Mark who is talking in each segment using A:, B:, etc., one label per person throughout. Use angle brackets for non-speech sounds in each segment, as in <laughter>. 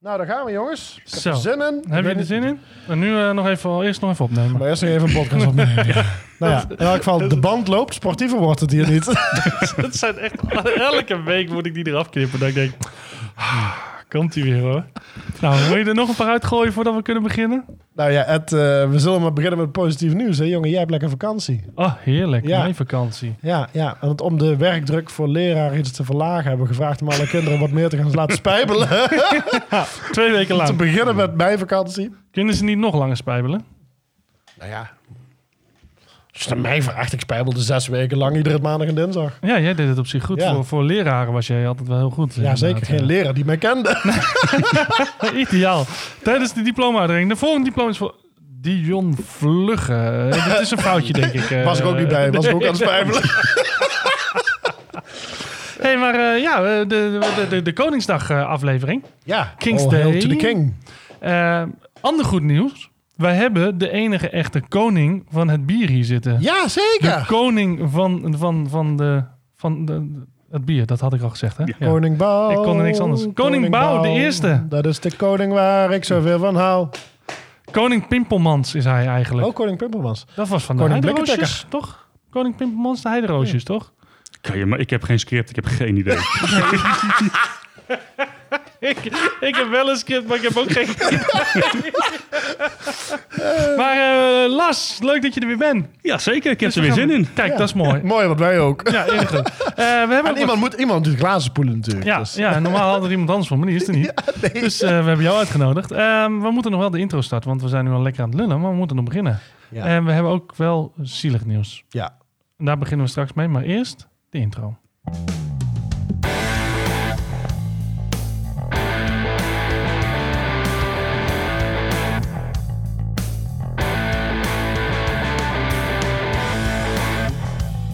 A: Nou, daar gaan we jongens. Ik heb
B: Zo.
A: er zin in. Ik
B: Heb je
A: weet
B: er
A: niet-
B: zin in? En nu eh, nog even, eerst nog even opnemen.
A: Maar eerst nog even een
B: <laughs>
A: podcast opnemen. Nou ja, in elk geval, de band loopt. Sportiever wordt het hier niet.
B: <laughs> Dat zijn echt, elke week moet ik die eraf knippen. Dan denk ik, ah, komt ie weer hoor. Nou, wil je er nog een paar uitgooien voordat we kunnen beginnen?
A: nou ja, Ed, eh, we zullen maar beginnen met positief nieuws. Hè, jongen, jij hebt lekker vakantie.
B: Oh, heerlijk.
A: Ja.
B: Mijn vakantie.
A: Ja, ja, want om de werkdruk voor leraar iets te verlagen... hebben we gevraagd om alle kinderen wat meer te gaan laten spijbelen.
B: <laughs>
A: Nou
B: Twee weken
A: te
B: lang.
A: beginnen met mijn vakantie.
B: Kunnen ze niet nog langer spijbelen?
A: Nou ja. Als je het aan mij vraagt, ik spijbelde zes weken lang iedere maandag en dinsdag.
B: Ja, jij deed het op zich goed.
A: Ja.
B: Voor, voor leraren was jij altijd wel heel goed.
A: Ja, zeker. Geen
B: inderdaad.
A: leraar die mij kende.
B: Ideaal. Tijdens de diploma-uitreiking. De volgende diploma is voor Dion Vlugge. Eh, Dat is een foutje, denk <laughs> ik. eh.
A: Was ik ook niet bij. Was ik ook aan
B: <laughs>
A: het spijbelen.
B: hey, maar eh, ja, eh, de, de, de, de Koningsdag-aflevering.
A: Ja.
B: King's
A: All hail
B: Day.
A: to the king.
B: Eh, ander goed nieuws. Wij hebben de enige echte koning van het bier hier zitten.
A: Ja, zeker.
B: De koning van, van, van, de, van de, het bier, dat had ik al gezegd. Hè? Ja.
A: Koning Bouw.
B: Ik kon er niks anders. Koning Bouw, de eerste.
A: Dat is de koning waar ik zoveel van hou.
B: Koning Pimpelmans is hij eigenlijk.
A: Ook Oh, koning Pimpelmans.
B: Dat was van de
A: Koning
B: Heideroosjes,
A: Blikkentikker.
B: toch? Koning Pimpelmans, de Heideroosjes, toch?
C: Kan je, maar ik heb geen script, ik heb geen idee.
B: ik, ik heb wel een script, maar ik heb ook
A: <laughs>
B: geen maar eh, Las, leuk dat je er weer bent.
C: ja, zeker. Ik heb
B: Dus
C: er
B: we
C: weer
B: gaan-
C: zin in.
B: Kijk, dat is mooi.
A: Mooi, want wij ook.
B: Ja, heel goed.
A: <laughs>
B: Eh, we hebben
A: En
B: ook wat-
A: iemand moet iemand die glazen spoelen natuurlijk.
B: Ja,
A: Dus-
B: ja, normaal had er iemand anders voor, maar die is
A: <laughs>
B: er niet. Dus eh, we hebben jou uitgenodigd. Ehm, we moeten nog wel de intro starten, want we zijn nu al lekker aan het lullen, maar we moeten nog beginnen.
A: Ja.
B: En we hebben ook wel zielig nieuws.
A: ja.
B: En Daar beginnen we straks mee, maar eerst de intro.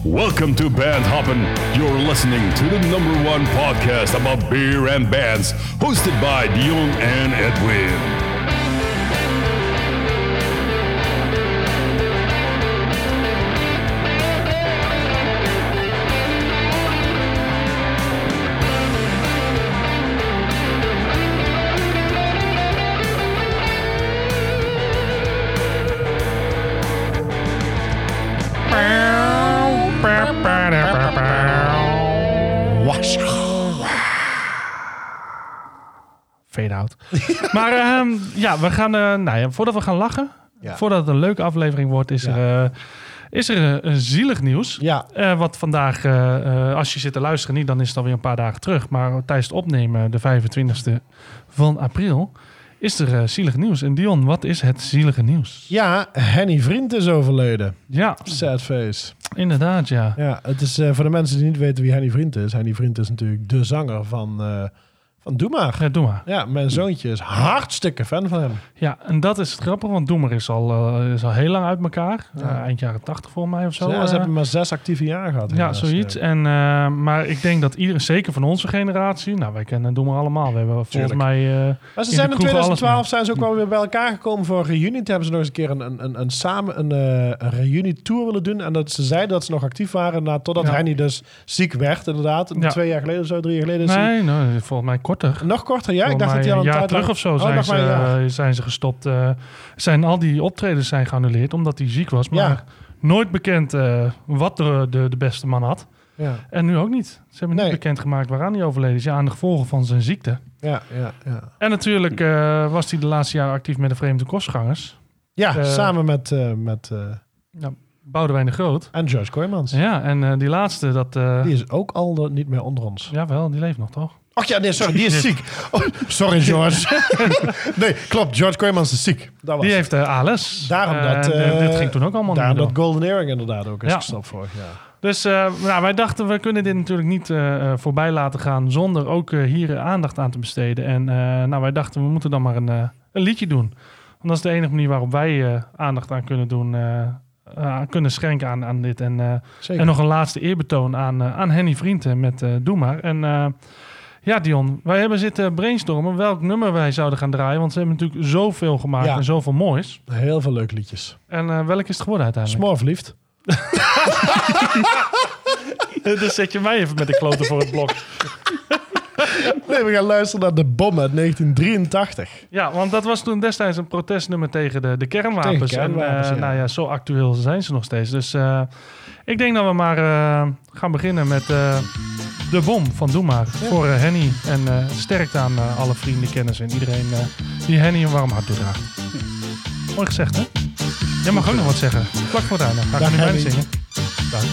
D: Welcome to Band Hoppin'. You're listening to the number one podcast about beer and bands, hosted by Dion and Edwin.
B: Fade out. <laughs> maar ehm, ja, we gaan, eh, nou ja, voordat we gaan lachen,
A: Ja.
B: voordat het een leuke aflevering wordt, is
A: Ja.
B: er, eh, is er eh, een zielig nieuws.
A: Ja.
B: Eh, wat vandaag, eh, eh, als je zit te luisteren, niet, dan is het alweer een paar dagen terug. Maar tijdens het opnemen, de 25e van april, is er eh, zielig nieuws. En Dion, wat is het zielige nieuws?
A: Ja, Henny Vriend is overleden.
B: Ja,
A: Sad face.
B: inderdaad, ja.
A: Ja, het is eh, voor de mensen die niet weten wie Henny Vriend is. Henny Vriend is natuurlijk de zanger van, eh van Doe Maar.
B: Ja, doe maar.
A: Ja, mijn zoontje is hartstikke fan van hem.
B: Ja, en dat is het grappige, want Doemer is al, eh, is al heel lang uit elkaar. Eh, eind jaren 80 voor mij of zo.
A: Zo, ja,
B: eh.
A: ze hebben maar zes actieve jaren gehad.
B: Ja,
A: helaas.
B: zoiets. En, eh, maar ik denk dat iedereen, zeker van onze generatie, nou wij kennen Doemer allemaal. We hebben volgens
A: Tuurlijk.
B: mij. eh,
A: Maar ze
B: in
A: zijn
B: de
A: in
B: kroeg alles
A: 2012 zijn ze ook wel weer bij elkaar gekomen voor een reunie. Toen hebben ze nog eens een keer een, een, een, een samen een, eh, een reunie tour willen doen. En dat ze zeiden dat ze nog actief waren na, totdat
B: Ja.
A: Henny dus ziek werd inderdaad.
B: Ja.
A: Twee jaar geleden of zo, drie jaar geleden. is hij-
B: nee, nee, volgens mij korter.
A: dus Nog korter, ja. Ik
B: Volgens
A: dacht dat
B: mij
A: hij al een
B: een jaar
A: tijd lang-
B: terug of zo
A: Oh,
B: zijn,
A: nog
B: ze,
A: maar een jaar.
B: eh, zijn ze gestopt. eh, zijn al die optredens zijn geannuleerd omdat hij ziek was. Maar
A: Ja.
B: nooit bekend eh, wat de, de, de beste man had.
A: Ja,
B: En nu ook niet. Ze hebben
A: Nee.
B: niet bekendgemaakt waaraan hij overleden is. Ja, aan de gevolgen van zijn ziekte.
A: ja, ja. ja.
B: En natuurlijk eh, was hij de laatste jaren actief met de Vreemde Kostgangers.
A: Ja,
B: Eh,
A: samen met, eh, met eh,
B: Boudewijn de Groot.
A: en George Kooijmans.
B: Ja, en eh, die laatste, dat... eh
A: Die is ook al de- niet meer onder ons.
B: Jawel, die leeft nog, toch?
A: Ach ja, nee, sorry, die
B: <laughs>
A: is ziek. Oh, sorry, George. nee, klopt, George Kooijmans is ziek. Dat was
B: Die
A: het.
B: heeft eh ALS.
A: Daarom
B: Eh,
A: dat,
B: en, eh,
A: eh,
B: dit ging toen ook allemaal niet
A: Daarom
B: meer
A: dat Golden Earring inderdaad ook is
B: Ja.
A: gestopt vorig jaar.
B: Dus eh, nou, wij dachten, we kunnen dit natuurlijk niet eh, eh, voorbij laten gaan zonder ook eh, hier eh, aandacht aan te besteden. En eh, nou, wij dachten, we moeten dan maar een, eh, een liedje doen. Want dat is de enige manier waarop wij eh, aandacht aan kunnen doen, eh, eh, kunnen schenken aan, aan dit. En, eh,
A: Zeker.
B: en nog een laatste eerbetoon aan, eh, aan Henny Vrienden met eh Doe Maar. En eh, ja, Dion, wij hebben zitten brainstormen welk nummer wij zouden gaan draaien. Want ze hebben natuurlijk zoveel gemaakt
A: Ja.
B: en zoveel moois.
A: Heel veel leuke liedjes.
B: En eh welk is het geworden uiteindelijk? <laughs>
A: <laughs> Smoorverliefd.
B: dus zet je mij even met de kloten voor het blok.
A: Nee, we gaan luisteren naar de bom uit 1983.
B: Ja, want dat was toen destijds een protestnummer tegen de, de kernwapens.
A: Tegen kernwapens,
B: en eh,
A: ja.
B: nou ja, zo actueel zijn ze nog steeds. Dus eh, ik denk dat we maar eh, gaan beginnen met eh, de bom van Doe Maar voor eh, Henny. En eh, sterkte aan eh, alle vrienden, kennis en iedereen eh, die Henny een warm hart toedraagt. Mooi gezegd, hè? Jij mag ook nog wat zeggen. Plak voor daar. Dan ga ik
A: Dag,
B: nu bijna
A: Henny.
B: zingen. Dag.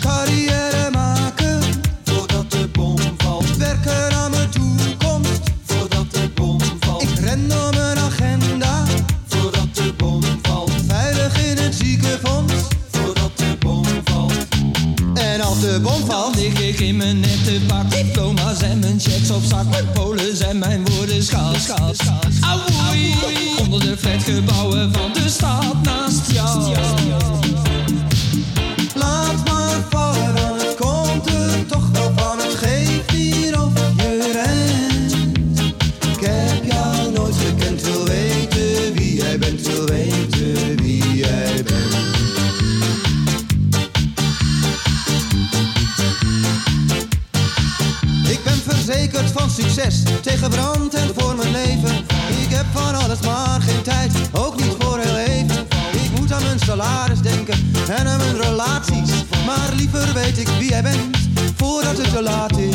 E: Carrière maken voordat de bom valt. Werken aan mijn toekomst voordat de bom valt. Ik ren naar mijn agenda voordat de bom valt. Veilig in het ziekenfonds voordat de bom valt. En als de bom valt, lig ik in mijn nette pak. Diploma's en mijn checks op zak. Mijn polen zijn mijn woorden schaars. Auwoei, onder de flatgebouwen van de stad naast jou. Laat maar vallen, dan het komt er toch wel van. Het geeft niet op je rent. Ik heb jou nooit gekend, wil weten wie jij bent, wil weten wie jij bent. Ik ben verzekerd van succes tegen brand en voor mijn leven. Ik heb van alles maar geen tijd, ook niet voor heel even. Ik moet aan mijn salaris denken en aan mijn relaties. Maar liever weet ik wie jij bent voordat het te laat is.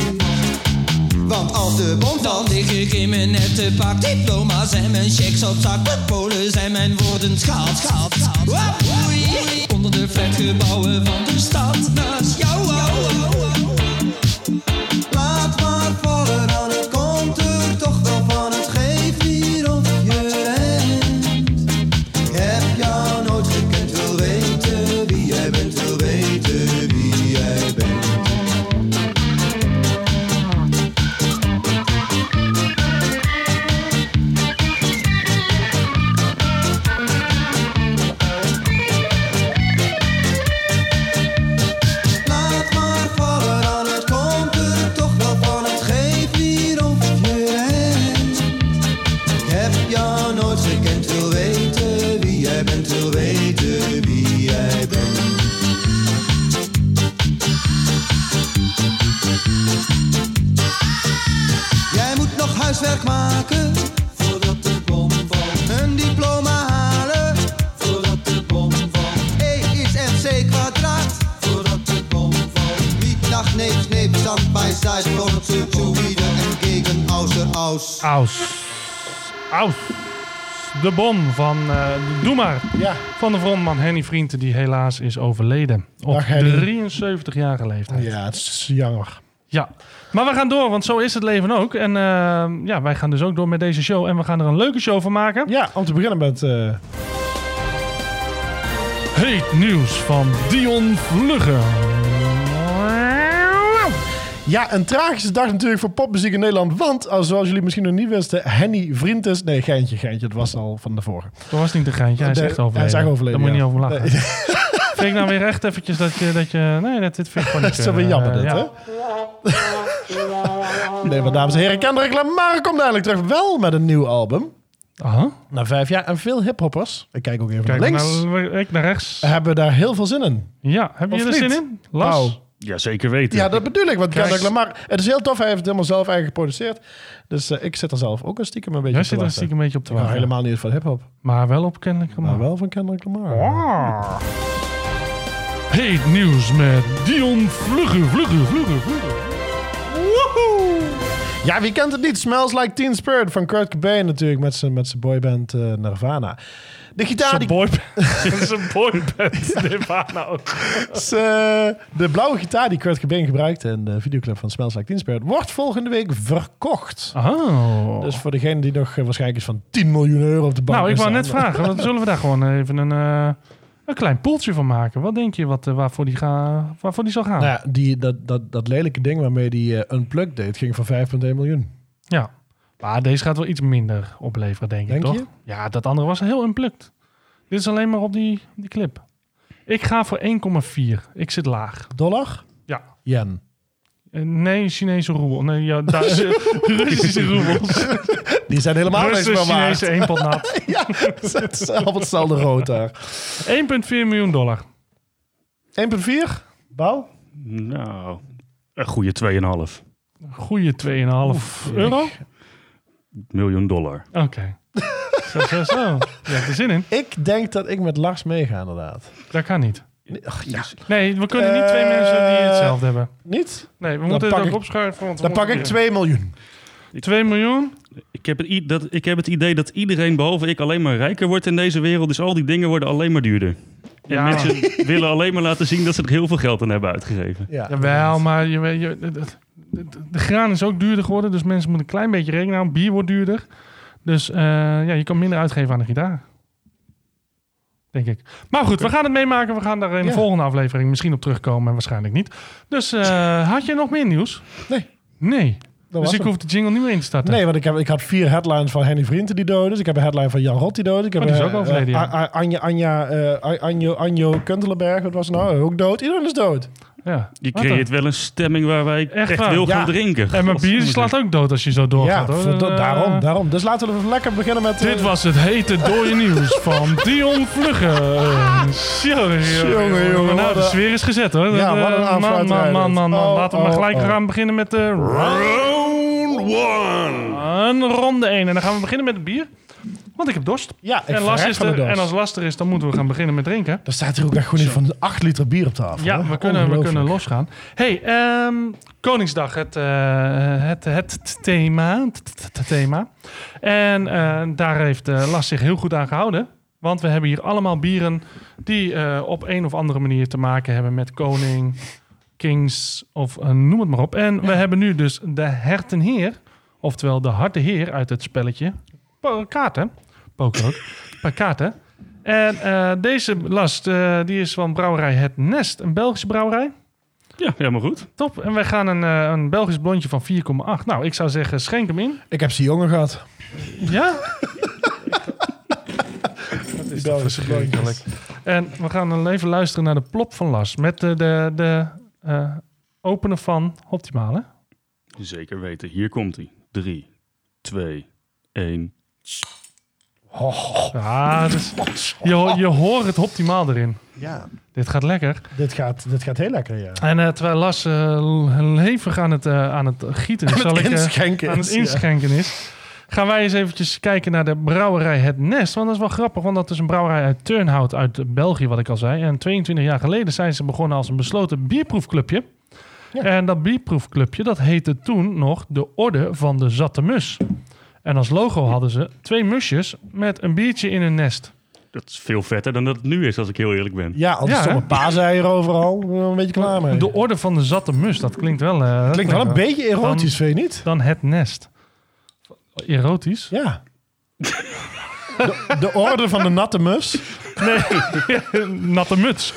E: Want als de bom dan lig ik in mijn nette pak. Diploma's en mijn checks op zak. Mijn polen zijn mijn woorden schaald. schaald, schaald. Wap, oei. Onder de flatgebouwen van de stad naast jou. Laat maar vallen, dan het komt er toch wel van. Het geeft niet of je rent. Ik heb jou nooit gekend, wil weten wie jij bent, wil weten wie jij bent. Laat maar vallen, dan het komt er toch wel van. Het geeft niet op je rent. Ik heb jou nooit gekend, wil weten wie jij bent, wil weten wie jij bent. Jij moet nog huiswerk maken voordat de bom valt. Een diploma halen voordat de bom valt. E is MC kwadraat voordat de bom valt. Niet nach neef, neef, zand bij zij, stort ze zu wieder entgegen, außer aus.
B: Aus. Aus. De bom van eh, Doe Maar.
A: Ja,
B: Van de frontman Henny Vrienden, die helaas is overleden. Op
A: Dag, Henny.
B: 73-jarige leeftijd. Ja.
A: ja het is jammer.
B: Maar we gaan door, want zo is het leven ook. En eh, ja, wij gaan dus ook door met deze show. En we gaan er een leuke show van maken.
A: Ja, om te beginnen met... eh,
B: Heet nieuws van Dion Vluggen.
A: Ja, een tragische dag natuurlijk voor popmuziek in Nederland. Want, als zoals jullie misschien nog niet wisten, Henny Vrientes... Nee, geintje, geintje. Dat was al van de vorige.
B: Dat was niet een geintje, hij is
A: Nee,
B: echt overleden.
A: hij is echt overleden,
B: Daar moet je
A: ja.
B: niet over lachen. <laughs> Vind ik nou weer echt eventjes dat je... Dat je nee, dat, dit vind ik
A: <laughs>
B: gewoon niet...
A: Dat is wel weer
B: eh,
A: jammer, dit,
B: ja.
A: hè? nee, maar dames en heren, Kendrick <laughs> Lamar komt dadelijk terug. Wel met een nieuw album.
B: Aha.
A: Na vijf jaar en veel hiphoppers. Ik kijk ook even
B: Kijk,
A: naar links.
B: nou, ik naar rechts.
A: Hebben daar heel veel zin in.
B: Ja, heb je
A: Of
B: er zin
A: niet?
B: in? Las?
A: Nou,
C: Ja, zeker weten.
A: ja, dat bedoel ik. Want
B: Kijk.
A: Kendrick Lamar, het is heel tof. Hij heeft het helemaal zelf eigen geproduceerd. Dus eh, ik zit er zelf ook een stiekem een beetje
B: Jij
A: op te
B: zit er
A: wachten.
B: stiekem een beetje op te
A: Ik hou
B: wachten.
A: helemaal niet van hip-hop,
B: Maar wel op kennelijk
A: maar
B: gemaakt.
A: wel van Kendrick Lamar.
B: Heet nieuws met <laughs> Dion Vluggen, Vluggen, Vluggen, Vluggen.
A: Ja, wie kent het niet? Smells Like Teen Spirit van Kurt Cobain natuurlijk met zijn met zijn boyband eh, Nirvana. De gitaar die, <laughs>
B: boy is een boyband, Nirvana ook.
A: eh, de blauwe gitaar die Kurt Cobain gebruikt in de videoclip van Smells Like Teen Spirit wordt volgende week verkocht.
B: Oh.
A: Dus voor degene die nog eh, waarschijnlijk is van 10 miljoen euro op de bank.
B: nou, ik wou
A: staan.
B: net vragen, want zullen we daar gewoon even een, eh, een klein poeltje van maken? Wat denk je wat, eh, waarvoor, die ga, waarvoor die zal gaan?
A: Nou ja, die, dat, dat, dat lelijke ding waarmee die eh, Unplugged deed ging voor 5,1 miljoen.
B: Ja. Maar deze gaat wel iets minder opleveren, denk,
A: Denk
B: ik, toch?
A: je?
B: Ja, dat andere was heel unplukt. Dit is alleen maar op die, die clip. Ik ga voor 1,4. Ik zit laag.
A: Dollar?
B: Ja.
A: Yen.
B: Eh, Nee, Chinese roebel. Nee, ja,
A: <laughs>
B: Duitse, Russische roebels.
A: Die zijn helemaal niks
B: Russen,
A: meer
B: Chinese
A: waard.
B: eenpotnat.
A: <laughs> Ja, het is allemaal hetzelfde rood daar.
B: 1,4 miljoen dollar.
A: 1,4? Bouw?
C: Nou, een goede 2,5.
B: goede 2,5 euro.
C: Miljoen dollar.
B: Oké. zo, zo,
A: <laughs>
B: zo. Je hebt er zin in.
A: Ik denk dat ik met Lars meega, inderdaad.
B: Dat kan niet.
A: Ach, ja.
B: Nee, we kunnen niet twee
A: Eh,
B: mensen die hetzelfde hebben.
A: Niet?
B: Nee, we moeten
A: pak
B: het ook
A: ik-
B: opschuiven. want we
A: Dan pak
B: moeten
A: ik
B: weer-
A: 2 miljoen.
B: 2 miljoen.
C: Ik heb, het, i- dat, ik heb het idee dat iedereen behalve ik alleen maar rijker wordt in deze wereld. Dus al die dingen worden alleen maar duurder. En
B: Ja. <laughs>
C: mensen willen alleen maar laten zien dat ze er heel veel geld aan hebben uitgegeven.
A: Ja.
B: Jawel, maar je, weet- je, de, de, de graan is ook duurder geworden. Dus mensen moeten een klein beetje rekenen houden. Bier wordt duurder. Dus eh, ja, je kan minder uitgeven aan de gitaar. Denk ik. Maar goed, we gaan het meemaken. We gaan daar in de
A: Ja.
B: volgende aflevering misschien op terugkomen. En waarschijnlijk niet. Dus
A: <laughs>
B: eh, had je nog meer nieuws?
A: Nee.
B: Nee.
A: Dat was
B: dus ik
A: hem.
B: hoef de jingle niet meer in te starten.
A: Nee, want ik, heb, ik had vier headlines van Henny Vrienden die dood is. Dus Ik heb een headline van Jan Rot die dood is. Ik heb
B: Oh, die is
A: eh,
B: ook overleden,
A: eh,
B: ja.
A: A- A- Anja, Anja, eh, A- Anjo, Anjo Kuntelenberg, wat was het nou? Ook dood. Iedereen is dood.
B: Ja.
C: Je
B: Wat dan?
C: creëert wel een stemming waar wij
B: Echt
C: echt,
B: waar?
C: wil gaan
A: Ja.
C: drinken.
B: En mijn bier slaat ook dood als je zo
A: ja,
B: doorgaat. hoor.
A: voor- da-
B: Eh,
A: daarom, daarom. Dus laten we even lekker beginnen met... eh,
B: Dit was het hete dode nieuws
A: <laughs>
B: van Dion Vluggen. Jongen,
A: Jongen,
B: Nou,
A: jongen, wat
B: de
A: een-
B: sfeer is gezet hoor.
A: Ja,
B: Dat, eh,
A: wat een
B: Man, man,
A: aanfluiterijen.
B: man, man, man.
A: Oh,
B: Laten we maar
A: oh,
B: gelijk
A: oh.
B: gaan beginnen met eh, de
D: Round one.
B: een ronde 1. En dan gaan we beginnen met het bier. Want ik heb dorst.
A: Ja, ik
B: en, Lars
A: verrek
B: is
A: van
B: er-
A: de dorst.
B: en als last er is, dan moeten we gaan beginnen met drinken.
A: Er staat hier ook echt gewoon iets van 8 liter bier op tafel.
B: Ja,
A: hoor.
B: we kunnen, we kunnen
A: Ongelooflijk.
B: losgaan. hey, ehm, Koningsdag, het, eh, het, het thema. t- t- t- thema. En eh, daar heeft eh, Las zich heel goed aan gehouden. Want we hebben hier allemaal bieren die eh, op een of andere manier te maken hebben met koning, kings of eh, noem het maar op. En we hebben nu dus de hertenheer, oftewel de harte heer uit het spelletje. Po- Kaarten. Poker ook. Paar kaarten. En eh, deze last eh, die is van brouwerij Het Nest, een Belgische brouwerij.
C: Ja, helemaal goed.
B: Top. En wij gaan een, eh, een Belgisch blondje van 4,8. Nou, ik zou zeggen, schenk hem in.
A: Ik heb ze jongen gehad.
B: Ja?
A: <laughs> Dat is toch verschrikkelijk.
B: En we gaan dan even luisteren naar de plop van Las. Met de, de, de eh, opener van Optimale.
C: Zeker weten. Hier komt hij. 3, 2, 1.
A: Oh.
B: Ja, het is- je, ho- je hoort het Optimaal erin.
A: Ja,
B: Dit gaat lekker.
A: dit gaat, dit gaat heel lekker, ja.
B: En eh, terwijl Las eh, hevig aan het, eh, aan het gieten is,
A: Aan het
B: zal ik, eh,
A: inschenken
B: aan
A: is,
B: het inschenken is, gaan wij eens eventjes kijken naar de brouwerij Het Nest. Want dat is wel grappig, want dat is een brouwerij uit Turnhout uit België, wat ik al zei. En 22 jaar geleden zijn ze begonnen als een besloten bierproefclubje.
A: Ja.
B: En dat bierproefclubje, dat heette toen nog de Orde van de Zatte Mus. En als logo hadden ze twee musjes met een biertje in een nest.
C: Dat is veel vetter dan dat het nu is, als ik heel eerlijk ben.
A: Ja, al die
B: Ja,
A: stomme
B: hè?
A: paaseieren overal. Ik ben er een beetje klaar mee.
B: De Orde van de Zatte Mus, dat klinkt wel... eh, dat
A: Klinkt wel een beetje erotisch, vind je niet?
B: dan het nest. Erotisch?
A: Ja. De, de orde van de natte mus.
B: <laughs> Natte muts.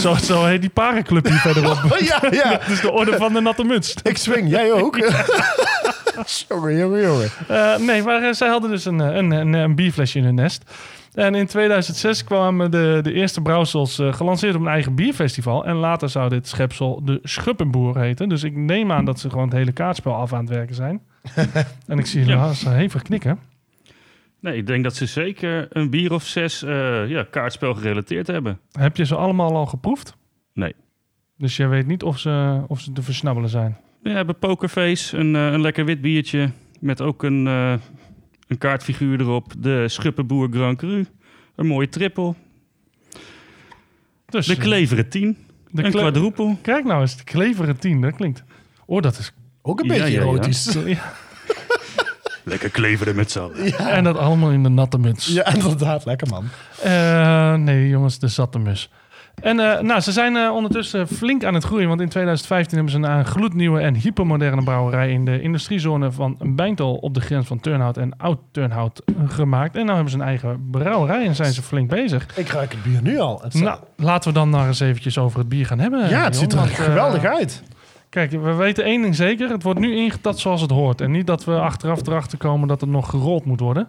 B: zo, zo heet die parenclub hier verderop.
A: <laughs> Ja,
B: <laughs>
A: ja.
B: Dus de orde van de natte muts.
A: Ik swing, jij ook. <laughs> jongen, jongen, jongen.
B: Eh, nee, maar eh, zij hadden dus een, eh, een, een, een bierflesje in hun nest. En in 2006 kwamen de, de eerste brouwsels eh, gelanceerd op een eigen bierfestival. En later zou dit schepsel de Schuppenboer heten. Dus ik neem aan dat ze gewoon het hele kaartspel af aan het werken
A: <laughs>
B: zijn. en ik zie
C: Ja.
B: Lars eh, hevig knikken.
C: Nee, ik denk dat ze zeker een bier of zes eh, ja, kaartspel gerelateerd hebben.
B: Heb je ze allemaal al geproefd?
C: Nee.
B: Dus jij weet niet of ze, of ze te versnabbelen zijn?
C: We hebben Pokerface, een, eh, een lekker wit biertje. Met ook een, eh, een kaartfiguur erop. De Schuppenboer Grand Cru. Een mooie triple.
B: Dus,
C: De Kleveren 10.
B: de
C: een
B: kle-
C: quadruple.
B: Kijk nou eens, de kleveren 10, dat klinkt. Oh, dat is.
A: Ook een
C: Ja,
A: beetje
C: ja, <laughs> ja.
A: erotisch. Ja,
C: Lekker kleveren met z'n allen.
B: En dat allemaal in de natte
A: <laughs>
B: muts.
A: inderdaad. Lekker, man.
B: Eh, nee, jongens, de zatte mus. En eh, nou, ze zijn eh, ondertussen flink aan het groeien. Want in 2015 hebben ze een, eh, gloednieuwe en hypermoderne brouwerij in de industriezone van Bijntal op de grens van Turnhout en Oud-Turnhout eh, gemaakt. En nu hebben ze een eigen brouwerij en zijn ze flink bezig.
A: Ik ruik het bier nu al. Het staat-
B: Nou, laten we dan maar eens eventjes over het bier gaan hebben.
A: ja, het
B: Dion,
A: ziet er
B: want, eh,
A: <laughs> geweldig uit.
B: Kijk, we weten één ding zeker. Het wordt nu ingetat zoals het hoort. En niet dat we achteraf erachter komen dat het nog gerold moet worden.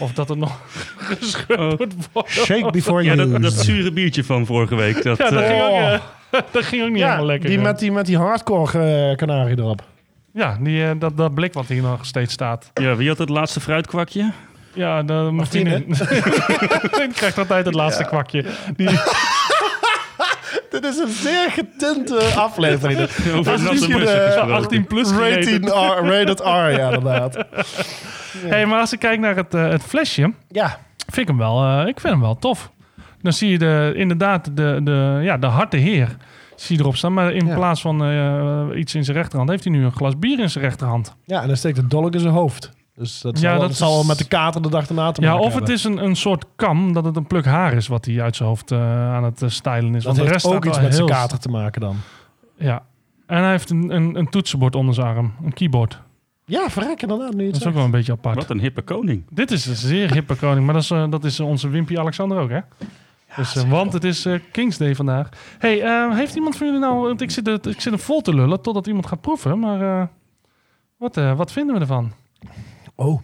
B: Of dat het nog <laughs> gescheurd moet worden.
A: Shake before
C: Oh. Ja,
A: you
C: dat, dat
A: use.
C: zure biertje van vorige week. Dat,
B: Ja, dat,
C: eh,
B: ging ook,
A: Oh.
B: eh, <laughs> dat ging ook niet helemaal lekker.
A: die
B: eh.
A: met, die met die hardcore eh, kanarie erop.
B: Ja, die, eh, dat, dat blik wat hier nog steeds staat.
C: ja, wie had het laatste fruitkwakje?
B: Ja, de <laughs> Martine.
A: Martine.
B: Ik krijg altijd het laatste kwakje. Die,
A: Dit is een zeer getinte <laughs> aflevering.
B: <laughs>
C: Over
A: Dat is
C: natte
A: misschien,
C: messen
A: eh,
C: gesproken.
B: 18 plus
A: Rated
B: gereden.
A: R,
B: <laughs>
A: rated R, ja, inderdaad.
B: Hey, maar als ik kijk naar het, eh, het flesje,
A: Ja,
B: vind ik hem wel, eh, ik vind hem wel tof. Dan zie je de, inderdaad de, de, ja, de harde heer zie je erop staan. Maar in
A: Ja.
B: plaats van eh, iets in zijn rechterhand, heeft hij nu een glas bier in zijn rechterhand.
A: ja en dan steekt de dolk in zijn hoofd. Dus dat zal,
B: Ja,
A: wel-
B: dat
A: dat zal
B: is-
A: wel met de kater de dag erna te
B: Ja,
A: maken
B: of het
A: hebben.
B: is een, een soort kam, dat het een pluk haar is wat hij uit zijn hoofd eh, aan het eh, stylen is.
A: dat
B: Want de
A: heeft
B: rest staat
A: ook iets
B: wel
A: met zijn
B: heel-
A: kater te maken dan.
B: Ja. En hij heeft een, een, een toetsenbord onder zijn arm, een keyboard.
A: Ja, verrek inderdaad. Nou, Nu je het
B: Dat is
A: zegt.
B: ook wel een beetje apart.
C: Wat een hippe koning.
B: Dit is een zeer hippe koning, maar dat is, eh, dat is onze Wimpy Alexander ook, hè? dus, eh, want het is eh, Kings Day vandaag. hey, eh, heeft iemand van jullie nou... Want ik zit, het- ik zit hem vol te lullen totdat iemand gaat proeven, maar... eh, wat, eh, wat vinden we ervan?
A: Oh,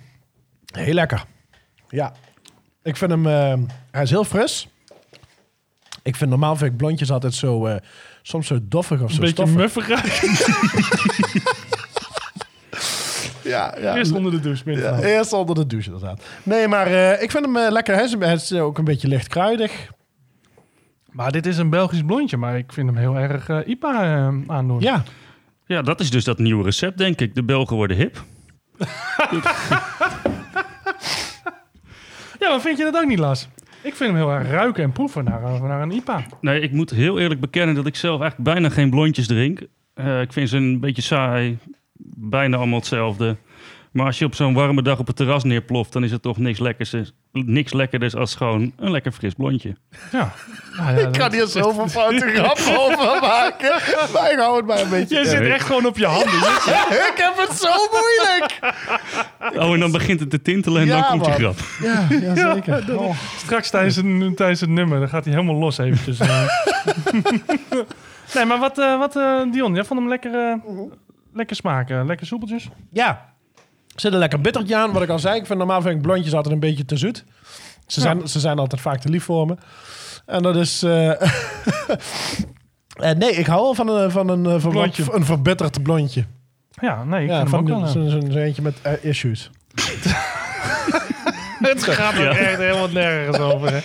A: heel lekker. Ja, ik vind hem... eh, hij is heel fris. Ik vind normaal vind ik blondjes altijd zo... eh, soms zo doffig of zo
B: Een beetje
A: stoffig.
B: muffig.
A: Ja, ja.
B: Eerst onder de douche. binnen.
A: Ja, eerst onder de douche inderdaad. Nee, maar eh, ik vind hem eh, lekker. Hij is, hij is ook een beetje licht kruidig.
B: Maar dit is een Belgisch blondje, maar ik vind hem heel erg eh, IPA eh, aandoen.
A: Ja,
C: Ja, dat is dus dat nieuwe recept, denk ik. De Belgen worden hip.
B: ja, maar vind je dat ook niet, Lars? Ik vind hem heel erg ruiken en proeven naar, een- naar een
A: <laughs>
B: IPA.
C: Nee, ik moet heel eerlijk bekennen dat ik zelf eigenlijk bijna geen blondjes drink. Eh, ik vind ze een beetje saai. Bijna allemaal hetzelfde. Maar als je op zo'n warme dag op het terras neerploft, dan is het toch niks lekkers, eh, niks lekkerders als gewoon een lekker fris
A: <laughs>
C: blondje.
B: Ja. Nou ja, dat-
A: hier zoveel <laughs> fouten grappen over maken. Maar ik hou het maar een beetje.
B: Je zit echt gewoon op je handen.
A: <laughs> Ik heb het zo moeilijk.
C: Oh, en dan begint het te tintelen en
A: Ja,
C: dan komt je
A: man.
C: grap.
A: Ja,
F: <laughs>
A: ja zeker.
B: Oh, Straks tijdens het, tijdens het nummer, dan gaat hij helemaal los eventjes. eh. nee, maar wat, eh, wat eh, Dion, jij vond hem lekker, eh, lekker smaken, lekker soepeltjes.
A: Mhm. Ja, er zit een lekker bittertje aan. Wat ik al zei, ik vind normaal vind ik blondjes altijd een beetje te zoet. Ze zijn, ze zijn altijd vaak te lief voor me. En dat is... eh, <laughs> eh, nee, ik hou wel van een, van een, eh, van wat-
B: Blondje.
A: een verbitterd blondje.
B: Ja, nee, ik
A: ja,
B: vind hem
A: van
B: ook
A: de-
B: wel... eh,
A: zo'n zo'n eentje met eh, issues.
B: <laughs> het gaat ook echt helemaal nergens over. hè.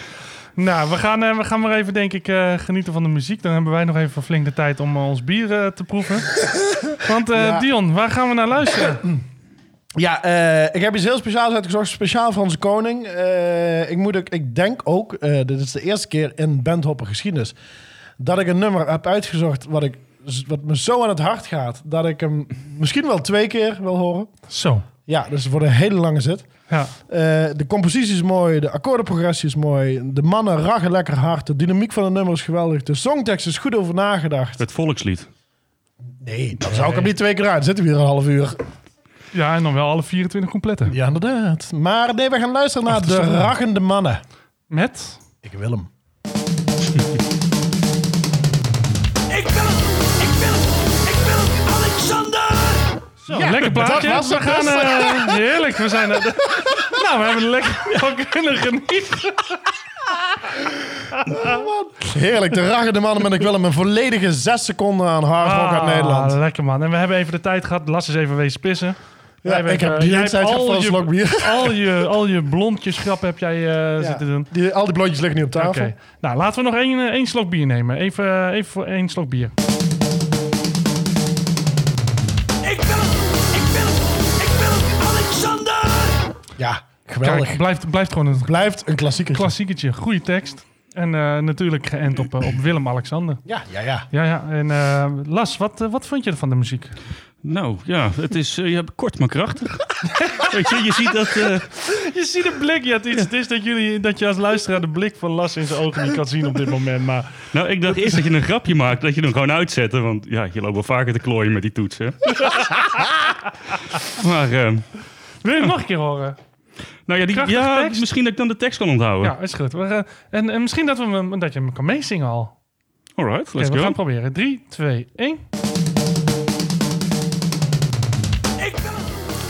B: Nou, we gaan, eh, we gaan maar even, denk ik, eh, genieten van de muziek. Dan hebben wij nog even flink de tijd om eh, ons bier eh, te proeven. Want eh,
A: Ja.
B: Dion, waar gaan we naar luisteren?
A: Ja, eh, ik heb iets heel speciaals uitgezocht. Speciaal voor onze koning. Eh, ik, moet ook, ik denk ook, eh, dit is de eerste keer in bandhopper geschiedenis... dat ik een nummer heb uitgezocht wat, ik, wat me zo aan het hart gaat... dat ik hem misschien wel twee keer wil horen.
B: Zo.
A: Ja, dus voor een hele lange zit.
B: Ja,
A: Eh, de compositie is mooi, de akkoordenprogressie is mooi... de mannen ragen lekker hard, de dynamiek van het nummer is geweldig... de songtekst is goed over nagedacht.
C: Het volkslied.
A: Nee, dan zou ik hem niet twee keer uit. Zitten we hier een half uur.
B: ja en dan wel alle 24 completten.
A: Ja, inderdaad. Maar nee, we gaan luisteren naar
B: Ach, dat
A: De
B: is wel-
A: Raggende Mannen.
B: Met...
A: Ik wil hem.
F: Ik wil het, ik wil het, ik wil het, Alexander!
B: Zo, Oh, lekker plaatje.
A: dat was
B: we
A: het
B: gaan, eh, heerlijk, we <laughs> zijn... er. nou, we hebben er lekker van kunnen genieten. eh,
A: <laughs> Oh, Heerlijk, De Raggende Mannen met Ik wil hem. Een volledige zes seconden aan hard rock uit Nederland.
B: Ah, Lekker man. En we hebben even de tijd gehad. Las is even wezen pissen. Wij
A: Ja,
B: hebben
A: ik
B: even-
A: heb die
B: jij
A: hele tijd
B: hebt
A: gehad voor een slok bier.
B: <laughs> Al je, al je blondjes grappen heb jij eh,
A: Ja.
B: zitten doen.
A: Die, al die blondjes liggen nu op
B: Oké.
A: tafel.
B: Nou, laten we nog één, eh, één slok bier nemen. Even, eh, even voor één slok bier.
F: Ik wil het, ik wil het, ik wil het, Alexander!
A: Ja, geweldig.
B: Kijk, blijft, blijft gewoon een
A: Blijft een klassieker.
B: klassieketje. Goede tekst. En eh, natuurlijk geënt op, eh, op Willem-Alexander.
A: ja, ja, ja.
B: Ja, ja. En eh, Las, wat, eh, wat vond je van de muziek?
C: Nou ja, het is eh, ja, kort maar krachtig. Weet je, je ziet dat. eh,
B: Je ziet de blik. Ja, het, is, het is dat, jullie, dat je als luisteraar de blik van Las in zijn ogen niet kan zien op dit moment. Maar
C: nou, ik dacht eerst dat je een grapje maakt, dat je hem gewoon uitzette. Want ja, je loopt wel vaker te klooien met die
A: <laughs>
C: toetsen. maar, eh,
B: wil je hem nog een keer horen?
C: nou ja, die,
B: Krachtige
C: ja
B: tekst.
C: misschien dat ik dan de tekst kan onthouden.
B: Ja, is goed. We gaan- en, en misschien dat, we hem, dat je hem kan meezingen al. Oké,
C: Alright, let's
B: we gaan
C: go.
B: het proberen. 3, 2, 1.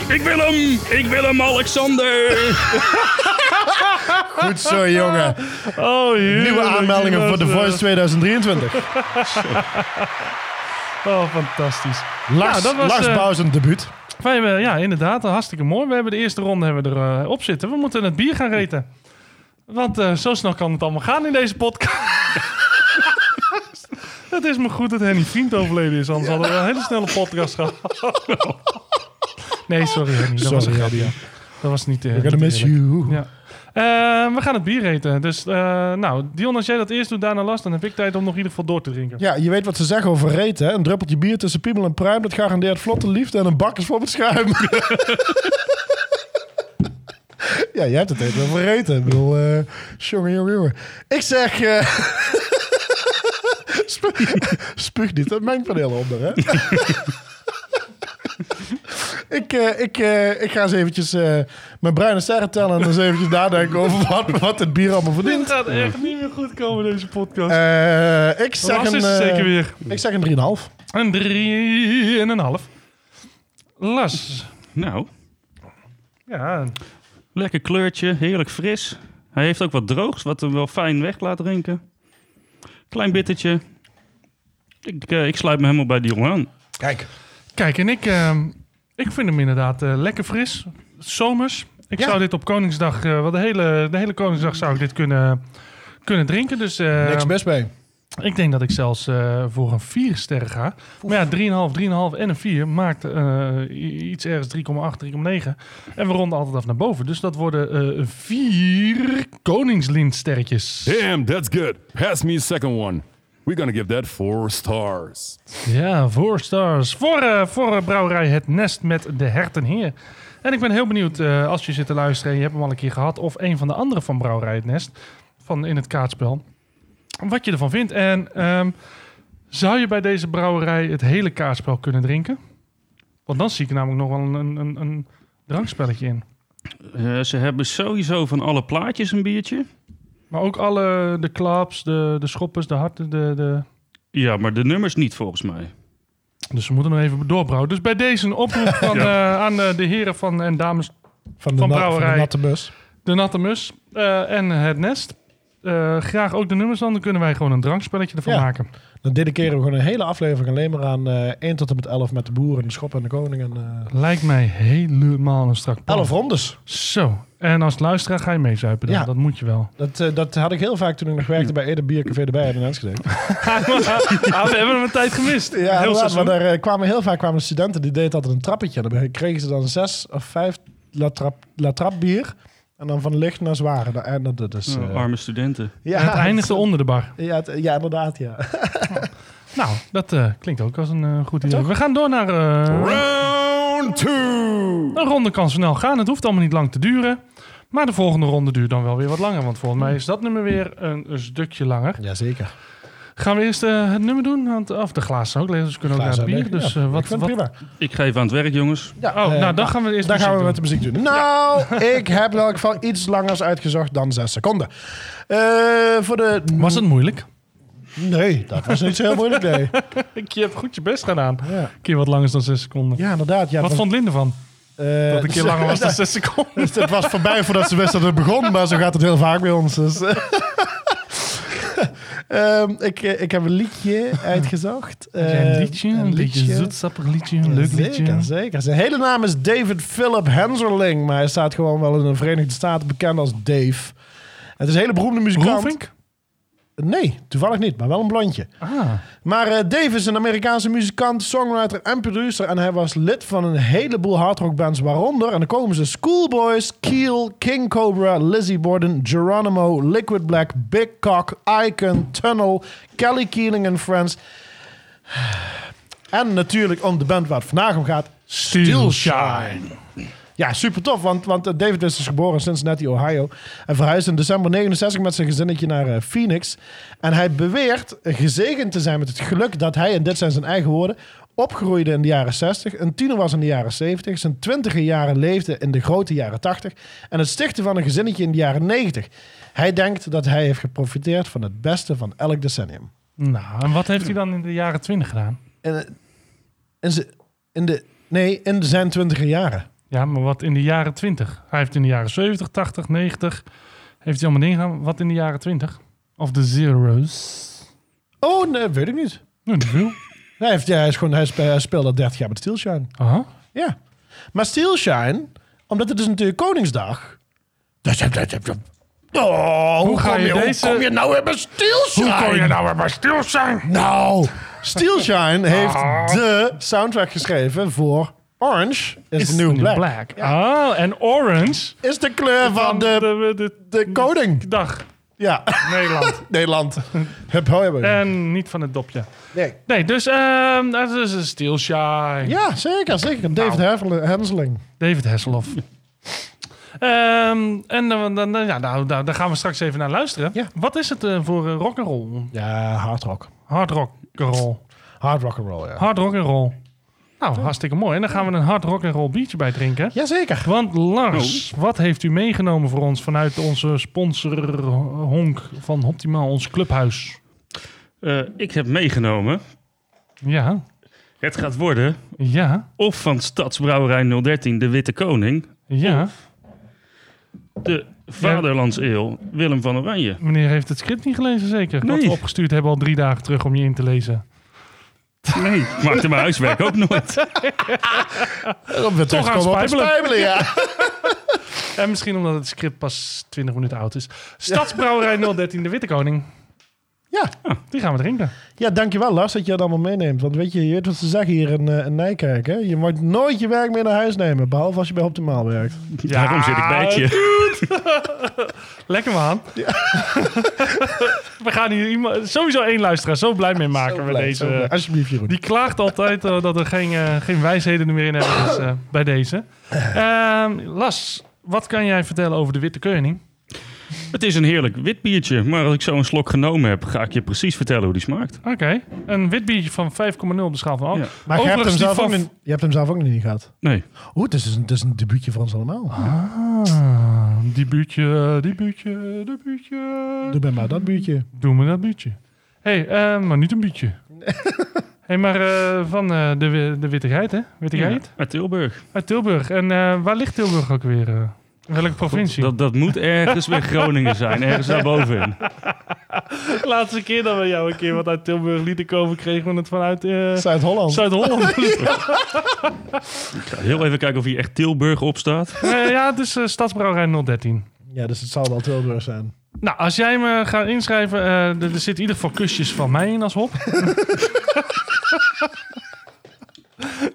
F: Ik wil het,
C: Ik wil hem! Ik wil hem, Alexander!
A: <laughs> Goed zo, jongen.
B: Ah, Oh,
A: Nieuwe aanmeldingen voor The Voice 2023.
B: Oh, fantastisch.
A: Lars,
B: dat was,
A: Lars
B: eh,
A: Bouws een debuut.
B: Wij hebben, ja, inderdaad, eh, hartstikke mooi. We hebben de eerste ronde hebben we er eh, op zitten. We moeten het bier gaan reten. Want eh, zo snel kan het allemaal gaan in deze podcast. <laughs> Het is maar goed dat Henny Vriend overleden is, anders hadden we wel een hele snelle podcast gehad. Nee, sorry Henny, dat was een
A: Sorry,
B: grapje.
A: Henny.
B: Dat was niet...
A: We're gonna miss you.
B: Ja. Eh, we gaan het bier eten. Dus eh, nou, Dion, als jij dat eerst doet, daarna last, dan heb ik tijd om nog in ieder geval door te drinken. <laughs>
A: Ja, je weet wat ze zeggen over reten. Hè? Een druppeltje bier tussen piemel en pruim, dat garandeert vlotte liefde en een bak is voor het schuim. ja, jij hebt het even over reten. Ik bedoel, eh jongen, jongen, jongen. Ik zeg... eh, <laughs> spu- Spuug niet het mengpaneel onder, hè? <laughs> ik, eh, ik, eh, ik ga eens eventjes eh, mijn bruine sterren tellen... en eens eventjes nadenken over wat, wat het bier allemaal
B: Dit
A: verdient.
B: gaat echt niet meer goed komen, deze podcast.
A: Eh, ik zeg
B: Lars
A: een...
B: is er
A: eh,
B: zeker weer.
A: ik zeg een 3,5.
B: Een drie en een half. Las.
C: Nou,
B: Ja,
C: lekker kleurtje, heerlijk fris. Hij heeft ook wat droogs, wat hem wel fijn weg laat drinken. Klein bittertje. Ik, eh, ik sluit me helemaal bij die jongen aan.
A: Kijk.
B: kijk, en ik, ehm, ik vind hem inderdaad eh, lekker fris. Zomers. Ik
A: Ja.
B: zou dit op Koningsdag, eh, wel de hele, de hele Koningsdag zou ik dit kunnen, kunnen drinken. Dus eh,
A: Niks best bij.
B: ik denk dat ik zelfs eh, voor een 4 sterren ga. Maar ja, 3,5, 3,5 en een 4 maakt eh, i- iets ergens 3,8, 3,9. En we ronden altijd af naar boven. Dus dat worden eh vier Koningslintsterretjes.
D: Damn, that's good. Pass me a second one. We're gonna give that four stars.
B: Ja, voor stars. Voor, eh, voor eh, brouwerij Het Nest met de Hertenheer. En ik ben heel benieuwd, eh, als je zit te luisteren en je hebt hem al een keer gehad... of een van de andere van brouwerij Het Nest, van in het kaartspel... wat je ervan vindt. En ehm, zou je bij deze brouwerij het hele kaartspel kunnen drinken? Want dan zie ik er namelijk nog wel een, een, een, een drankspelletje in.
C: Eh, ze hebben sowieso van alle plaatjes een biertje.
B: Maar ook alle, de klaps, de, de schoppers, de harten, de... de...
C: Ja, maar de nummers niet volgens mij.
B: Dus we moeten nog even doorbrouwen. Dus bij deze een
A: <laughs>
B: oproep van, eh, aan eh, de heren van, en dames
A: Van de,
B: Van
A: na-
B: brouwerij.
A: van de natte bus.
B: De Natte Mus eh, en Het Nest. Eh, graag ook de nummers dan. Dan kunnen wij gewoon een drankspelletje ervan
A: Ja.
B: maken.
A: Dan dediceren we gewoon een hele aflevering alleen maar aan eh 1 tot en met 11 met de boeren, de schop en de koning. En, eh
B: Lijkt mij helemaal een strak plan.
A: 11 rondes.
B: Zo. En als luisteraar ga je meezuipen dan.
A: Ja.
B: Dat moet je wel.
A: Dat, eh, dat had ik heel vaak toen ik nog werkte bij Ede Biercafé de Bijen in Enschede.
B: <laughs> Ah, we hebben hem een tijd gemist.
A: Ja,
B: Heel
A: inderdaad,
B: seizoen.
A: maar daar eh, kwamen heel vaak kwamen studenten die deden altijd een trappetje. Dan kregen ze dan zes of vijf latrap, latrap bier. En dan van licht naar zware. Da- En dat, dat is,
C: Oh,
A: eh,
C: arme studenten.
A: ja,
B: het
A: <laughs>
B: eindigde onder de bar.
A: Ja, het- ja, inderdaad, ja.
B: Nou, dat eh, klinkt ook als een eh, goed idee. We gaan door naar eh,
D: Round two.
B: een ronde kan snel gaan. Het hoeft allemaal niet lang te duren. Maar de volgende ronde duurt dan wel weer wat langer. Want volgens mij is dat nummer weer een, een stukje langer.
A: Jazeker.
B: Gaan we eerst eh, het nummer doen? Want, of de glazen ook lezen. Dus we kunnen ook naar het bier. Dus eh, wat,
A: ik vind
B: wat,
A: het prima.
C: Ik geef aan het werk, jongens.
A: Ja,
B: Oh,
A: eh,
B: nou, dan gaan we eerst
A: Dan gaan we met
B: muziek
A: de muziek doen. Nou,
B: <laughs>
A: ik heb in elk geval iets langers uitgezocht dan zes seconden. Eh, voor de...
B: doen. Was het moeilijk?
A: Nee, dat was niet zo heel moeilijk, nee.
B: <laughs> Ik, je hebt goed je best gedaan.
A: Ja,
B: Een keer wat langer dan 6 seconden.
A: ja inderdaad. Ja,
B: wat
A: het was-
B: vond Linde van?
A: eh,
B: Dat een keer langer
A: <laughs>
B: was dan 6 seconden.
A: Het was voorbij voordat ze wist dat het begon, maar zo gaat het heel vaak bij ons. Dus. <laughs> Ehm, ik, eh, ik heb een
B: <laughs>
A: liedje uitgezocht.
B: een
A: Eh,
B: liedje, een beetje zoetsappig liedje, een leuk
A: Zeker,
B: liedje.
A: zeker. Zijn hele naam is David Philip Henserling, maar hij staat gewoon wel in de Verenigde Staten bekend als Dave. Het is een hele beroemde muzikant.
B: Roelvink?
A: Nee, toevallig niet, maar wel een blondje.
B: Ah,
A: Maar eh, Dave is een Amerikaanse muzikant, songwriter en producer. En hij was lid van een heleboel hardrockbands, waaronder... en dan komen ze Schoolboys, Keel, King Cobra, Lizzie Borden... Geronimo, Liquid Black, Big Cock, Icon, Tunnel... Kelly Keeling en Friends. En natuurlijk om de band waar het vandaag om gaat...
B: Steel
A: Ja, super tof, want, want eh, David is dus geboren in Cincinnati, Ohio. En verhuisde in december 69 met zijn gezinnetje naar eh, Phoenix. En hij beweert eh, gezegend te zijn met het geluk dat hij, en dit zijn zijn eigen woorden, opgroeide in de jaren 60, een tiener was in de jaren 70, zijn twintiger jaren leefde in de grote jaren 80 en het stichten van een gezinnetje in de jaren 90. Hij denkt dat hij heeft geprofiteerd van het beste van elk decennium.
B: Nou, en wat heeft hij dan in de jaren 20 gedaan?
A: En, eh, in, ze- in de, nee, in zijn twintiger jaren.
B: Ja, maar wat in de jaren 20? Hij heeft in de jaren 70, 80, 90... Heeft hij allemaal dingen gedaan? Wat in de jaren 20? Of de zeros?
A: Oh, nee, weet ik niet.
B: Nou, niet veel.
A: Hij, heeft, ja, hij, is gewoon, hij, spe- hij speelde al 30 jaar met Steelshine.
B: Aha.
A: Ja. Maar Steelshine, omdat het is natuurlijk Koningsdag. Dus, Oh, hoe,
B: ga
A: kom
B: je
A: je,
B: deze-
A: hoe kom je nou weer bij stilstaan?
B: Hoe kon je nou weer maar stil zijn?
A: Nou, Steel Shine heeft de soundtrack geschreven voor Orange is, the New Black.
B: Ah, en Orange.
A: Is de kleur van de,
B: de-
A: de koning.
B: dag
A: Ja,
B: <laughs> Nederland.
A: Nederland. Hup, hoi, hoi.
B: en niet van het dopje.
A: Nee.
B: Nee, dus ehm, dat is een Steel Shy.
A: Ja, zeker, zeker. David Heffel- Henseling.
B: David Hasselhoff. Ehm, en dan, dan, dan- ja, nou, daar, daar gaan we straks even naar luisteren.
A: Ja.
B: Wat is het eh, voor rock rock'n'roll?
A: Ja, hard rock.
B: Hard rock'n'roll.
A: Hard rock and roll, ja.
B: Hard rock'n'roll. Nou, hartstikke mooi. En daar gaan we een hard rock'n'roll biertje bij drinken.
A: Jazeker.
B: Want Lars, wat heeft u meegenomen voor ons vanuit onze sponsor eh, Honk van Optimaal, ons clubhuis?
C: Eh, ik heb meegenomen.
B: Ja,
C: Het gaat worden
B: ja,
C: of van Stadsbrouwerij 013 de Witte Koning,
B: ja.
C: de Vaderlandseel Willem van Oranje.
B: Meneer heeft het script niet gelezen zeker? Wat
C: Nee.
B: we opgestuurd hebben al drie dagen terug om je in te lezen.
C: Nee, ik maakte mijn huiswerk ook nooit.
A: Dan weer
B: Toch aan
A: Eh, terugkomen op het
B: spijbelen.
A: spijbelen, ja.
B: En misschien omdat het script pas 20 minuten oud is.
A: <laughs>
B: Stadsbrouwerij 013 de Witte Koning.
A: ja.
B: Die gaan we drinken.
A: Ja, dankjewel Lars dat je dat allemaal meeneemt. Want weet je, je weet wat ze zeggen hier in, eh, in Nijkerk. Hè? Je moet nooit je werk mee naar huis nemen. Behalve als je bij Optimaal werkt.
C: Daarom zit ik bij het je.
A: <laughs>
B: Lekker man. <laughs> we gaan hier iemand, sowieso één luisteraar zo blij mee maken
A: Zo
B: we
A: blij,
B: deze.
A: zo blij. Alsjeblieft, Jeroen.
B: Die klaagt altijd eh, dat er geen, eh, geen wijsheden er meer in hebben dus, eh, bij
A: <laughs>
B: deze. Ehm, Las, wat kan jij vertellen over de Witte Koning?
C: Het is een heerlijk wit biertje, maar als ik zo een slok genomen heb, ga ik je precies vertellen hoe die smaakt.
B: Oké, een wit biertje van 5,0 op de schaal van
C: Ja.
B: alcohol.
A: Maar je hebt, hem
B: Overigens, die
A: zelf ook,
B: van-
A: niet- je hebt hem zelf ook nog niet gehad.
C: Nee,
A: Oeh, het is, een- het is een debuutje voor ons allemaal.
B: Ah, die buurtje, die buurtje, die buurtje.
A: Doe bij mij dat buurtje.
B: Doe me dat buurtje. Hé, hey, eh, maar niet een <laughs> buurtje. Hé, hey, maar eh, van eh, de, wi- de Witte Geit, hè? Witte Geit?
C: uit Tilburg.
B: Uit Tilburg. En eh, waar ligt Tilburg ook weer? eh? In welke provincie?
C: Dat, dat moet ergens bij Groningen zijn, ergens daarbovenin.
B: De <laughs> laatste keer dat we jou een keer wat uit Tilburg lieten komen, kregen we het vanuit eh,
A: Zuid-Holland.
B: Zuid-Holland.
C: Ik ga heel even kijken of hier echt Tilburg op staat.
B: Eh, ja, het is eh, Stadsbrouwerij 013.
A: Ja, dus het zal wel Tilburg zijn.
B: Nou, als jij me gaat inschrijven, eh, er er zit in ieder geval kusjes van mij in als hop. <laughs>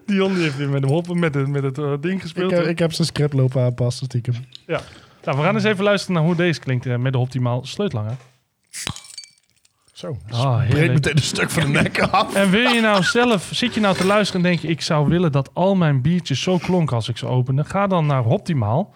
B: Dion die heeft weer met hem hop, met het, met het eh, ding
A: Ik
B: gespeeld.
A: heb, ik heb zijn script lopen aanpassen, stiekem.
B: Ja. Nou, we gaan eens even luisteren naar hoe deze klinkt eh, met de optimaal sleutelanger.
A: Zo.
B: Ah,
A: Breek
B: heerlijk.
A: meteen een stuk van de nek af.
B: En wil je nou zelf, zit je nou te luisteren en denk je, ik zou willen dat al mijn biertjes zo klonken als ik ze opende. Ga dan naar Optimaal,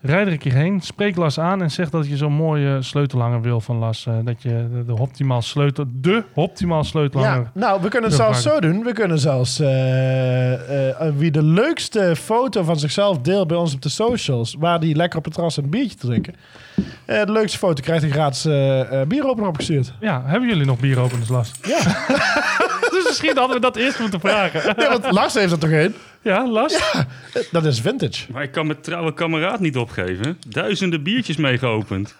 B: rijd er een keer heen, spreek Lars aan en zeg dat je zo'n mooie sleutelhanger wil van Lars. eh, dat je de, de Optimaal sleutel, de Optimaal sleutelhanger.
A: Ja, nou, we kunnen het
B: Ja,
A: zelfs zo doen. We kunnen zelfs eh, eh, wie de leukste foto van zichzelf deelt bij ons op de socials, waar die lekker op het terras een biertje drinken. Eh, de leukste foto krijgt een gratis eh eh bieropener opgestuurd.
B: Ja, hebben jullie nog bieropeners, Lars? Ja. <laughs> dus misschien hadden we dat eerst moeten vragen.
A: Nee, want Lars heeft er toch één?
B: Ja, Lars?
A: Eh, Dat is vintage.
C: Maar ik kan mijn trouwe kameraad niet opgeven. Duizenden biertjes meegeopend.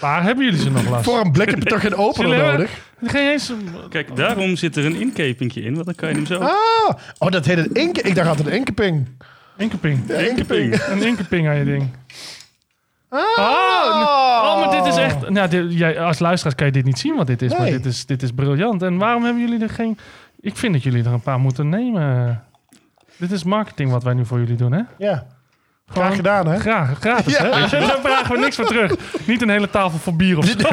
B: Waar hebben jullie ze nog, Lars?
A: Voor een blik heb je toch geen
B: Jullie
A: opener
B: hebben-
A: nodig?
B: Geen eens...
C: Kijk, daarom zit er een inkepingje in, want dan kan je hem zo...
A: Ah, oh, dat heet een inke. Ik dacht altijd een inkeping.
B: Inkeping.
C: Inkeping.
B: Een inkeping aan je ding. Ah, Oh, maar dit is echt... Nou, dit- jij, als luisteraars kan je dit niet zien wat dit is, maar
A: Nee.
B: dit is, dit is briljant. En waarom hebben jullie er geen... Ik vind dat jullie er een paar moeten nemen. Dit is marketing wat wij nu voor jullie doen, hè?
A: Ja,
B: Gewoon
A: graag gedaan hè?
B: Graag, gratis, hè? Weet je wel? Daar vragen we niks voor terug. Niet een hele tafel voor bier of zo.
A: oh,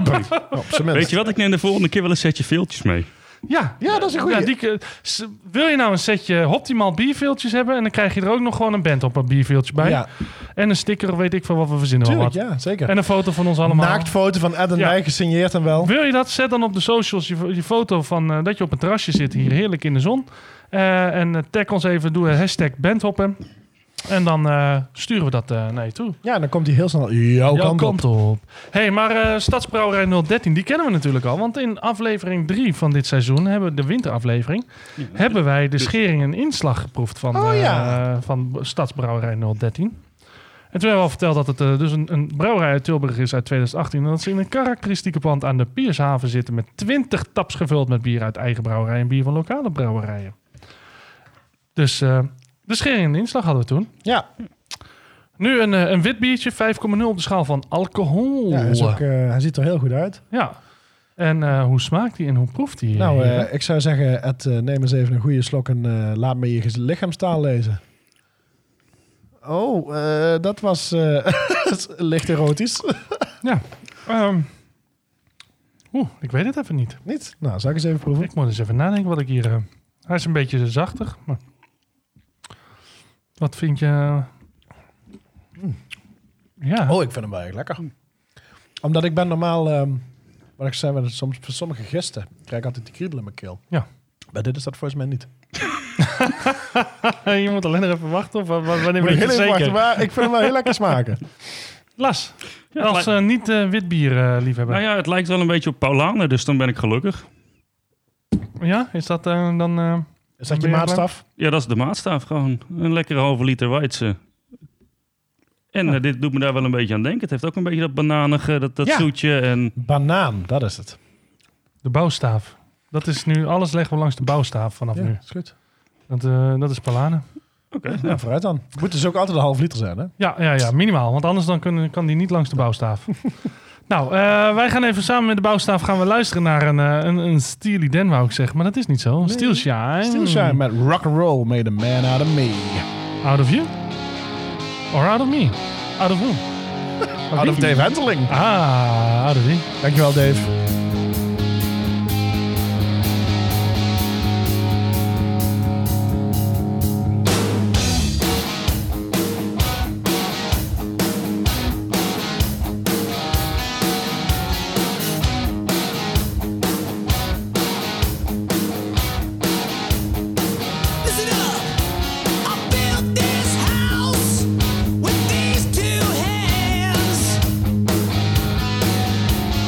A: Op zijn minst.
C: Weet je wat, ik neem de volgende keer wel een setje veeltjes mee.
B: Ja,
A: Ja, dat is een goeie.
B: Ja, die, ke- s- wil je nou een setje optimaal bierveeltjes hebben... en dan krijg je er ook nog gewoon een band op een bierveeltje bij.
A: Ja.
B: En een sticker, weet ik van wat we verzinnen. wel
A: Tuurlijk,
B: wat.
A: ja, zeker.
B: En een foto van ons allemaal.
A: Naaktfoto van Ed en
B: Ja.
A: mij gesigneerd en wel.
B: Wil je dat? Zet dan op de socials je, je foto van eh, dat je op een terrasje zit hier heerlijk in de zon. Eh, en eh, tag ons even, doe een hashtag bandhoppen. En dan eh, sturen we dat eh, naar je toe.
A: Ja, dan komt hij heel snel jouw
B: Jouw
A: kant op.
B: Hé, hey, maar eh Stadsbrouwerij 013, die kennen we natuurlijk al. Want in aflevering 3 van dit seizoen, hebben we de winteraflevering... hebben wij de schering en inslag geproefd van,
A: Oh,
B: eh,
A: ja.
B: van Stadsbrouwerij 013. En toen hebben we al verteld dat het eh, dus een, een brouwerij uit Tilburg is uit 2018. En dat ze in een karakteristieke pand aan de Piershaven zitten... met 20 taps gevuld met bier uit eigen brouwerij en bier van lokale brouwerijen. Dus eh, de schering en inslag hadden we toen.
A: Ja,
B: Nu een, eh, een wit biertje, 5,0 op de schaal van alcohol.
A: Ja, hij, is ook, eh, hij ziet er heel goed uit.
B: Ja. En eh, hoe smaakt die en hoe proeft die?
A: Nou,
B: heren?
A: eh, ik zou zeggen, Ed, eh, neem eens even een goede slok en eh, laat me je gez- lichaamstaal lezen. Oh, eh, dat was eh, <laughs> licht erotisch.
B: ja. Ehm, Oeh, ik weet het even niet.
A: Niet? Nou, zal ik eens even proeven?
B: Ik moet eens even nadenken wat ik hier... eh, hij is een beetje zachtig, maar... Wat vind je... Ja,
A: Oh, ik vind hem wel erg lekker. Omdat ik ben normaal, ehm, wat ik zei, met soms, voor sommige gisten krijg ik altijd die kriebel in mijn keel.
B: Ja.
A: Bij dit is dat volgens mij niet.
B: <laughs> je moet alleen nog even wachten of wa- wa- wanneer
A: Moet
B: weet je
A: ik heel
B: het
A: even wachten,
B: zeker?
A: maar ik vind hem wel heel lekker smaken.
B: <laughs> Las,
C: Ja, het
B: als eh, niet eh, wit bier eh, liefhebber.
C: Nou ja, het lijkt wel een beetje op Paulaner, dus dan ben ik gelukkig.
B: Ja, is dat eh, dan... eh,
A: Is dat je
B: Ben je
A: maatstaf?
C: Ja, dat is de maatstaaf gewoon. Een lekkere halve liter Weidse. En eh, dit doet me daar wel een beetje aan denken. Het heeft ook een beetje dat bananige, dat, dat
A: Ja.
C: zoetje. En
A: Banaan, dat is het.
B: de bouwstaaf. Dat is nu... Alles leggen we langs de bouwstaaf vanaf
A: Ja,
B: nu.
A: is goed.
B: Dat, eh, dat is Palane.
A: Ja,
B: nou.
A: vooruit dan. Moet dus ook altijd een half liter zijn, hè?
B: Ja, ja, ja, minimaal. Want anders dan kunnen, kan die niet langs de
A: <laughs>
B: bouwstaaf. nou, eh, wij gaan even samen met de bouwstaaf gaan we luisteren naar een, eh, een, een Steely Dan, wou ik zeggen. Maar dat is niet zo. Steel Shine.
A: Still Shine met Rock and Roll made a man out of me.
B: Out of you? Or out of me? Out of who?
A: <laughs> Out of Dave Henteling.
B: Ah, out of wie?
A: Dankjewel, Dave.
F: Listen up. I built this house with these two hands.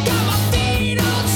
F: Got my feet up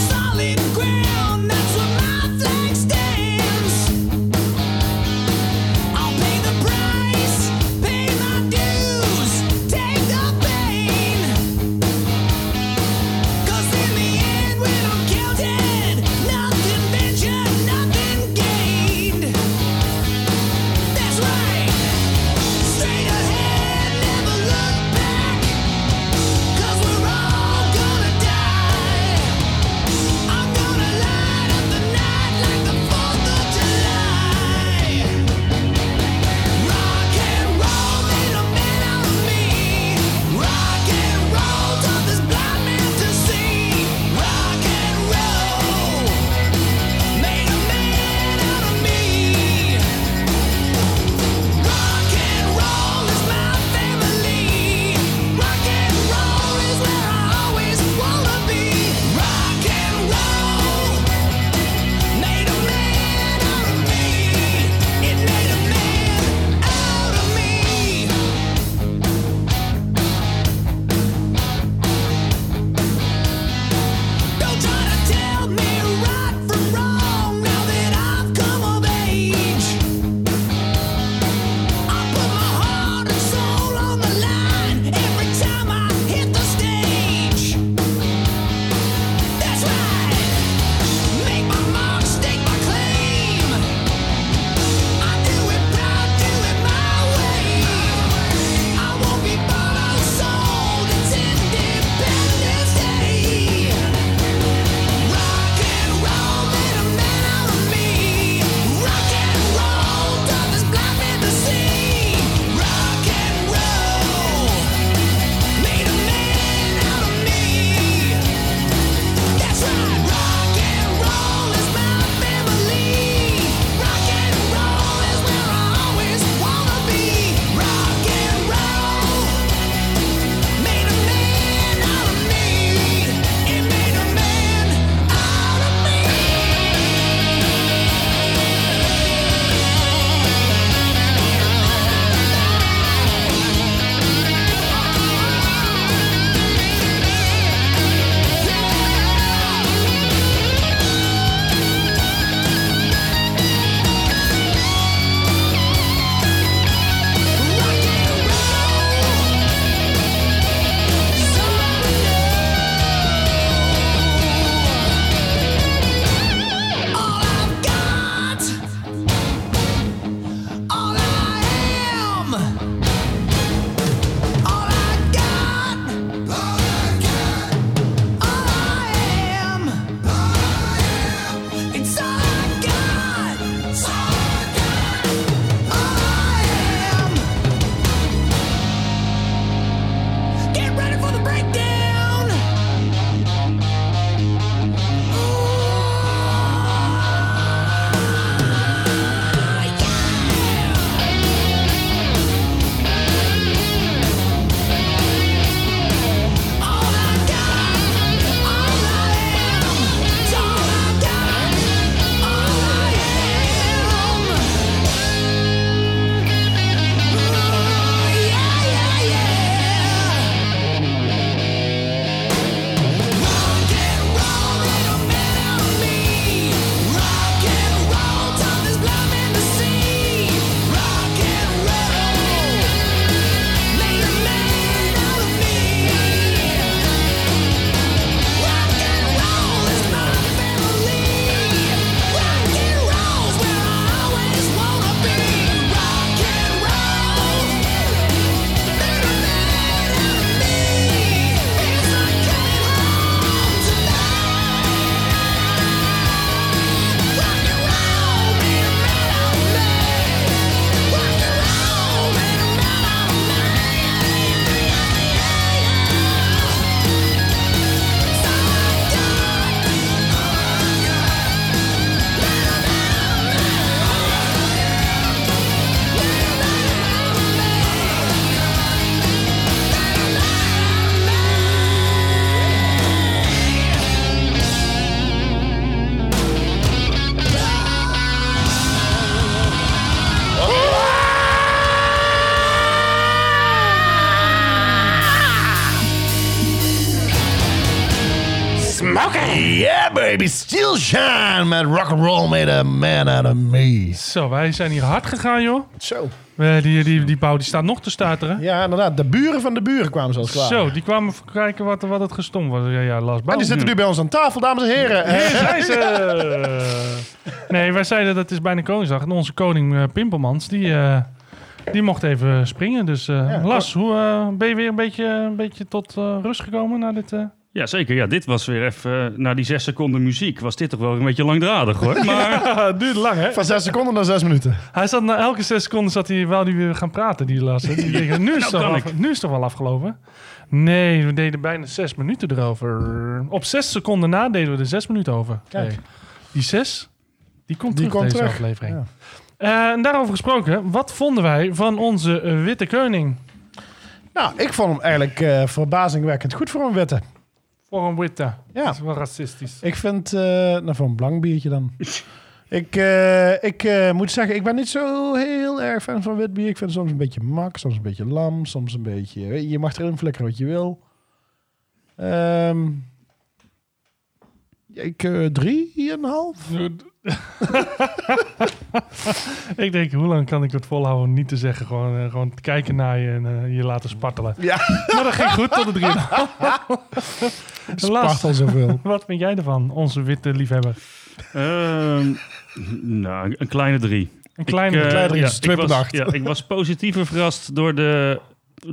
A: rocken. Yeah, baby. Still shine. Met rock'n'roll made a man out of me.
B: Zo, wij zijn hier hard gegaan, joh.
A: Zo.
B: Eh, die, die, die pauw die staat nog te stuiteren.
A: Ja, inderdaad. De buren van de buren kwamen zelfs klaar.
B: Zo, die kwamen even kijken wat, wat het gestom was. Ja, ja, Lars
A: En
B: Bouw.
A: die zitten nu bij
B: <laughs>
A: ons aan tafel, dames en heren. <laughs>
B: Hier zijn ze! Nee, wij zeiden dat het is bijna Koningsdag. En onze koning eh, Pimpelmans, die, eh, die mocht even springen. Dus eh, Lars, hoe, eh, ben je weer een beetje, een beetje tot eh, rust gekomen na dit... eh?
C: Ja, zeker. Ja, dit was weer even... eh, na die zes seconden muziek was dit toch wel een beetje langdradig,
B: <laughs>
C: hoor. Maar
B: het Ah, duurt lang, hè?
A: Van zes seconden naar zes minuten.
B: Hij zat na elke zes seconden zat hij wel die weer gaan praten, die Lars. hè?
C: <laughs>
B: Die denken, nu, is het
C: Nou
B: toch
C: kan
B: af- nu is het toch wel afgelopen? Nee, we deden bijna zes minuten erover. Op zes seconden na deden we er zes minuten over.
A: Kijk.
B: Nee. Die zes, die komt
A: Die
B: terug
A: komt
B: deze
A: terug.
B: aflevering. Eh, en daarover gesproken, wat vonden wij van onze eh, witte koning?
A: Nou, ik vond hem eigenlijk eh, verbazingwekkend goed voor een witte.
B: Voor een witte.
A: Ja.
B: Dat is wel racistisch.
A: Ik vind, eh nou voor een blank biertje
B: <laughs>
A: dan. ik eh, ik eh, moet zeggen, ik ben niet zo heel erg fan van wit bier. Ik vind het soms een beetje mak, soms een beetje lam, soms een beetje... weet je, Je mag erin flikkeren wat je wil. Ehm ik, eh drie en een
B: <laughs>
A: half?
B: <laughs> Ik denk, hoe lang kan ik het volhouden om niet te zeggen? Gewoon, eh, gewoon te kijken naar je en eh, je laten spartelen.
A: <laughs> Ja.
B: Maar dat ging goed tot de
A: <laughs>
B: drie. Lars,
A: Spart al zoveel.
B: <laughs> Wat vind jij ervan, onze witte liefhebber?
C: Ehm, nou, een kleine drie.
B: Een kleine,
C: eh,
A: kleine drie, dus twee
C: ik
A: per
C: was-
A: nacht.
C: Ja, ik was positiever verrast door de,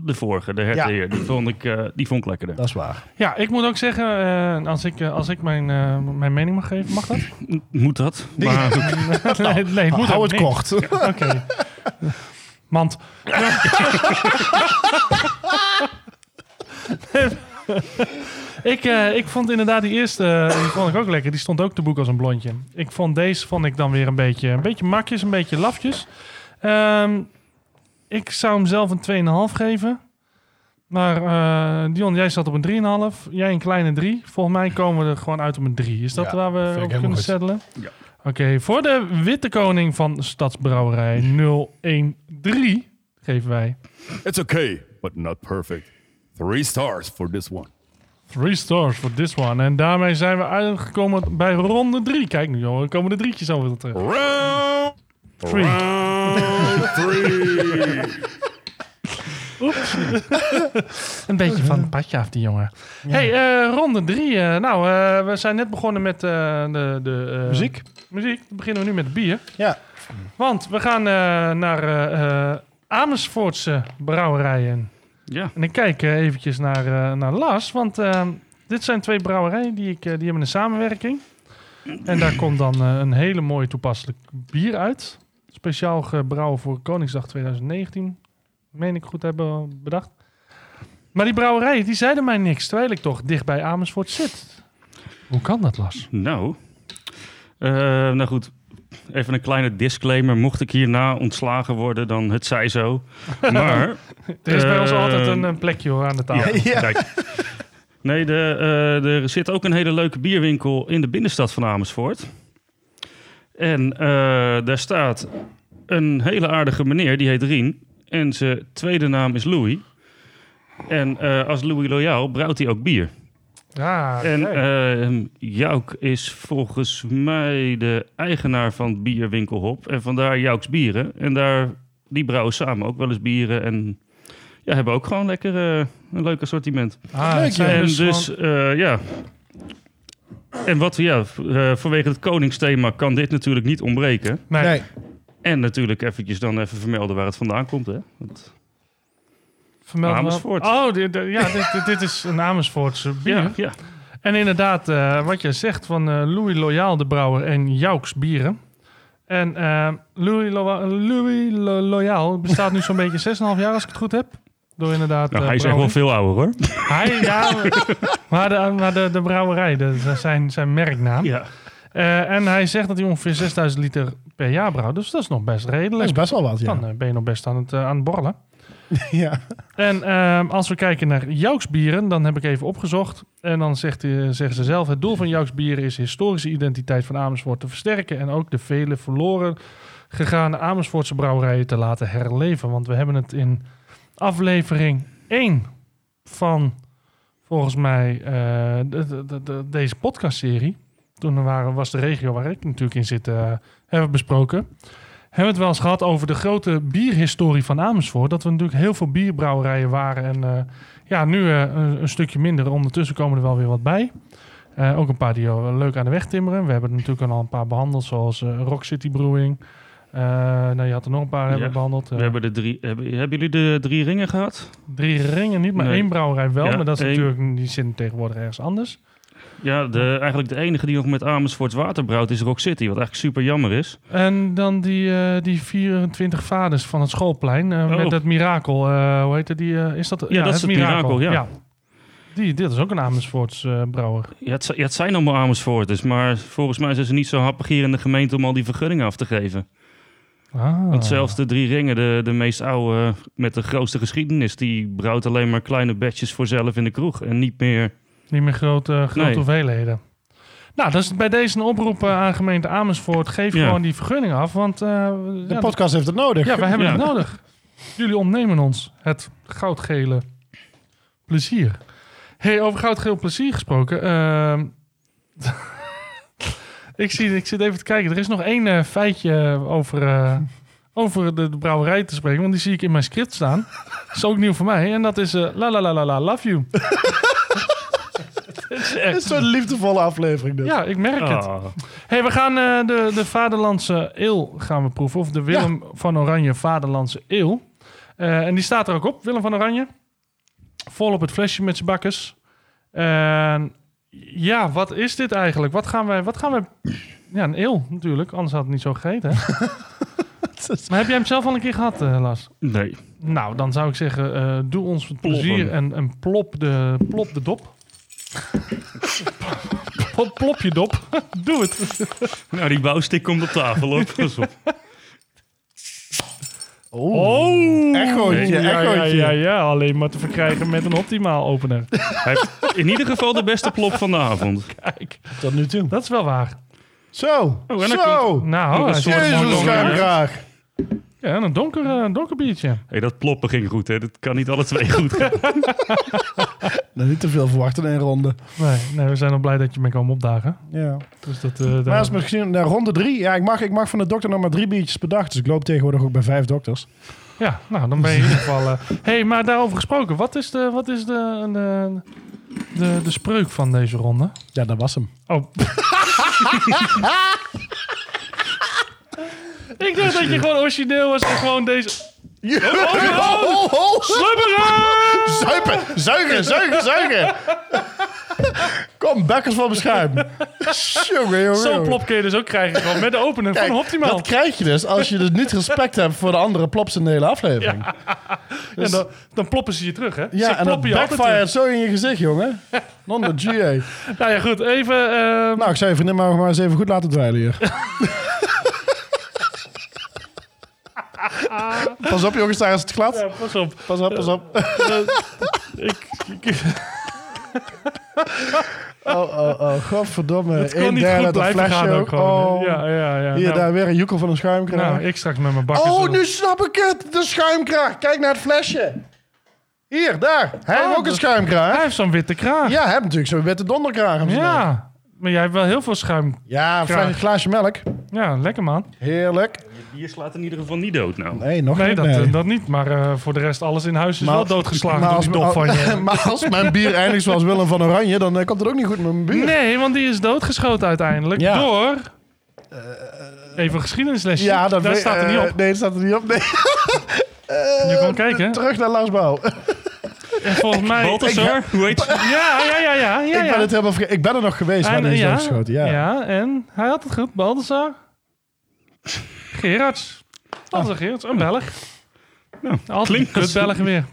C: de vorige, de herteer. Die, vond ik, eh, die vond ik lekkerder.
A: Dat is waar.
B: Ja, ik moet ook zeggen, eh, als ik, eh, als ik mijn, eh, mijn mening mag geven, mag dat?
C: <laughs> Moet dat? Maar
B: <laughs> nee, nee, ik moet
A: Nou, Hou
B: ook
A: het
B: niet.
A: kort.
B: <laughs> Oké.
A: <laughs>
B: Mand. <laughs> ik, eh, ik vond inderdaad die eerste, eh, die vond ik ook lekker. Die stond ook te boek als een blondje. Ik vond deze vond ik dan weer een beetje, een beetje makjes, een beetje lafjes. Ehm, ik zou hem zelf een 2,5 geven. Maar eh, Dion, jij zat op een 3,5. Jij een kleine 3. Volgens mij komen we er gewoon uit op een 3. Is dat
A: Ja,
B: waar
A: vind ik
B: we op
A: helemaal
B: kunnen
A: goed.
B: settelen?
C: Ja.
B: Oké, voor de Witte Koning van
A: <laughs>
B: Stadsbrouwerij 013 geven wij
D: It's okay, but not perfect. Three stars for this one.
B: 3 stars voor this one. En daarmee zijn we uitgekomen bij ronde 3. Kijk nu, jongen, er komen de drietjes alweer terug.
D: Round
B: Three.
D: three.
B: <laughs> Een beetje van het padje af, die jongen. hey, eh, ronde 3. nou, eh, we zijn net begonnen met eh, de, de eh,
A: Muziek.
B: Muziek. Dan beginnen we nu met bier.
A: Ja.
B: Want we gaan eh, naar eh, eh, Amersfoortse brouwerijen.
C: ja,
B: En ik kijk eh, eventjes naar, eh, naar Lars, want eh, dit zijn twee brouwerijen die, ik, eh, die hebben een samenwerking. En daar komt dan eh, een hele mooie toepasselijk bier uit. Speciaal gebrouwen voor Koningsdag 2019, meen ik goed hebben eh, bedacht. Maar die brouwerijen, die zeiden mij niks, terwijl ik toch dicht bij Amersfoort zit. Hoe kan dat, Lars?
C: nou. Eh, nou goed, even een kleine disclaimer. Mocht ik hierna ontslagen worden, dan het zij
B: <laughs>
C: zo. Maar
B: Er is bij ons
C: Eh,
B: altijd een, een plekje hoor, aan de tafel.
C: Kijk. Nee, de, eh, er zit ook een hele leuke bierwinkel in de binnenstad van Amersfoort. En eh, daar staat een hele aardige meneer, die heet Rien. En zijn tweede naam is Louis. En eh, als Louis Loyaal brouwt hij ook bier.
B: Ja,
C: En
B: kijk.
C: ehm, Jouk is volgens mij de eigenaar van bierwinkel Hop. En vandaar Jouks Bieren. En daar, die brouwen samen ook wel eens bieren. En ja, hebben ook gewoon lekker eh, een leuk assortiment.
B: Ah, het zijn
C: En dus,
B: gewoon-
C: eh, ja. En wat, ja, v- eh, vanwege het koningsthema kan dit natuurlijk niet ontbreken.
B: Nee.
A: Nee.
C: En natuurlijk eventjes dan even vermelden waar het vandaan komt, hè. Want,
B: Vermeld wel-
C: Amersfoort.
B: Oh, dit, dit- ja, dit, dit, dit is een Amersfoortse bier.
C: ja, ja.
B: En inderdaad, eh, wat je zegt van eh, Louis Loyaal de Brouwer en Jouks Bieren. En eh, Louis, Lo- Louis Lo- Loyaal bestaat nu zo'n <laughs> beetje 6,5 jaar, als ik het goed heb. Door inderdaad.
C: Nou,
B: eh,
C: hij is echt wel
B: brouwen.
C: veel ouder, hoor. <laughs>
B: Hij, ja, maar de, maar de, de brouwerij, de, zijn, zijn merknaam.
C: Ja.
B: Eh, en hij zegt dat hij ongeveer 6000 liter per jaar brouwt. Dus dat is nog best
A: Dat
B: redelijk.
A: is best wel wat, ja.
B: Dan eh, ben je nog best aan het, eh, aan het borrelen.
A: <laughs> ja.
B: En ehm, als we kijken naar Jouks bieren, dan heb ik even opgezocht. En dan zegt, eh, zeggen ze zelf: het doel van Jouks bieren is de historische identiteit van Amersfoort te versterken. En ook de vele verloren gegaane Amersfoortse brouwerijen te laten herleven. Want we hebben het in aflevering 1 van. volgens mij eh, de- de- de- de- deze podcastserie. Toen waren, was de regio waar ik natuurlijk in zit, eh, hebben we besproken. Hebben we het wel eens gehad over de grote bierhistorie van Amersfoort. Dat er natuurlijk heel veel bierbrouwerijen waren. En eh, ja, nu eh, een, een stukje minder. Ondertussen komen er wel weer wat bij. Eh, ook een paar die al leuk aan de weg timmeren. We hebben er natuurlijk al een paar behandeld, zoals eh, Rock City Brewing. Eh, nou, je had er nog een paar hebben we behandeld.
C: We
B: Eh,
C: hebben de drie, hebben, hebben jullie de drie ringen gehad?
B: Drie ringen niet, maar
C: Nee.
B: één brouwerij wel.
C: Ja,
B: maar dat is
C: één.
B: natuurlijk, die zitten tegenwoordig ergens anders.
C: Ja, de, eigenlijk de enige die nog met Amersfoort water brouwt is Rock City. Wat eigenlijk super jammer is.
B: En dan die, eh, die 24 vaders van het schoolplein eh,
C: Oh.
B: met dat mirakel. eh, hoe heet dat? Die, eh, is dat
C: Ja, dat is het mirakel, ja.
B: Die, dit is ook een Amersfoorts eh, brouwer.
C: Ja, het, zi- ja, het zijn allemaal Amersfoorters. Maar volgens mij zijn ze niet zo happig hier in de gemeente om al die vergunningen af te geven.
B: Ah.
C: Want zelfs de drie ringen, de, de meest oude eh, met de grootste geschiedenis, die brouwt alleen maar kleine batches voor zelf in de kroeg. En niet meer.
B: Niet meer grote, grote
C: Nee.
B: hoeveelheden. Nou, dat is bij deze een oproep eh, aan gemeente Amersfoort. Geef
C: Ja.
B: gewoon die vergunning af, want eh,
A: De
B: ja,
A: podcast heeft het nodig.
B: ja, we hebben
C: Ja.
B: het nodig. Jullie ontnemen ons het goudgele plezier. hey, over goudgeel plezier gesproken. ehm, <laughs> ik, zie, ik zit even te kijken. Er is nog één eh, feitje eh, over, eh, over de, de brouwerij te spreken. Want die zie ik in mijn script staan. Dat is ook nieuw voor mij. En dat is eh, la la la la la love you. <laughs> Dat is echt-
A: Het is zo'n liefdevolle aflevering. Dus.
B: ja, ik merk het. hey, we gaan eh, de, de Vaderlandse Eeuw gaan we proeven. Of de Willem van Oranje Vaderlandse Eeuw. Eh, en die staat er ook op, Willem van Oranje. Vol op het flesje met zijn bakkers. En ja, wat is dit eigenlijk? Wat gaan wij... Wat gaan wij ja, een eeuw natuurlijk. Anders had het niet zo gegeten. hè?
A: <laughs>
B: maar heb jij hem zelf al een keer gehad, eh, Lars?
C: Nee.
B: Nou, dan zou ik zeggen, eh, doe ons het
C: Ploppen.
B: plezier en, en plop, de, plop de dop. plop, plop je dop. <laughs> doe het.
C: Nou, die bouwstik komt op tafel. Hoor. <laughs> Pas op.
B: Oh!
A: Echootje,
B: Ja,
A: echootje.
B: ja, ja, alleen maar te verkrijgen met een optimaal opener.
C: Hij heeft in ieder geval de beste plop van de avond.
B: Kijk,
A: Tot nu toe.
B: dat is wel waar.
A: Zo,
C: Oh, en dan
A: zo.
B: Nou,
C: Nog een
B: hij
C: soort
B: zit-
C: van
A: Jezus,
C: Morgen.
A: schuimkraag.
B: ja, en een donker, eh, een donker biertje.
C: Hey, dat ploppen ging goed, hè? Dat kan niet alle twee goed <laughs> gaan.
A: Nou, niet te veel verwacht in één ronde.
B: Nee, nee, we zijn al blij dat je me kwam opdagen.
A: Ja.
B: Dus dat, eh, daar-
A: Maar als misschien naar ronde drie. Ja, ik mag, ik mag van de dokter nog maar drie biertjes per dag. Dus ik loop tegenwoordig ook bij vijf dokters.
B: Ja, nou, dan ben je in ieder geval... eh, hey, maar daarover gesproken, wat is, de, wat is de, de, de, de spreuk van deze ronde?
A: Ja, dat was hem.
B: Oh. ik dacht dat je gewoon origineel was en gewoon deze...
A: Oh, oh,
B: Slubberen!
A: zuipen, zuigen, zuigen,
B: <laughs>
A: zuigen. Kom, bekkers van mijn schuim. Jongen, jongen,
B: Zo'n
A: jongen.
B: plop kun je dus ook krijgen gewoon met de opener
A: Kijk,
B: van Optimaal.
A: Dat krijg je dus als je dus niet
B: <laughs>
A: respect hebt voor de andere plops in de hele aflevering. Ja,
B: En dan, dan ploppen ze je terug, hè? ze
A: en dat
B: ploppen je altijd
A: backfired zo in je gezicht, jongen. Non de <laughs> GA.
B: terug. Nou ja, goed, even... ehm,
A: Nou, ik zei, vriendin, maar maar eens even goed laten dweilen hier. <laughs> pas op, jongens, daar is het glad.
B: ja, pas op.
A: Pas op, pas op.
B: Eh, ik, ik-
A: Oh, oh, oh, godverdomme.
B: het kon
A: Eén
B: niet goed
A: derde dat
B: blijven
A: flesje
B: gaan ook
A: ook.
B: gewoon.
A: Oh.
B: Ja, ja, ja.
A: Hier,
B: nou,
A: daar weer een joekel van een schuimkraag.
B: nou, ik straks met mijn bakken.
A: Oh, nu snap ik het. De schuimkraag. Kijk naar het flesje. Hier, daar. Hij heeft
B: Oh,
A: ook een
B: dat-
A: schuimkraag.
B: Hij heeft zo'n witte kraag.
A: Ja, hij heeft natuurlijk zo'n witte donderkraag. om zijn nek.
B: ja. Maar jij hebt wel heel veel schuim.
A: ja een
B: Kraag.
A: fles- glaasje melk.
B: Ja, lekker man.
A: Heerlijk.
C: Hier slaat in ieder geval niet dood, nou.
A: Nee, nog
B: Nee,
A: niet.
B: dat,
A: nee.
B: eh, dat niet. Maar eh, voor de rest, alles in huis is
A: Maar
B: wel
A: als-
B: doodgeslagen
A: maar
B: door
A: als- oh,
B: die dop van je.
A: <laughs> maar als mijn bier eindigt zoals Willem van Oranje, dan eh, komt het ook niet goed met mijn bier.
B: Nee, want die is doodgeschoten uiteindelijk
A: Ja.
B: door... eh, Even een geschiedenislesje.
A: Ja, dat
B: Daar
A: weet-
B: staat er niet
A: eh,
B: op.
A: nee, dat staat er niet op. Nee.
B: Je kon kijken.
A: Terug naar Lars Bouw.
B: En volgens mij...
C: Baltasar, hoe heet ze?
B: <laughs> Ja, ja, ja, ja. ja,
A: ik,
B: ja.
A: ben het helemaal verge- ik ben er nog geweest waar
B: En,
A: hij is
B: eh, ja,
A: doodgeschoten. Ja.
B: ja, en hij had het goed. Baldassar. Gerards. Baldassar Gerards. Een Belg. Altijd
C: Nou, klinkt
B: klinkt kut
C: als-
B: Belgen
C: <laughs>
B: weer.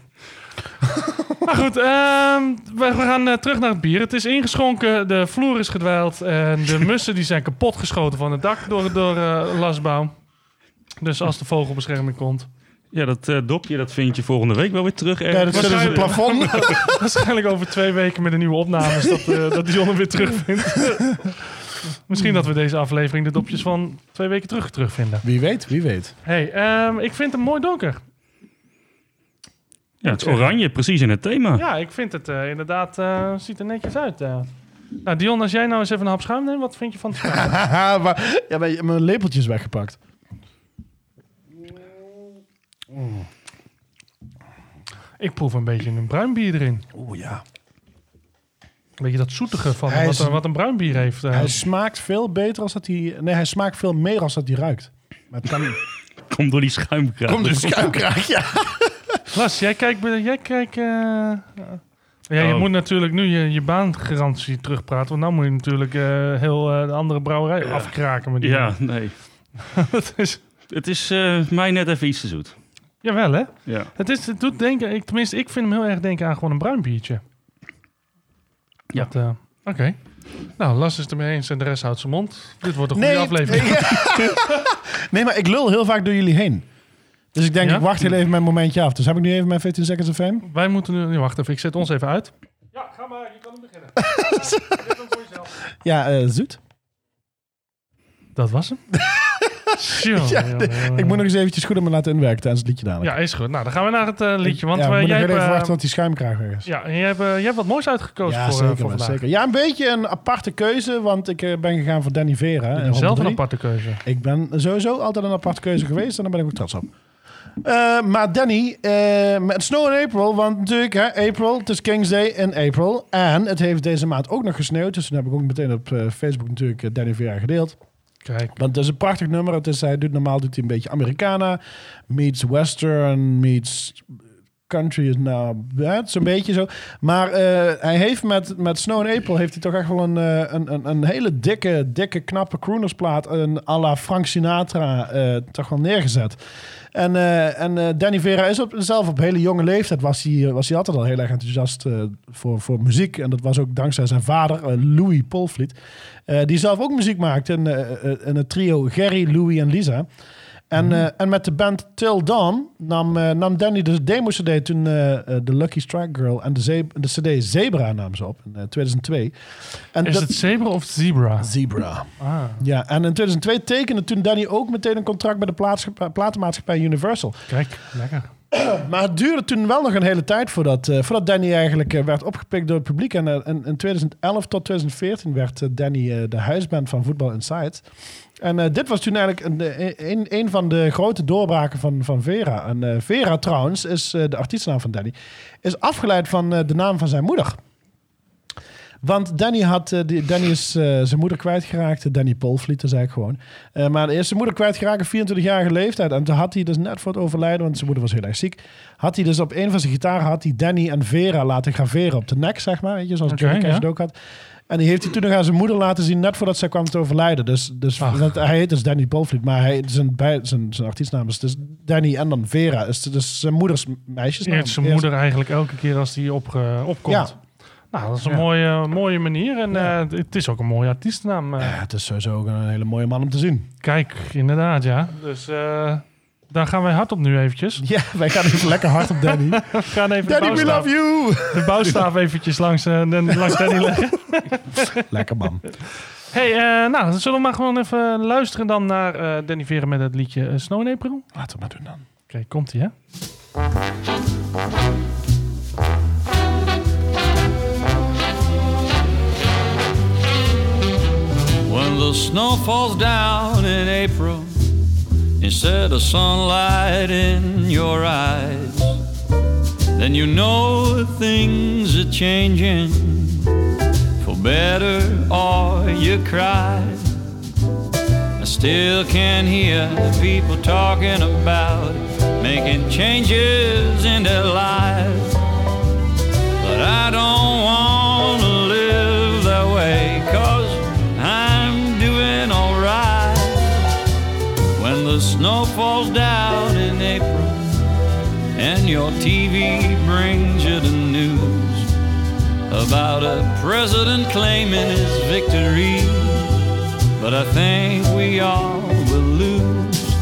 B: maar goed, ehm, we, we gaan eh, terug naar het bier. Het is ingeschonken, de vloer is gedwijld. En
C: <laughs>
B: de mussen die zijn kapotgeschoten van het dak door, door eh, Lasbouw. Dus als de vogelbescherming komt.
C: Ja, dat eh, dopje, dat vind je volgende week wel weer terug.
A: Ja, dat
C: ergens.
A: zit dus in het plafond.
C: <laughs>
B: <laughs> Waarschijnlijk over twee weken met de nieuwe opnames dat, eh dat Dion hem weer terugvindt. <laughs> Misschien dat we deze aflevering de dopjes van twee weken terug terugvinden.
A: Wie weet, wie weet.
B: hey, ehm, ik vind hem mooi donker.
C: Ja, het is oranje, precies in het thema.
B: Ja, ik vind het eh, inderdaad, eh, ziet er netjes uit. eh. Nou, Dion, als jij nou eens even een hap schuim neemt, wat vind je van het schuim?
A: Haha, <laughs> maar, ja, maar je hebt mijn lepeltjes weggepakt.
B: ik proef een beetje een bruin bier erin.
A: Oeh ja.
B: Een beetje dat zoetige van
A: Hij
B: wat,
A: is-
B: een- wat een bruin bier heeft. eh.
A: Hij smaakt veel beter als dat hij... Nee, hij smaakt veel meer als dat hij ruikt. Maar het kan
C: <laughs>
A: niet.
C: Komt door die
A: <laughs>
C: schuimkraag.
A: Kom dus, schuimkraag, ja.
B: Las, jij kijkt... bij- Jij kijkt eh, ja, je
C: Oh.
B: moet natuurlijk nu je, je baangarantie terugpraten. Want nou moet je natuurlijk eh, heel eh, de andere brouwerij afkraken. Met die
C: Ja, nee.
B: dat is,
C: Het is eh, mij net even iets te zoet.
B: jawel, hè?
C: Ja.
B: Het, is, het doet denken... Ik, tenminste, ik vind hem heel erg denken aan gewoon een bruin biertje.
C: Ja.
B: Dat, eh, Oké. Nou, Las is het ermee eens en de rest houdt zijn mond. Dit wordt een goede aflevering.
A: nee. <laughs>
F: <laughs>
A: nee, maar ik lul heel vaak door jullie heen. Dus ik denk,
B: Ja?
A: ik wacht heel even mijn momentje af. Dus heb ik nu even mijn 15 seconds of fame?
B: Wij moeten nu... nee, Wacht even, ik zet ons even uit. Ja, ga maar. Je kan hem beginnen.
A: <laughs> Ja, eh, zoet.
B: Dat
A: <laughs>
B: was hem. Tjonge,
A: Ja,
B: jonge, jonge.
A: Ik moet nog eens eventjes goed op me laten inwerken tijdens het liedje
B: <laughs>
A: dadelijk.
B: Ja, is goed. Nou, dan gaan we naar het eh, liedje. Want
A: ja,
B: eh,
A: moet
B: jij
A: nog heel
B: hebt,
A: even
B: eh,
A: wachten tot die schuimkraag weer is.
B: ja, en jij, hebt, eh, jij hebt wat moois uitgekozen
A: Ja,
B: voor, eh,
A: zeker,
B: voor
A: man,
B: vandaag.
A: zeker. Ja, een beetje een aparte keuze, want ik eh, ben gegaan voor Danny Vera. in ronde
B: Zelf een
A: drie.
B: aparte keuze.
A: Ik ben sowieso altijd een aparte keuze geweest en daar ben ik ook trots op. Eh, maar Danny, eh, met Snow in April, want natuurlijk, hè, April, het is King's Day in April. En het heeft deze maand ook nog gesneeuwd, dus toen heb ik ook meteen op eh, Facebook natuurlijk eh, Danny Vera gedeeld.
B: Kijk.
A: Want het is een prachtig nummer. Het is, hij doet, normaal doet hij een beetje Americana, meets Western, meets country is nou ja, het is een beetje zo. Maar eh, hij heeft met, met Snow and April heeft hij toch echt wel een, eh, een, een, een hele dikke, dikke, knappe croonersplaat. Een à la Frank Sinatra eh, toch wel neergezet. En, eh, en eh, Danny Vera is op, zelf op hele jonge leeftijd was hij, eh, was hij altijd al heel erg enthousiast eh, voor, voor muziek. En dat was ook dankzij zijn vader, eh, Louis Polvliet. eh, die zelf ook muziek maakte in, eh, eh, in het trio Gerry, Louis en Lisa. En, eh, en met de band Till Dawn nam, eh, nam Danny de demo-cd toen eh, eh, de Lucky Strike Girl en de, ze- de cd Zebra nam ze op in eh, 2002. En
B: Is
A: dat-
B: het zebra of zebra?
A: Zebra.
B: Ah.
A: Ja, en in 2002 tekende toen Danny ook meteen een contract bij de plaatsge- platenmaatschappij Universal.
B: Kijk, lekker.
A: Maar het duurde toen wel nog een hele tijd voordat, eh, voordat Danny eigenlijk eh, werd opgepikt door het publiek. En eh, in, in 2011 tot 2014 werd eh, Danny eh, de huisband van Voetbal Inside. En eh, dit was toen eigenlijk een, een, een van de grote doorbraken van, van Vera. En eh, Vera trouwens, is eh, de artiestnaam van Danny, is afgeleid van eh, de naam van zijn moeder. Want Danny, had, eh, die, Danny is eh, zijn moeder kwijtgeraakt. Danny Polvliet, dat is eigenlijk gewoon. Eh, maar hij is zijn moeder kwijtgeraakt op 24-jarige leeftijd. En toen had hij dus net voor het overlijden, want zijn moeder was heel erg ziek. Had hij dus op een van zijn gitaren had hij Danny en Vera laten graveren op de nek, zeg maar. Weet je, zoals
B: Oké,
A: Johnny Cash
B: ja.
A: het ook had. En die heeft hij toen nog aan zijn moeder laten zien, net voordat zij kwam te overlijden. Dus, dus
B: Ach.
A: dat, hij heet dus Danny Polvliet, maar hij, zijn, bij, zijn, zijn artiestnaam is dus Danny en dan Vera. Is dus zijn moeders meisjesnaam.
B: Eert zijn
A: Eerst-
B: moeder eigenlijk elke keer als die op, eh, opkomt.
A: Ja.
B: Nou, dat is een
A: Ja.
B: mooie, mooie manier. En eh, het is ook een mooie artiestennaam. eh.
A: Ja, het is sowieso ook een hele mooie man om te zien.
B: Kijk, inderdaad, ja. Dus eh, daar gaan wij hard op nu eventjes.
A: <laughs> Ja, wij gaan even lekker hard op
B: <laughs>
A: Danny.
B: We gaan even de,
A: Danny, we
B: bouwstaaf,
A: love you!
B: de bouwstaaf eventjes langs, eh, den- langs
A: <laughs>
B: Danny leggen.
A: Lekker man.
B: Hey, eh, nou, dan zullen we maar gewoon even luisteren dan naar eh Danny Veren met het liedje eh, Snow in April? Oké,
A: Laten we maar doen dan.
B: komt ie, hè?
G: When the snow falls down in April, instead of sunlight in your eyes, then you know things are changing for better, or you cry. I still can hear the people talking about making changes in their lives. But I don't want to live that way, cause I'm doing alright. When the snow falls down in April, and your TV brings you the news about a president claiming his victory. But I think we all will lose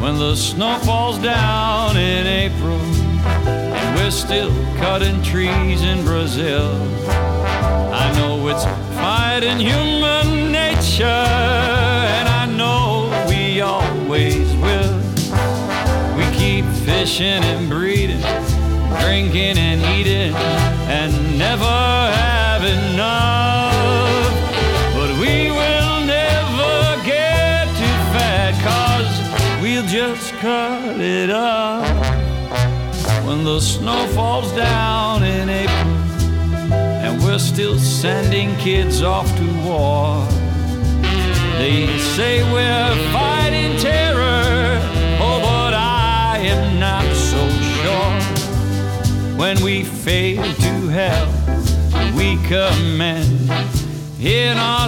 G: when the snow falls down in April. And we're still cutting trees in Brazil. I know it's fighting human nature, and I know we always will. We keep fishing and breeding drinking and eating and never have enough. But we will never get too fat, cause we'll just cut it up. When the snow falls down in April, and we're still sending kids off to war. They say we're fighting terror, oh, but I am not so sure. When we fail to help, we commend in our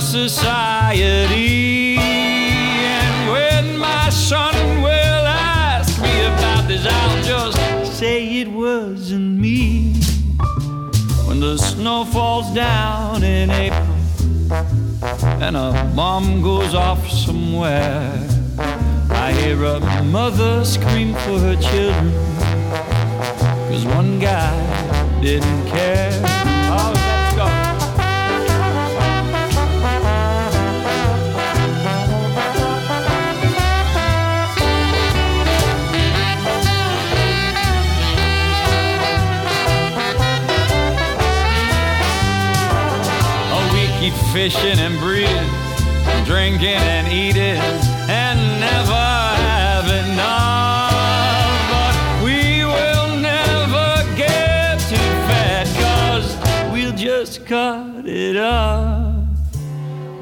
G: society. And when my son will ask me about this, I'll just say it wasn't me. When the snow falls down in April and a bomb goes off somewhere. I hear a mother scream for her children, cause one guy didn't care. Oh, let's go. Oh, we keep fishing and breeding, drinking and eating, and never have enough. But we will never get too fat, cause we'll just cut it off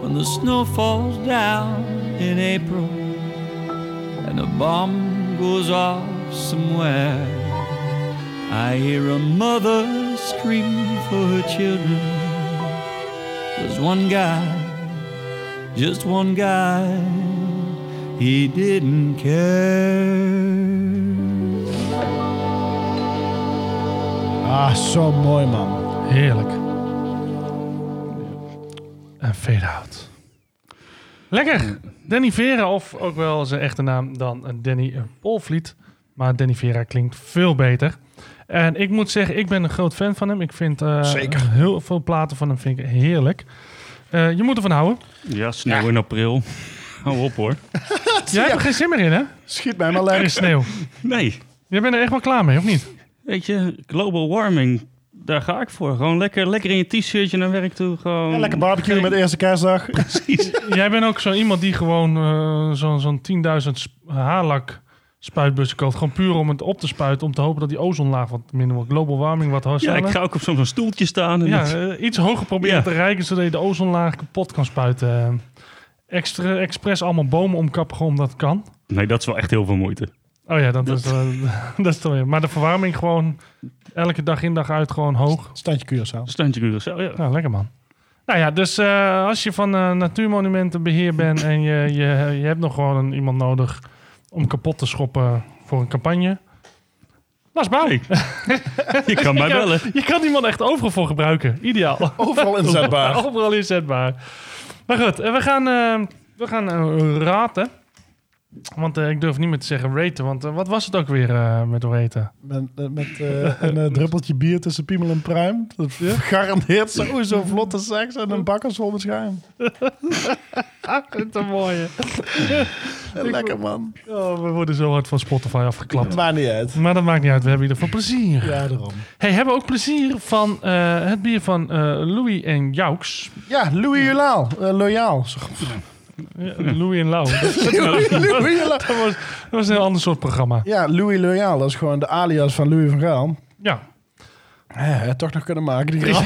G: when the snow falls down in April and a bomb goes off somewhere. I hear a mother scream for her children. There's one guy, just one guy, he didn't care.
A: Ah, zo mooi, man.
B: Heerlijk. En fade out. Lekker.
A: Mm.
B: Danny Vera, of ook wel zijn echte naam dan eh, Danny Polvliet. Maar Danny Vera klinkt veel beter. En ik moet zeggen, ik ben een groot fan van hem. Ik vind eh,
A: Zeker.
B: heel veel platen van hem vind ik heerlijk. Eh, je moet ervan
A: <laughs>
B: houden.
C: Ja, sneeuw in april. <laughs> Hou op hoor.
B: Jij hebt er geen zin meer in, hè?
A: Schiet mij maar
B: Er
A: lekker.
B: is sneeuw.
C: Nee,
B: Jij bent er echt wel klaar mee, of niet?
C: weet je, global warming, daar ga ik voor. Gewoon lekker, lekker in je t-shirtje naar werk toe. Gewoon...
A: Lekker barbecue met de eerste
B: <laughs>
A: kerstdag.
B: Jij bent ook zo iemand die gewoon eh, zo'n zo'n 10.000 sp- haarlak spuitbussen koopt. Gewoon puur om het op te spuiten. Om te hopen dat die ozonlaag wat minder wordt. Global warming wat harder.
C: Ja, ik ga ook op zo'n stoeltje staan. En
B: ja
C: dat-
B: eh, iets hoger proberen
C: Ja.
B: te reiken zodat je de ozonlaag kapot kan spuiten. Eh, Extra, expres allemaal bomen omkappen gewoon omdat het kan.
C: Nee, dat is wel echt heel veel moeite.
B: Oh ja, dat, Is, eh, <laughs> dat is toch weer. Maar de verwarming gewoon elke dag in dag uit gewoon hoog.
A: Standje Curaçao.
C: Standje Curaçao, ja.
B: Nou, lekker man. Nou ja, dus eh, als je van eh, natuurmonumentenbeheer bent en je, je, je hebt nog gewoon een, iemand nodig om kapot te schoppen voor een campagne. Lars Bouw. <laughs>
C: Hey, je kan mij
B: je, kan,
C: bellen.
B: je kan iemand echt overal voor gebruiken. Ideaal.
A: Overal inzetbaar.
B: <laughs> Overal inzetbaar. Maar goed, eh, we gaan, eh, we gaan eh, raten. Want eh, ik durf niet meer te zeggen raten. Want eh, wat was het ook weer eh, met raten?
A: Met, eh, met eh, een eh, druppeltje bier tussen piemel en pruim. Dat garandeert sowieso vlotte seks en een bakkers vol
B: <laughs>
A: met schuim.
B: Ah, een mooie.
A: <laughs> Lekker, man.
B: Oh, we worden zo hard van Spotify afgeklapt.
A: Maakt niet uit.
B: Maar dat maakt niet uit, we hebben in ieder geval plezier.
A: Ja, daarom.
B: Hey, hebben we ook plezier van eh, het bier van eh, Louis en Jouks.
A: Ja, Louis Julaal. eh, loyaal. Zo-
B: Ja, Louis en Lau.
A: <laughs>
B: Dat
A: Louis Julaal.
B: was, dat was een heel ander soort programma.
A: Ja, Louis Loyaal. Dat is gewoon de alias van Louis van Gaal.
B: Ja.
A: Eh, toch nog kunnen maken, die grap.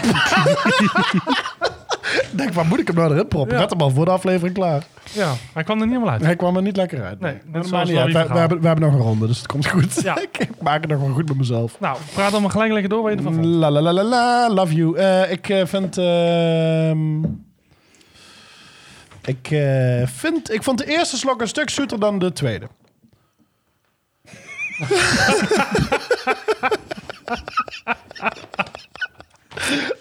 A: Ik <laughs> Denk, waar moet ik hem nou erin proppen?
B: Ja.
A: Ik had hem al voor de aflevering klaar.
B: ja, hij kwam er niet helemaal uit.
A: Hij kwam er niet lekker uit.
B: Nee,
A: Maar
B: net
A: dat
B: zoals
A: maakt
B: Louis
A: niet
B: van
A: uit. We, we
B: Gaal.
A: hebben, we hebben nog een ronde, dus het komt goed.
B: Ja.
A: <laughs> ik maak het nog wel goed met mezelf.
B: Nou, praat allemaal gelijk lekker door, weet je ervan vond.
A: La la la la la, love you. Eh, ik eh, vind... ehm, ik, eh, vind, ik vond de eerste slok een stuk zoeter dan de tweede. <laughs>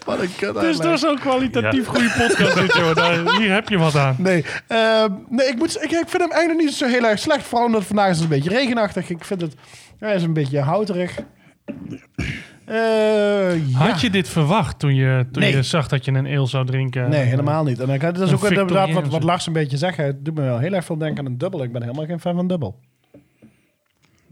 A: Wat een kut
B: Dus
A: eigenlijk.
B: dat is ook kwalitatief goede podcast dit, <laughs> joh. Daar- hier heb je wat aan.
A: Nee, ehm, nee ik, moet, ik, ik vind hem eigenlijk niet zo heel erg slecht. Vooral omdat vandaag is het een beetje regenachtig. Ik vind het... Hij is een beetje houterig. Eh, ja.
B: Had je dit verwacht toen je, toen
A: Nee.
B: je zag dat je een eel zou drinken?
A: Nee, helemaal niet. En dan, dat is
B: Een
A: ook inderdaad wat, wat
B: Victoriaanse.
A: Lars een beetje zegt. Het doet me wel heel erg veel denken aan een dubbel. Ik ben helemaal geen fan van dubbel.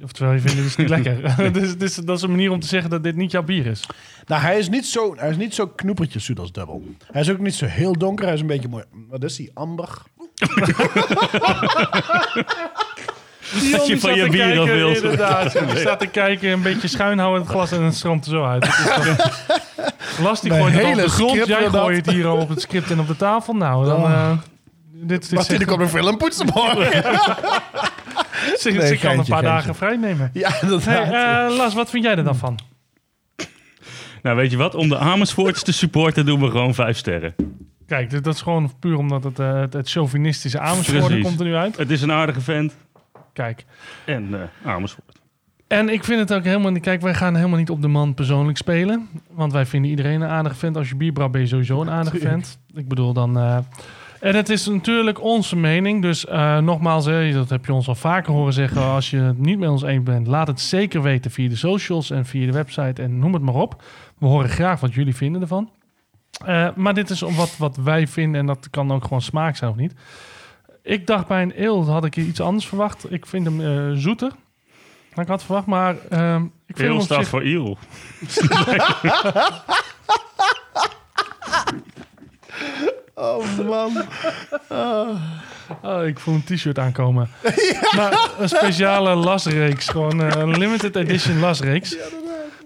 B: Oftewel, je vindt het dus niet
A: <laughs>
B: lekker. <laughs> dus, dus dat is een manier om te zeggen dat dit niet jouw bier is.
A: Nou, hij is niet zo, hij is niet zo knoepertje zoet als dubbel. Hij is ook niet zo heel donker. Hij is een beetje mooi. Wat is die? Amber?
B: Dion,
C: van
B: die zat
C: je
B: te
C: bier af
B: kijken,
C: wilt.
B: <laughs> Inderdaad. Die staat te kijken, een beetje schuin houden het glas en het stroomt er zo uit. Het is
A: <laughs>
B: toch- Lars die
A: Mijn
B: gooit het op
A: hele
B: de grond.
A: script
B: Jij
A: weer dat.
B: gooit het hier al op het script en op de tafel. Nou, dan...
A: Oh.
B: eh, dit, dit
A: Wat
B: zegt-
A: die komt een film poetsen
B: <laughs>
A: morgen.
B: ze,
A: Nee,
B: ze
A: geintje,
B: kan een paar
A: geintje.
B: dagen vrij nemen.
A: ja, dat
B: Hey, eh, Lars, wat vind jij er dan van?
C: Nou, weet je wat? Om de Amersfoorts te supporten doen we gewoon vijf sterren.
B: Kijk, dus dat is gewoon puur omdat het, eh, het, het chauvinistische Amersfoort
C: Precies.
B: komt er nu uit.
C: Het is een aardige vent.
B: Kijk.
C: En eh, Amersfoort.
B: En ik vind het ook helemaal niet... Kijk, wij gaan helemaal niet op de man persoonlijk spelen. Want wij vinden iedereen een aardig vent. Als je bier brouwt ben je sowieso een aardig vent. Ik bedoel dan... eh, en het is natuurlijk onze mening. Dus eh, nogmaals, hè, dat heb je ons al vaker horen zeggen. Als je het niet met ons eens bent, laat het zeker weten via de socials en via de website en noem het maar op. We horen graag wat jullie vinden ervan. Eh, maar dit is om wat, wat wij vinden en dat kan ook gewoon smaak zijn of niet. Ik dacht bij een eel had ik iets anders verwacht. Ik vind hem eh, zoeter dan ik had verwacht, maar ehm, ik vind hem
C: Heel
B: op
C: staat
B: zich-
C: voor <laughs>
B: <laughs>
C: Iel.
A: Oh
F: <laughs>
A: man.
B: Oh, ik voel een t-shirt aankomen. Maar een speciale lasreeks. Gewoon eh, een limited edition lasreeks.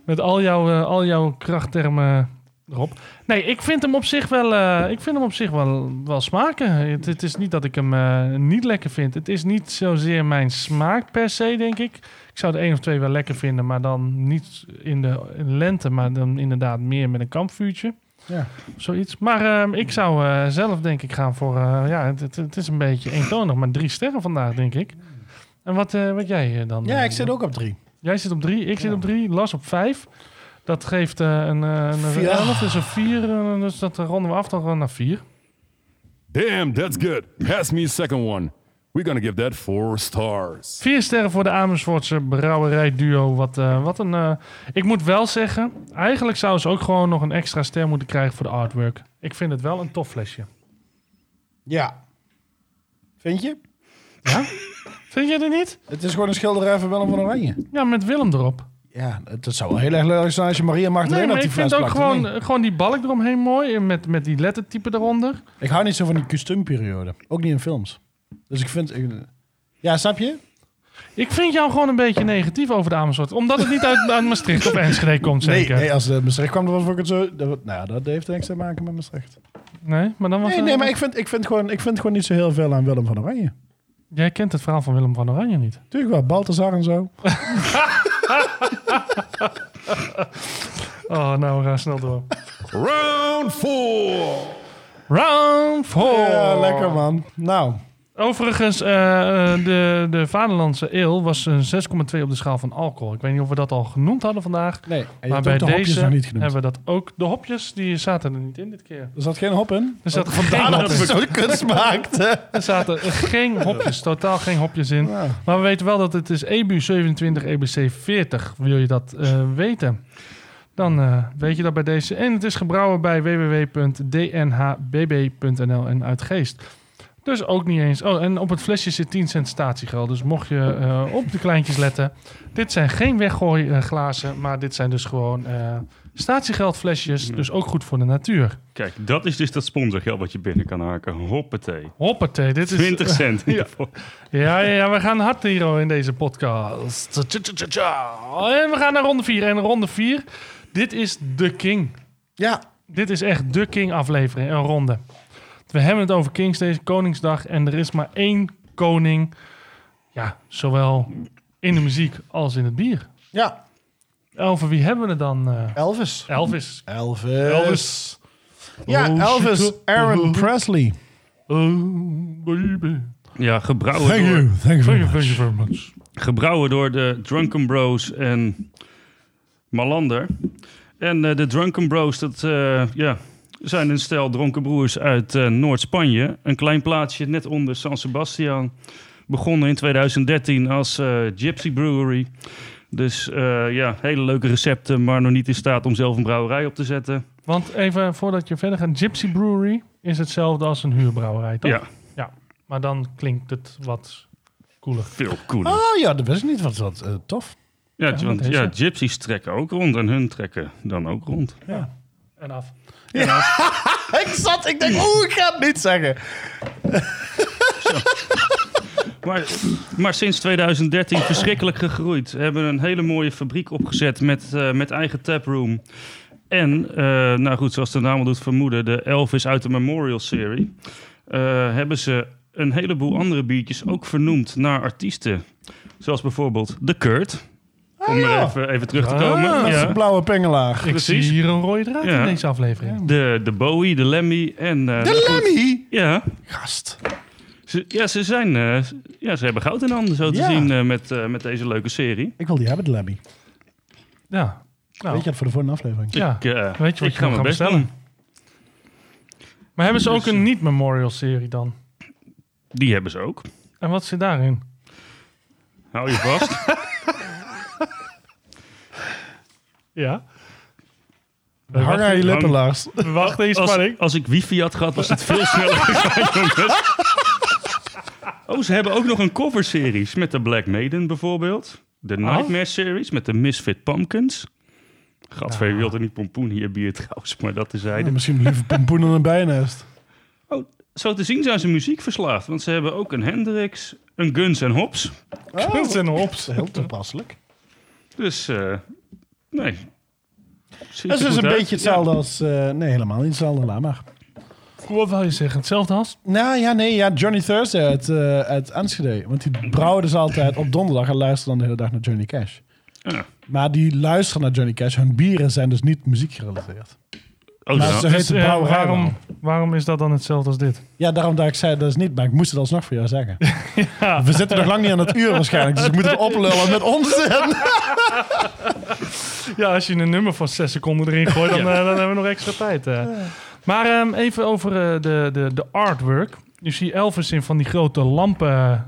B: Met al jouw, eh, al jouw krachttermen erop. Nee, ik vind hem op zich wel, eh, ik vind hem op zich wel, wel smaken. Het, het is niet dat ik hem eh, niet lekker vind. Het is niet zozeer mijn smaak per se, denk ik. Ik zou de één of twee wel lekker vinden, maar dan niet in de lente, maar dan inderdaad meer met een kampvuurtje.
A: Ja.
B: Of zoiets. Maar ehm, ik zou eh, zelf denk ik gaan voor... eh, ja, het, het, het is een beetje eentonig, maar drie sterren vandaag, denk ik. En wat, eh, wat jij eh, dan?
A: Ja,
B: eh,
A: ik zit ook op drie.
B: Jij zit op drie, ik zit op drie, Las op vijf. Dat geeft eh, een, eh, een
A: Vier.
B: 11, dus een 4. dus dat ronden we af dan gewoon naar 4.
D: Damn, that's good. Pass me a second one. We're gonna give that four stars.
B: Vier sterren voor de Amersfoortse brouwerijduo. Wat, eh, wat een. eh, ik moet wel zeggen, eigenlijk zou ze ook gewoon nog een extra ster moeten krijgen voor de artwork. Ik vind het wel een tof flesje.
A: Ja. Vind je?
B: Vind jij dat niet?
A: Het is gewoon een schilderij van Willem van Oranje.
B: Ja, met Willem erop.
A: Ja, het, het zou wel heel erg leuk zijn als je Maria Magdalena
B: Nee, maar
A: op die
B: ik
A: fles
B: vind ook
A: plakt, of
B: gewoon,
A: niet?
B: gewoon die balk eromheen mooi. en Met, met die lettertype eronder.
A: Ik hou niet zo van die customperiode. Ook niet in films. Dus ik vind... ik- ja, snap je?
B: Ik vind jou gewoon een beetje negatief over de Amersfoort. Omdat het niet uit, uit Maastricht of
A: <laughs>
B: Enschede komt,
A: Nee,
B: zeker.
A: nee, als het Maastricht kwam, dan was ik het zo... Dat, nou, dat heeft niks te maken met Maastricht.
B: Nee, maar dan was
A: Nee,
B: er-
A: nee, maar ik vind, ik, vind gewoon, ik vind gewoon niet zo heel veel aan Willem van Oranje.
B: Jij kent het verhaal van Willem van Oranje niet.
A: Tuurlijk wel, Balthazar en zo.
B: Oh, nou, we gaan snel door.
D: Round four.
B: Round 4.
A: Ja, lekker man. Nou,
B: Overigens, eh, eh, de, de Vaderlandse Eel was een 6,2 op de schaal van alcohol. Ik weet niet of we dat al genoemd hadden vandaag.
A: nee, en je
B: Maar
A: hebt
B: bij
A: ook de hopjes
B: deze
A: nog niet genoemd.
B: hebben we dat ook. De hopjes, die zaten er niet in dit keer.
A: Er zat geen hop in.
B: Er zaten, geen,
A: dat
B: hopjes,
A: het zo'n
B: <laughs>
A: kunst maakte.
B: er zaten geen hopjes, totaal geen hopjes in.
A: Nou,
B: Maar we weten wel dat het is E EBU 27, EBC 40. Wil je dat eh, weten? Dan eh, weet je dat bij deze. En het is gebrouwen bij www.dnhbb.nl en uit Geest. Dus ook niet eens. Oh, en op het flesje zit 10 cent statiegeld. Dus mocht je eh, op de kleintjes letten. Dit zijn geen weggooiglazen, glazen, maar dit zijn dus gewoon eh statiegeldflesjes. Dus ook goed voor de natuur.
C: Kijk, dat is dus dat sponsorgeld wat je binnen kan haken. Hoppatee.
B: Hoppatee, dit is...
C: 20
B: <laughs>
C: cent. hiervoor.
B: Ja, ja, ja, we gaan hard hier in deze podcast. Tja, tja, tja, tja. En we gaan naar ronde 4. En ronde 4, dit is de King.
A: ja,
B: Dit is echt de King aflevering, een ronde. We hebben het over Kings deze Koningsdag. En er is maar één koning. Ja, zowel in de muziek als in het bier.
A: ja,
B: Over wie hebben we het dan? eh?
A: Elvis.
B: Elvis.
A: Elvis.
B: Elvis.
A: Ja,
B: Oh,
A: Elvis
B: shit.
A: Aaron Presley.
B: Oh, baby.
C: Ja, gebrouwen door,
A: Thank
B: Thank you, thank you very much.
C: gebrouwen door de Drunken Bros en Malander. En eh, de Drunken Bros, dat eh, ja, zijn een stel dronken broers uit eh, Noord-Spanje. Een klein plaatsje net onder San Sebastian. Begonnen in 2013 als eh, Gypsy Brewery. Dus eh, ja, hele leuke recepten, maar nog niet in staat om zelf een brouwerij op te zetten.
B: Want even voordat je verder gaat, Gypsy Brewery is hetzelfde als een huurbrouwerij, toch?
C: Ja,
B: Maar dan klinkt het wat cooler.
C: Veel cooler.
A: Oh ja, dat wist ik niet. Wat is dat eh, tof.
C: ja,
B: ja,
C: want
B: deze.
C: ja, gypsies trekken ook rond en hun trekken dan ook rond.
B: Ja. En af.
A: <laughs> Ik zat, ik denk, oeh, ik ga het niet zeggen.
C: Maar, maar sinds 2013 verschrikkelijk gegroeid. We hebben een hele mooie fabriek opgezet met, eh, met eigen taproom. En, eh, nou goed, zoals de naam al doet vermoeden, de Elvis uit de Memorial Serie. eh, hebben ze een heleboel andere biertjes ook vernoemd naar artiesten. Zoals bijvoorbeeld de Kurt. Om er
A: Ah, ja.
C: even, even terug te komen.
A: Dat is
C: ja.
A: een blauwe pingelaar.
B: Ik zie
C: Precies.
B: hier een rode draad
C: Ja.
B: in deze aflevering.
C: De, de Bowie, de Lemmy en... eh, nou
A: De
C: goed,
A: Lemmy!
C: Ja,
A: Gast.
C: ze, ja, ze, zijn, eh, ja, ze hebben goud in handen, zo te
A: Ja.
C: zien, eh, met, eh, met deze leuke serie.
A: Ik wil die hebben, de Lemmy.
B: Ja. Nou,
A: Weet je dat voor de volgende aflevering?
B: ja.
C: Ik, eh,
B: Weet je wat
C: ik
B: je kan
C: ga mijn
B: gaan
C: best
B: bestellen?
C: doen.
B: Maar hebben ze ook
C: Dus,
B: een
C: eh,
B: niet-memorial serie dan?
C: Die hebben ze ook.
B: En wat zit daarin?
C: Hou je vast.
B: <laughs> Ja.
A: Hang aan je lippen,
C: Hang-
A: Lars.
B: Wacht eens,
C: als,
B: spanning.
C: als ik wifi had gehad, was het veel sneller <laughs> gegaan, jongens. Oh, ze hebben ook nog een coverseries met de Black Maiden bijvoorbeeld.
B: Oh.
C: De Nightmare series met de Misfit Pumpkins. Gadver,
B: Ah.
C: je wilde niet pompoen hier bier trouwens, maar dat tezijde.
B: <laughs>
A: Misschien liever pompoen dan een bijnest.
C: Oh, zo te zien zijn ze muziekverslaafd, want ze hebben ook een Hendrix, een Guns N' Hops.
A: <laughs>
B: Kunst en hops.
A: Heel toepasselijk.
C: Dus, eh nee. Ziet
A: Dat
C: er
A: is dus
C: goed
A: een
C: uit.
A: beetje hetzelfde als... eh, nee, helemaal niet hetzelfde, laat maar.
B: Wat wil je zeggen? Hetzelfde als?
A: Nou ja, nee, ja, Johnny Thursday uit, eh uit Enschede. Want die brouwen dus altijd op donderdag en luisteren dan de hele dag naar Johnny Cash.
C: Ja.
A: Maar die luisteren naar Johnny Cash. Hun bieren zijn dus niet muziekgerelateerd.
C: Ja. Oh,
A: Maar
C: nou,
A: ze heet de
B: eh,
A: brouwerij wel.
B: waarom, waarom is dat dan hetzelfde als dit?
A: Ja, daarom dat ik zei dat is niet, maar ik moest het alsnog voor jou zeggen. We zitten nog lang niet aan het uur waarschijnlijk, dus ik moet het oplullen met onzin.
B: Ja, als je een nummer van zes seconden erin gooit, dan, eh, dan hebben we nog extra tijd. eh. Maar ehm, even over eh, de, de, de artwork. Je ziet Elvis in van die grote lampen, eh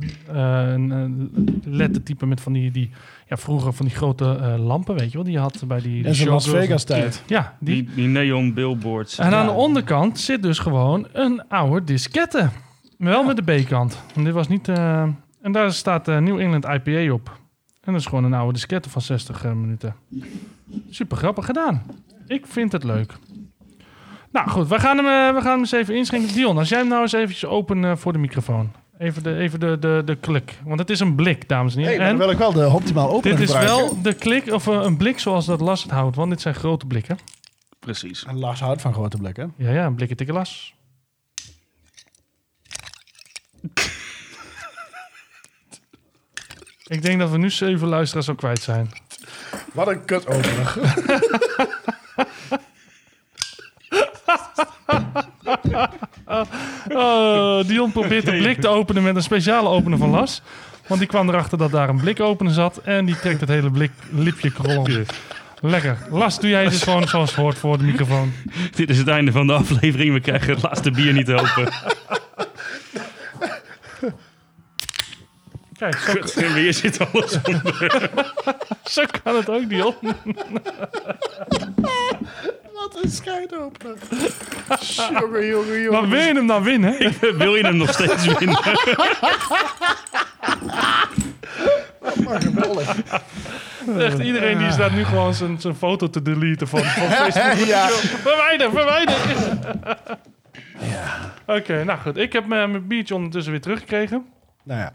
B: een, een lettertype met van die, die ja, vroeger van die grote eh, lampen, weet je wel, die je had bij die, die
A: In zijn Las
B: showgirls.
A: Vegas tijd.
B: Ja, die.
C: die, die neon billboards.
B: En aan de onderkant zit dus gewoon een oude diskette. Wel met de B-kant. Want Dit was niet... eh, en daar staat eh, New England IPA op. En dat is gewoon een oude diskette van 60 eh, minuten. Super grappig gedaan. Ik vind het leuk. Nou goed, we gaan hem, eh, we gaan hem eens even inschenken. Dion, als jij hem nou eens eventjes open eh, voor de microfoon. <laughs> Even de, even de, de, de klik. Want het is een blik, dames en heren.
A: Hey, maar dan
B: en
A: wil ik wel de optimaal open
B: dit is
A: gebruiken.
B: wel de klik, of eh, een blik zoals dat Lars het houdt. Want dit zijn grote blikken.
C: Precies.
A: En Lars houdt van grote blikken.
B: Ja, ja, een blikje dikke
A: <laughs>
B: Las. Ik denk dat we nu zeven luisteraars al kwijt zijn. <laughs>
A: Wat een kut opener.
B: Oh, Dion probeert de blik te openen met een speciale opener van Las. Want die kwam erachter dat daar een blikopener zat. En die trekt het hele blik, lipje krol. Lekker. Las, doe jij dit gewoon zoals het hoort voor de microfoon.
C: <laughs> Dit is het einde van de aflevering. We krijgen het laatste bier niet open.
B: Oh. Kijk, zo,
C: En weer zit alles op.
B: <laughs> zo kan het ook, Dion.
A: Wat een scheidopener. jongen, jongen, jongen.
B: Maar wil je hem dan winnen?
C: eh, Wil je hem nog steeds winnen?
B: Echt, iedereen die staat nu gewoon zijn, zijn foto te deleten van,
A: <laughs>
B: van Facebook.
A: Ja.
B: Verwijder, verwijder. Oké, nou goed. Ik heb mijn mijn biertje ondertussen weer teruggekregen.
A: Nou ja,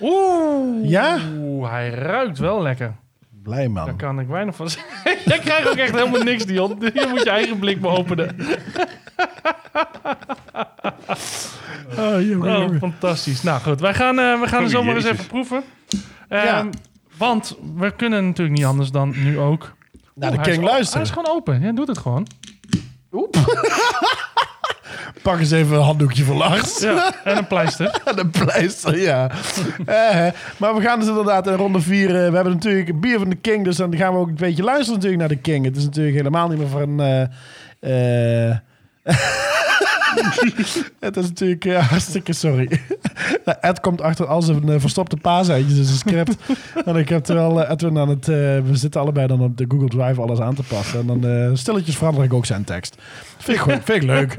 B: Oeh.
A: Ja?
B: Oeh, hij ruikt wel lekker.
A: blij man.
B: Daar kan ik weinig van zeggen. <laughs> Jij krijgt ook echt helemaal niks, Dion. <laughs> Je moet je eigen blik maar openen.
A: Oh, jongen,
B: Oh,
A: jongen.
B: fantastisch. Nou goed, wij gaan, eh, we gaan er
C: Oh,
B: zomaar eens
C: jezus.
B: even proeven.
A: Ja.
B: Ehm, Want we kunnen natuurlijk niet anders dan nu ook.
A: Naar
B: Oeh, hij is
A: de King
B: o- Hij is
A: luisteren.
B: gewoon open. Jij doet het gewoon.
A: Pak eens even een handdoekje voor Lars.
B: Ja. En een
A: <laughs>
B: pleister.
A: Aan de pleister, ja. Eh, maar we gaan dus inderdaad in ronde 4. we hebben natuurlijk een bier van de King, dus dan gaan we ook een beetje luisteren natuurlijk naar de King. Het is natuurlijk helemaal niet meer van... <laughs> eh, eh, het is natuurlijk eh, hartstikke sorry. Nou, Ed komt achter als een eh, verstopte paaseitjes in zijn script. en ik heb terwijl eh, Edwin aan het... eh, we zitten allebei dan op de Google Drive alles aan te passen. En dan eh, stilletjes verander ik ook zijn tekst. Vind ik, goed, vind ik leuk.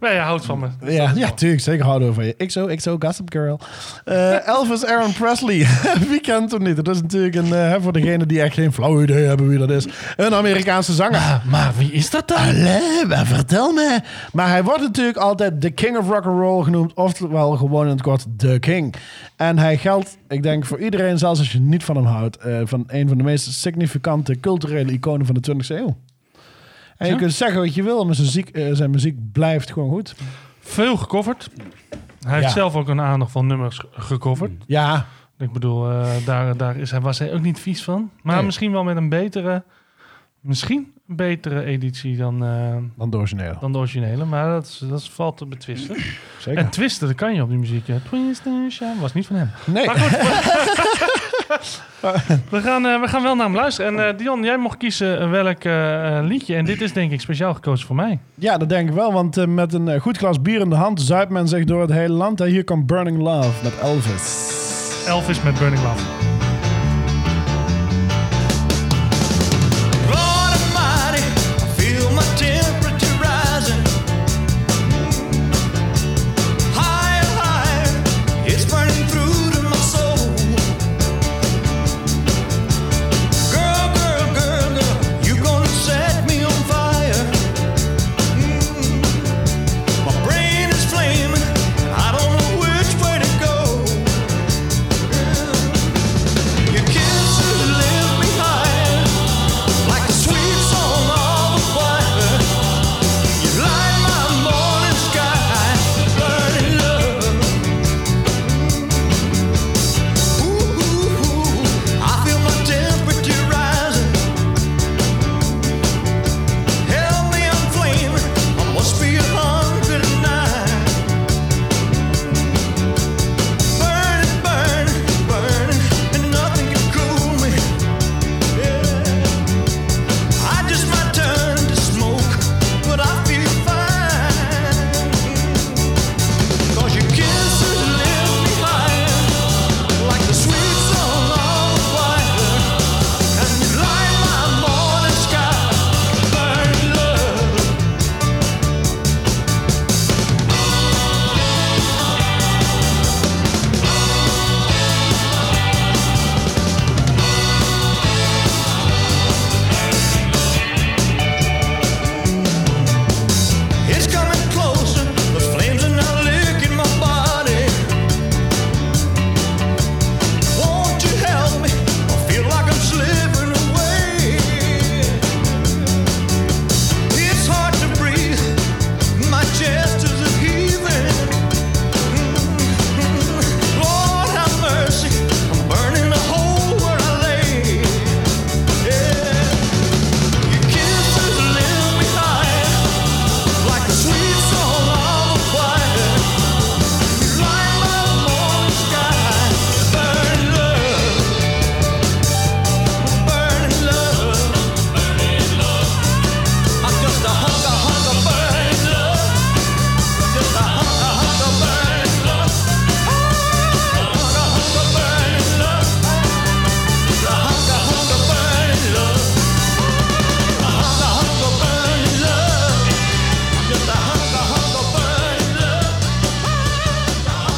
B: Nee, je houdt van me.
A: Ja, ja, tuurlijk. Zeker houden we van je. XO, XO, Gossip Girl. Eh, Elvis Aaron Presley. <laughs> wie kent hem niet? Dat is natuurlijk een, eh, hè, voor degenen die echt geen flauw idee hebben wie dat is, een Amerikaanse zanger.
B: Ah, Maar wie is dat dan?
A: Allee, maar vertel me. Maar hij wordt natuurlijk altijd de King of Rock and Roll genoemd, oftewel gewoon in het kort The King. En hij geldt, ik denk voor iedereen, zelfs als je niet van hem houdt, eh, van een van de meest significante culturele iconen van de 20e eeuw. En je
B: Ja.
A: kunt zeggen wat je wil, maar zijn muziek, eh, zijn muziek blijft gewoon goed.
B: Veel gecoverd. Hij heeft
A: Ja.
B: zelf ook een aandacht van nummers ge- gecoverd.
A: Ja,
B: Ik bedoel, eh, daar, daar is hij, was hij ook niet vies van. Maar
A: Nee.
B: misschien wel met een betere, misschien een betere editie dan, eh,
A: dan doorsneden.
B: dan de originele. Maar dat, is, dat is, valt te betwisten.
A: Zeker.
B: En twisten, dat kan je op die muziek. Ja. Twisten, ja, was niet van hem.
A: Nee.
B: Maar goed.
A: <laughs>
B: we, gaan, eh, we gaan wel naar hem luisteren. En eh, Dion, jij mocht kiezen welk eh, eh, liedje. En dit is denk ik speciaal gekozen voor mij.
A: Ja, dat denk ik wel, want eh, met een eh, goed glas bier in de hand zuipt men zich door het hele land. En hier komt Burning Love met Elvis.
B: Elvis met Burning Love.
H: Lord Almighty, I feel my temperature rising. Higher, higher, it's burning through to my soul. Girl, girl, girl, girl, you gonna set me on fire. Mm-hmm. My brain is flaming, and I don't know which way to go. Your kisses lift me higher. Like a sweet song of the choir, you light my morning sky, burning love. Ooh, I feel my temperature rising. Help me, I'm flaming. I must be a hundred and nine. Burning, burning, burning, and nothing can cool me. Yeah. I just might turn to smoke, but I feel fine. 'Cause your kisses lift me higher, like the sweet song of the choir, and you light my morning sky, burning love. It's coming closer. The flames are now licking my body. Won't you help me? I feel like I'm slipping away. It's hard to breathe. My chest is heaving. Lord have mercy. I'm burning a hole where I lay. Yeah. Your kisses lift me higher. Like the sweet song of a choir, you light my morning sky, burning love, burning love, burning love. I'm just a hunger, hunger, burning love, just a hunger, hunger, burning love, hunger, hunger, burning love, a hunger, hunger, burning love, a hunger, hunger, burning love.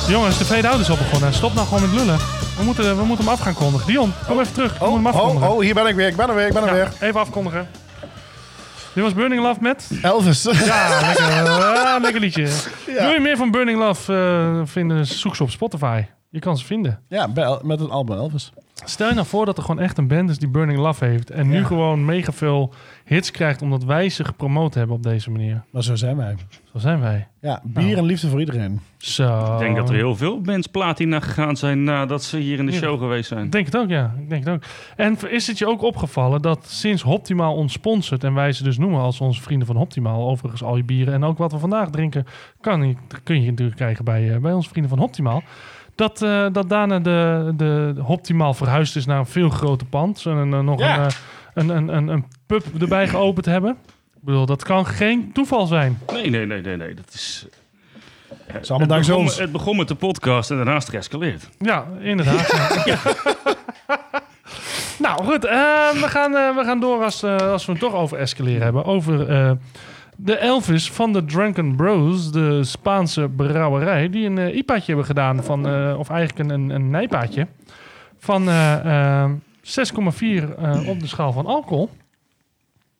B: Jongens, de fade-out is al begonnen. Stop nou gewoon met lullen. We moeten, we moeten hem af gaan kondigen. Dion, kom even terug. We moeten hem
A: oh,
B: afkondigen.
A: oh, hier ben ik weer, ik ben er weer, ik ben er
B: Ja,
A: weer.
B: even afkondigen. Dit was Burning Love met...
A: Elvis.
B: Ja,
A: <laughs>
B: lekker, ah, lekker liedje. Wil je meer van Burning Love eh, vinden, zoek ze op Spotify. Je kan ze vinden.
A: ja, bij El- met het album Elvis.
B: Stel je nou voor dat er gewoon echt een band is die Burning Love heeft... en nu gewoon mega veel hits krijgt omdat wij ze gepromoot hebben op deze manier.
A: Maar zo zijn wij.
B: Zo zijn wij.
A: Ja, bier en liefde voor iedereen.
B: Zo.
C: Ik denk dat er heel veel bands platina gegaan zijn nadat ze hier in de show geweest zijn.
B: Ik denk het ook, ja. Ik denk het ook. En is het je ook opgevallen dat sinds Hoptimaal ons sponsort... en wij ze dus noemen als onze vrienden van Hoptimaal... overigens al je bieren en ook wat we vandaag drinken... Kan, je- kun je natuurlijk krijgen bij, eh, bij onze vrienden van Hoptimaal... dat, eh, dat daarna de, de Hoptimaal verhuisd is naar een veel groter pand... en een, eh, nog
A: Ja.
B: een, eh, een, een, een, een pub erbij geopend hebben... Ik bedoel, dat kan geen toeval zijn.
C: Nee, nee, nee, nee, nee. Dat is
A: is allemaal dankzij
C: begon,
A: ons.
C: eh, het begon met de podcast en daarnaast geëscaleerd.
B: Ja, inderdaad.
A: <laughs>
B: ja. nou, goed. eh, we, gaan, eh, we gaan door als, eh, als we het toch over escaleren hebben. Over eh, de Elvis van de Drunken Bros, de Spaanse brouwerij, die een eh IPA'tje hebben gedaan, van, eh, of eigenlijk een, een, een nijpaatje, van eh, eh, 6,4 eh, op de schaal van alcohol.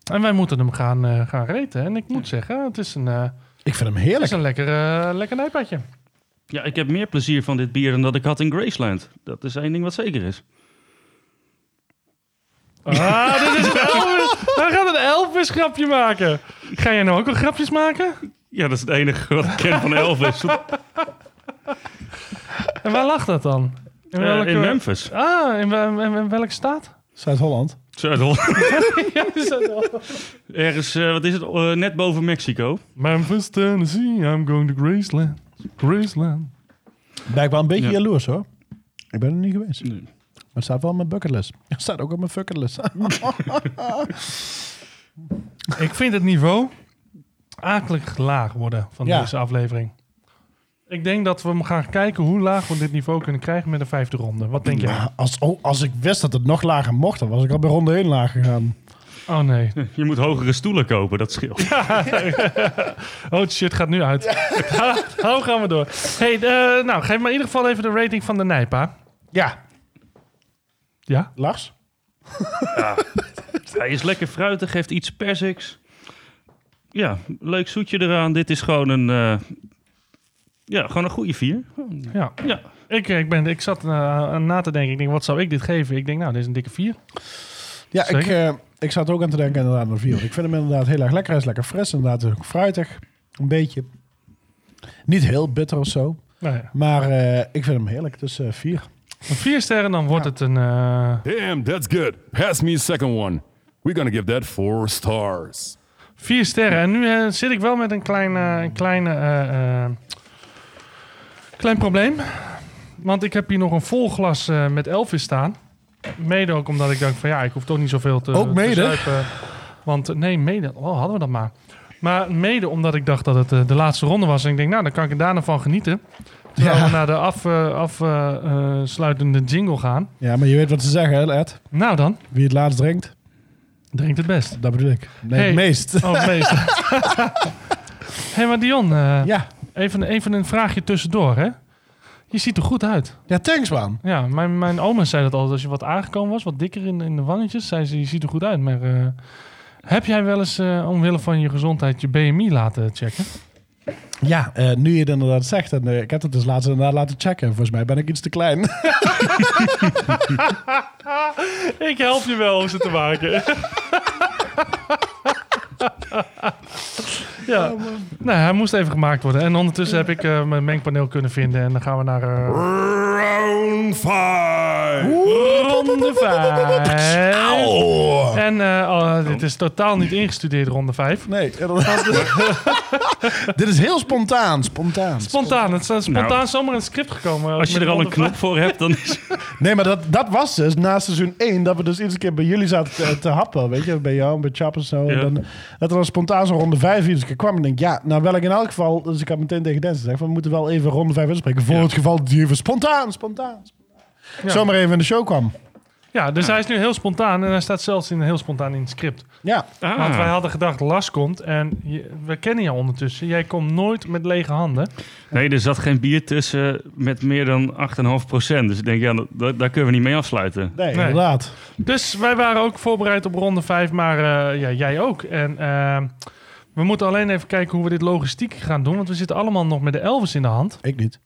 B: En wij moeten hem gaan, eh, gaan reten. En ik moet zeggen, het is een, eh,
A: Ik vind hem
B: het is
A: heerlijk.
B: een lekker, eh, lekker nijpaatje.
C: Ja, ik heb meer plezier van dit bier dan dat ik had in Graceland. Dat is één ding wat zeker is.
B: Ah, dit is een Elvis. Hij gaat een Elvis grapje maken. Ga jij nou ook al grapjes maken?
C: Ja, dat is het enige wat ik ken van
B: <laughs>
C: Elvis. Eh,
B: En waar lag dat dan? In, welke-
C: Eh, in Memphis.
B: Ah, in, wel- in- in welke staat? <laughs>
A: Zuid-Holland.
C: Zuid-Holland.
B: Ja, is dat wel.
C: Ergens, eh, wat is het, Eh, net boven Mexico.
B: Memphis, Tennessee, I'm going to Graceland. Graceland.
A: Ben ik wel een beetje
C: Ja.
A: jaloers hoor. Ik ben er niet geweest.
C: Nee.
A: Maar het staat wel op mijn bucketlist. <laughs> Het staat ook op mijn bucketlist.
B: <laughs> Ik vind het niveau akelig laag worden van
A: Ja.
B: deze aflevering. Ik denk dat we gaan kijken hoe laag we dit niveau kunnen krijgen met de vijfde ronde. Wat denk je?
A: Ja, als, oh, als ik wist dat het nog lager mocht, dan was ik al bij ronde 1 laag gegaan.
B: Oh nee.
C: <laughs> Je moet hogere stoelen kopen, dat scheelt.
B: Oh shit, gaat nu uit. <laughs> Hou gaan we door. Hey, eh, nou, geef maar in ieder geval even de rating van de Nijpa.
A: Ja,
B: Ja?
A: Lars?
C: Hij is lekker fruitig, heeft iets persiks. <laughs> Ja, leuk zoetje eraan. Dit is gewoon een, eh, ja, gewoon een goede vier.
B: Ja.
C: Ja.
B: Ik, eh, ik, ben, ik zat eh, na te denken. Ik denk, wat zou ik dit geven? Ik denk, nou, dit is een dikke 4.
A: Ja, ik,
B: Zeker.
A: eh, ik zat ook aan te denken inderdaad aan een vier. Ik vind hem inderdaad heel erg lekker. Hij is lekker fris, inderdaad ook fruitig. Een beetje. Niet heel bitter of zo.
B: Nou ja.
A: Maar eh, ik vind hem heerlijk. Dus eh vier.
B: Een 4 sterren, dan wordt het een... eh,
D: Damn, that's good. Pass me a second one. We're gonna give that four stars.
B: Vier sterren. En nu eh, zit ik wel met een klein, eh, een kleine, eh, eh, klein probleem. Want ik heb hier nog een vol glas eh, met Elvis staan. Mede ook omdat ik denk van ja, ik hoef toch niet zoveel te
A: Ook
B: te
A: mede?
B: zuipen. Want eh, nee, mede. Oh, hadden we dat maar. Maar mede omdat ik dacht dat het eh, de laatste ronde was. En ik denk, nou, dan kan ik er daarna van genieten. Terwijl we naar de afsluitende af, eh, eh, sluitende jingle gaan.
A: Ja, maar je weet wat ze zeggen, hè, Ed?
B: Nou dan,
A: Wie het laatst drinkt,
B: drinkt het best.
A: dat bedoel ik. Nee,
B: Hey.
A: het meest.
B: Oh, meester. Hé, hey, maar Dion, eh,
A: Ja.
B: Even, even een vraagje tussendoor, hè? Je ziet er goed uit.
A: ja, thanks man.
B: Ja, mijn, mijn oma zei dat altijd. Als je wat aangekomen was, wat dikker in, in de wangetjes, zei ze, je ziet er goed uit. Maar eh, heb jij wel eens, eh, omwille van je gezondheid, je BMI laten checken?
A: <laughs> Ja, eh, nu je het inderdaad zegt. En, eh, ik heb het dus laatst inderdaad laten checken. Volgens mij ben ik iets te klein.
B: <laughs>
A: <laughs>
B: Ik help je wel om ze te maken. <laughs> ja, nou, hij moest even gemaakt worden. En ondertussen heb ik eh, mijn mengpaneel kunnen vinden. En dan gaan we naar eh,
D: Round five.
B: ronde 5. En eh, oh, dit is totaal niet ingestudeerd, ronde 5.
A: Nee, inderdaad. <laughs> Dit is heel spontaan, spontaan.
B: Spontaan. Het is eh, spontaan
C: Nou.
B: zomaar in het script gekomen.
C: Als je
B: Met
C: er al een
B: ronde
C: knop voor hebt, dan is
A: <laughs> Nee, maar dat, dat was dus na seizoen 1 dat we dus iedere keer bij jullie zaten te, te happen. Weet je, bij jou en bij Chap en zo.
C: Ja.
A: En dan, dat er dan spontaan zo'n ronde 5 iedere keer kwam. En ik denk, ja, nou wel ik in elk geval. Dus ik had meteen tegen Dennis gezegd, van, we moeten wel even ronde 5 inspreken. Voor het geval dat die even spontaan, spontaan. spontaan. Zomaar even in de show kwam.
B: vijf. Ja, dus hij is nu heel spontaan. En hij staat zelfs in, heel spontaan in het script.
A: Ja,
B: Want wij
C: ah.
B: hadden gedacht, Lars komt. En je- we kennen jou ondertussen. Jij komt nooit met lege handen.
C: Nee, er zat geen bier tussen met meer dan 8,5 procent. Dus ik denk, ja, dat, dat- daar kunnen we niet mee afsluiten.
A: nee,
B: Nee.
A: inderdaad.
B: Dus wij waren ook voorbereid op ronde 5. Maar eh, ja, jij ook. En eh, we moeten alleen even kijken hoe we dit logistiek gaan doen. Want we zitten allemaal nog met de Elvis in de hand.
A: Ik niet.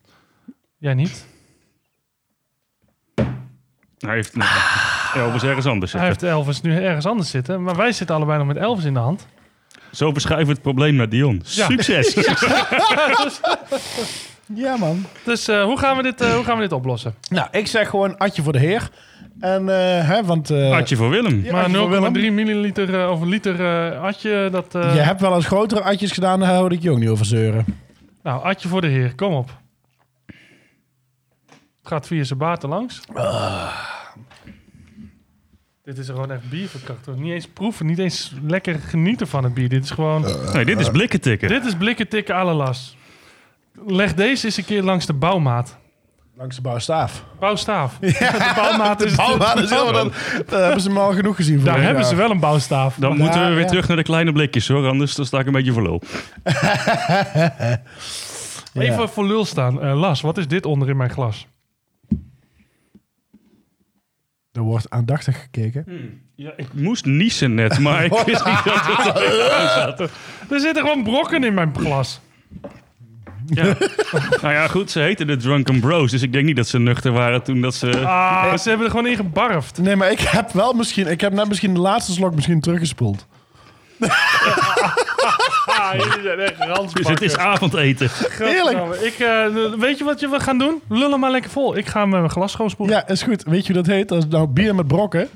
B: Jij niet.
C: Hij heeft nou, Elvis ergens anders
B: Hij
C: zitten.
B: heeft de Elvis nu ergens anders zitten. Maar wij zitten allebei nog met Elvis in de hand.
C: Zo verschuiven we het probleem naar Dion.
B: <laughs>
C: Succes! <laughs>
A: Ja, man.
B: Dus eh, hoe, gaan we dit, eh, hoe gaan we dit oplossen?
A: Nou, ik zeg gewoon Adje voor de heer. En, eh, hè, want... eh,
C: Hartje voor Willem.
A: Ja,
B: Maar
A: Adje voor Willem.
B: 0,3 milliliter eh, of een liter eh, atje, dat... eh,
A: Je hebt wel eens grotere atjes gedaan, daar houd ik je ook niet over zeuren.
B: Nou, atje voor de heer, kom op. Het gaat via zijn baten langs. Dit is gewoon echt bierverkracht. hoor. Niet eens proeven, niet eens lekker genieten van het bier. Dit is gewoon...
C: Nee, dit is blikken tikken.
B: Dit is blikken tikken à la las. Leg deze eens een keer langs de bouwmaat.
A: Langs de bouwstaaf. <laughs>
B: Bouwstaaf. de bouwmaat is...
A: Oh, maar dat is helemaal- dat, dat hebben ze maar al genoeg gezien.
B: Daar
A: vorig
B: hebben
A: jaar.
B: ze wel een bouwstaaf.
C: Dan moeten we weer
A: ja.
C: terug naar de kleine blikjes hoor, anders dan sta ik een beetje voor lul.
B: Even
A: Ja.
B: voor lul staan. Eh, Las, wat is dit onder in mijn glas?
A: Er wordt aandachtig gekeken.
C: Ja, ik Hm. moest niezen net, maar
A: <laughs>
C: ik wist niet dat het er aan zat.
B: <laughs> Er zitten gewoon brokken in mijn
C: <laughs>
B: glas.
C: Ja. Nou ja, goed, ze heten de Drunken Bros, dus ik denk niet dat ze nuchter waren toen dat ze...
B: Ah, ze hebben er gewoon in gebarfd.
A: Nee, maar ik heb wel misschien... Ik heb net misschien de laatste slok misschien teruggespoeld.
B: Ah, jullie zijn echt
C: Dus het is avondeten.
A: Heerlijk.
B: Ik, eh, weet je wat je- we gaan doen? Lullen maar lekker vol. Ik ga met mijn glas gewoon spoelen.
A: Ja, is goed. Weet je hoe dat heet? Dat is nou bier met brokken.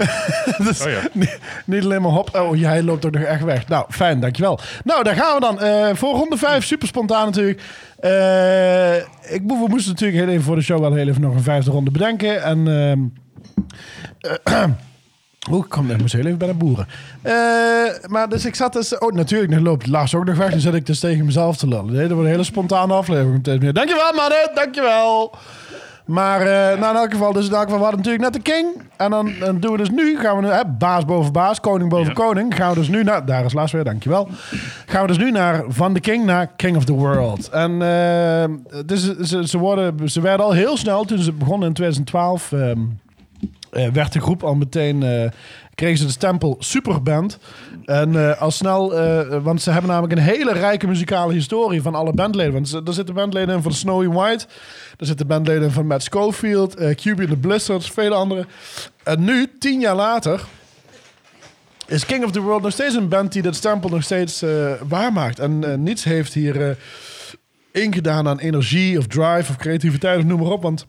A: <laughs> dus
C: Oh ja.
A: niet, niet alleen maar hop. Oh, jij loopt ook nog echt weg. Nou, fijn, dankjewel. Nou, daar gaan we dan. Eh, voor ronde 5, super spontaan natuurlijk. Eh, ik, mo- we moesten natuurlijk heel even voor de show wel heel even nog een vijfde ronde bedenken. En... ehm <clears throat> Hoe ik kwam net moest heel even bij de boeren. Eh, maar dus ik zat dus... Oh, natuurlijk, dan loopt Lars ook nog weg. Dan zat ik dus tegen mezelf te lullen. Nee, dat wordt een hele spontane aflevering. op deze manier. Dankjewel, mannen. Dankjewel. Maar eh, nou, in elk geval, dus in elk geval, we hadden natuurlijk net de king. En dan, dan doen we dus nu, gaan we nu, hè, baas boven baas, koning boven koning. Gaan we dus nu naar, daar is Lars weer, dankjewel. Gaan we dus nu naar van de king naar king of the world. En eh, dus, ze, ze, worden, ze werden al heel snel, toen ze begonnen in 2012... ehm, eh, werd de groep al meteen. eh, kregen ze de stempel superband. En eh, al snel. eh, want ze hebben namelijk een hele rijke muzikale historie van alle bandleden. Want ze, er zitten bandleden in van Snowy White. Er zitten bandleden in van Matt Schofield. eh QB and the Blizzards. Vele andere. En nu, tien jaar later. Is King of the World nog steeds een band die dat stempel nog steeds eh, waarmaakt? En eh, niets heeft hier eh, ingedaan aan energie of drive of creativiteit of noem maar op. Want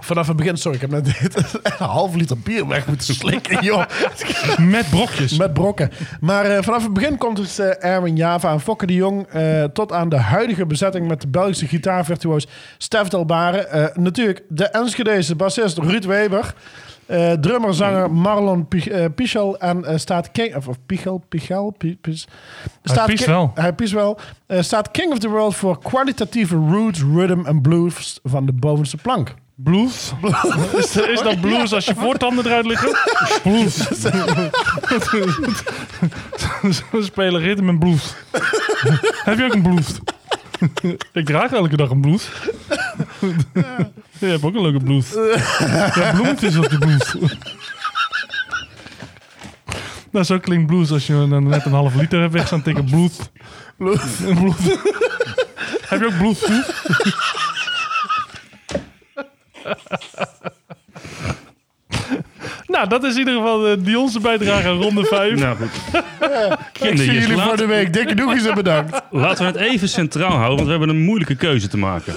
A: Vanaf het begin, sorry, ik heb net <laughs> een half liter bier weg moeten slikken, joh.
B: <laughs> Met brokjes.
A: Met brokken. Maar eh, vanaf het begin komt dus eh, Erwin Java en Fokke de Jong... eh, tot aan de huidige bezetting met de Belgische gitaarvirtuoos Stef Delbare. Eh, natuurlijk de Enschedeze bassist Ruud Weber. eh drummer, zanger Marlon Pich- eh, Pichel. En eh, staat King... Of, of Pichel, Pichel, Pi- Pis- staat
B: piest
A: Ki-
B: wel.
A: Hij piest wel. Eh, staat King of the World voor kwalitatieve roots, rhythm en blues van de bovenste plank.
B: Blues.
A: <laughs>
B: Is, is dat blues als je voortanden eruit liggen? Blues. <laughs> We spelen ritme en blues. <laughs> Heb je ook een blues? <laughs> Ik draag elke dag een blues. <laughs> Je hebt ook een leuke blues. Je hebt bloemetjes op je blues. Nou, zo klinkt blues als je dan net een half liter hebt weg zo'n tikken. Blues. <laughs> Blues. Heb je ook blues? <laughs> Nou, dat is in ieder geval eh, Dion's bijdrage aan ronde 5.
C: Nou goed.
A: Ik zie jullie voor
C: Laat-
A: de week. Dikke doekjes en bedankt.
C: Laten we het even centraal houden, want we hebben een moeilijke keuze te maken.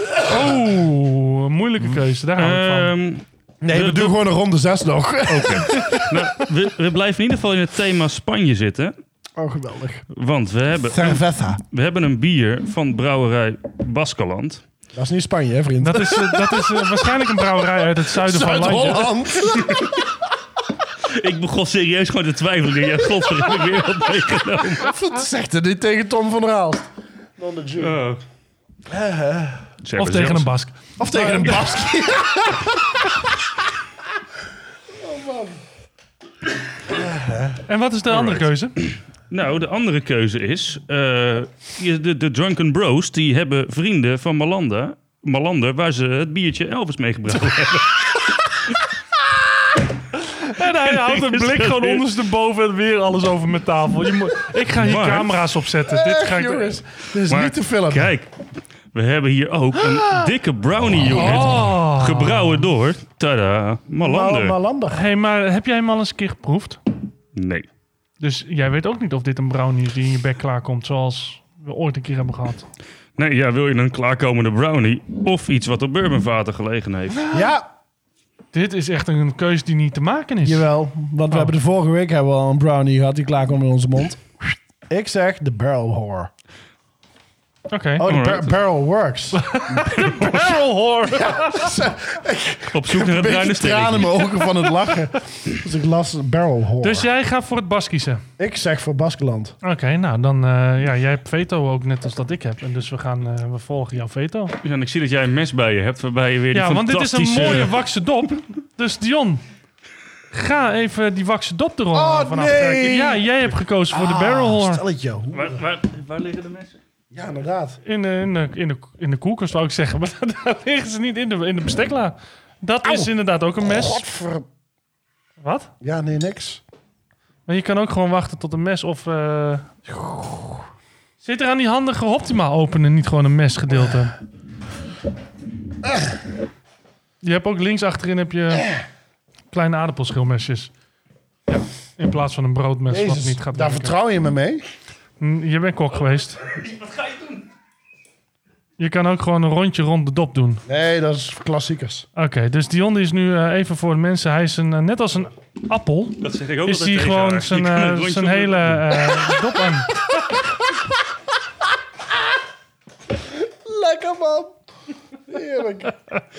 B: Oeh, een moeilijke keuze. Oh, Daar hou ik van.
C: Ehm,
A: Nee, we doen gewoon een ronde zes nog. <laughs>
C: nou, we, we blijven in ieder geval in het thema Spanje zitten.
A: <laughs> Oh, geweldig.
C: Want we hebben,
A: Cerveza.
C: we hebben een bier van brouwerij Baskeland.
A: Dat is niet Spanje, hè, vriend?
B: Dat is, eh, dat is eh, waarschijnlijk een brouwerij uit het
A: <laughs>
B: zuiden van Landje.
C: Ik begon serieus gewoon te twijfelen. Ik denk, Ja, godverdomme, ik weer
B: <laughs>
C: wat meegenomen.
A: Wat zegt hij dit tegen Tom van der Haalst?
C: Zeg
B: Oh. Of
C: maar
B: tegen
C: zelfs.
B: een Bask.
A: Of tegen een <laughs> Baski.
B: En wat is de andere keuze?
C: <clears throat> Nou, de andere keuze is... eh, de, de Drunken Bros, die hebben vrienden van Malanda... Malander, waar ze het biertje Elvis mee
B: <laughs>
C: gebruiken.
B: En hij houdt
A: <laughs>
B: een blik gewoon ondersteboven en weer alles over mijn tafel. Je moet, ik ga hier
C: Maar-
B: camera's opzetten. Dus Dit ga ik doen.
A: Jongens, dit is
C: Maar
A: niet te filmen.
C: Kijk, we hebben hier ook een dikke brownie unit.
B: Ah. Oh.
C: Gebrouwen door, tada, Malander.
A: Mal- Malander.
B: Hey, maar heb jij hem al eens een keer geproefd?
C: nee.
B: Dus jij weet ook niet of dit een brownie is die in je bek klaarkomt, zoals we ooit een keer hebben gehad.
C: Nee, ja, wil je een klaarkomende brownie of iets wat op bourbonvaten gelegen heeft?
A: Ja,
B: Dit is echt een keuze die niet te maken is. Oh.
A: jawel. Want we hebben de vorige week hebben we al een brownie gehad die klaar kwam in onze mond. Ik zeg de barrel whore.
B: Oké.
A: Oh, de
C: Alright.
A: bar- barrel works. <laughs>
B: Barrel whore.
C: Op zoek naar
A: Een
C: het bruine
A: beetje tranen in
C: sterretje.
A: mijn ogen van het lachen. <laughs> Dus ik las barrel hoor.
B: Dus jij gaat voor het Bas kiezen.
A: Ik zeg voor Baskeland.
B: Oké, nou dan, eh, ja, jij hebt veto ook net als dat ik heb. En dus we gaan, eh, we volgen jouw veto.
C: Ja, en ik zie dat jij een mes bij je hebt, waarbij je weer die
B: Ja, want dit is een
C: fantastische-
B: mooie wakse dop. Dus Dion, ga even die wakse dop erop
A: Oh,
B: vanaf
A: nee.
B: kijken. Ja, jij hebt gekozen voor de barrel
A: Ah,
B: horn.
A: Stelletje. hoer.
C: Waar, waar, waar liggen de messen?
A: Ja, inderdaad.
B: In, de- in, de, in, de, in de koelkast zou ik zeggen, <laughs> maar daar liggen ze niet in de, in de bestekla. Dat is inderdaad ook een mes.
A: Godver...
B: Wat?
A: Ja, nee, niks.
B: Maar je kan ook gewoon wachten tot een mes of... eh, Zit er aan die handige Optima openen niet gewoon een mesgedeelte? Je hebt ook links achterin heb je kleine aardappelschilmesjes. Ja, in plaats van een broodmes wat
A: Jezus,
B: niet gaat
A: daar
B: werken.
A: vertrouw je me mee?
B: Mm, Je bent kok geweest. Wat ga je doen? Je kan ook gewoon een rondje rond de dop doen.
A: Nee, dat is voor klassiekers.
B: Oké, dus Dion die is nu eh, even voor de mensen. Hij is een, eh, net als een appel.
C: Dat zeg ik ook
B: is
C: altijd
B: hij
C: tegen haar.
B: gewoon
C: Je
B: zijn,
C: kan een
B: eh,
C: rondje
B: zijn
C: om de-
B: hele eh, dop aan.
A: Lekker, man. Heerlijk.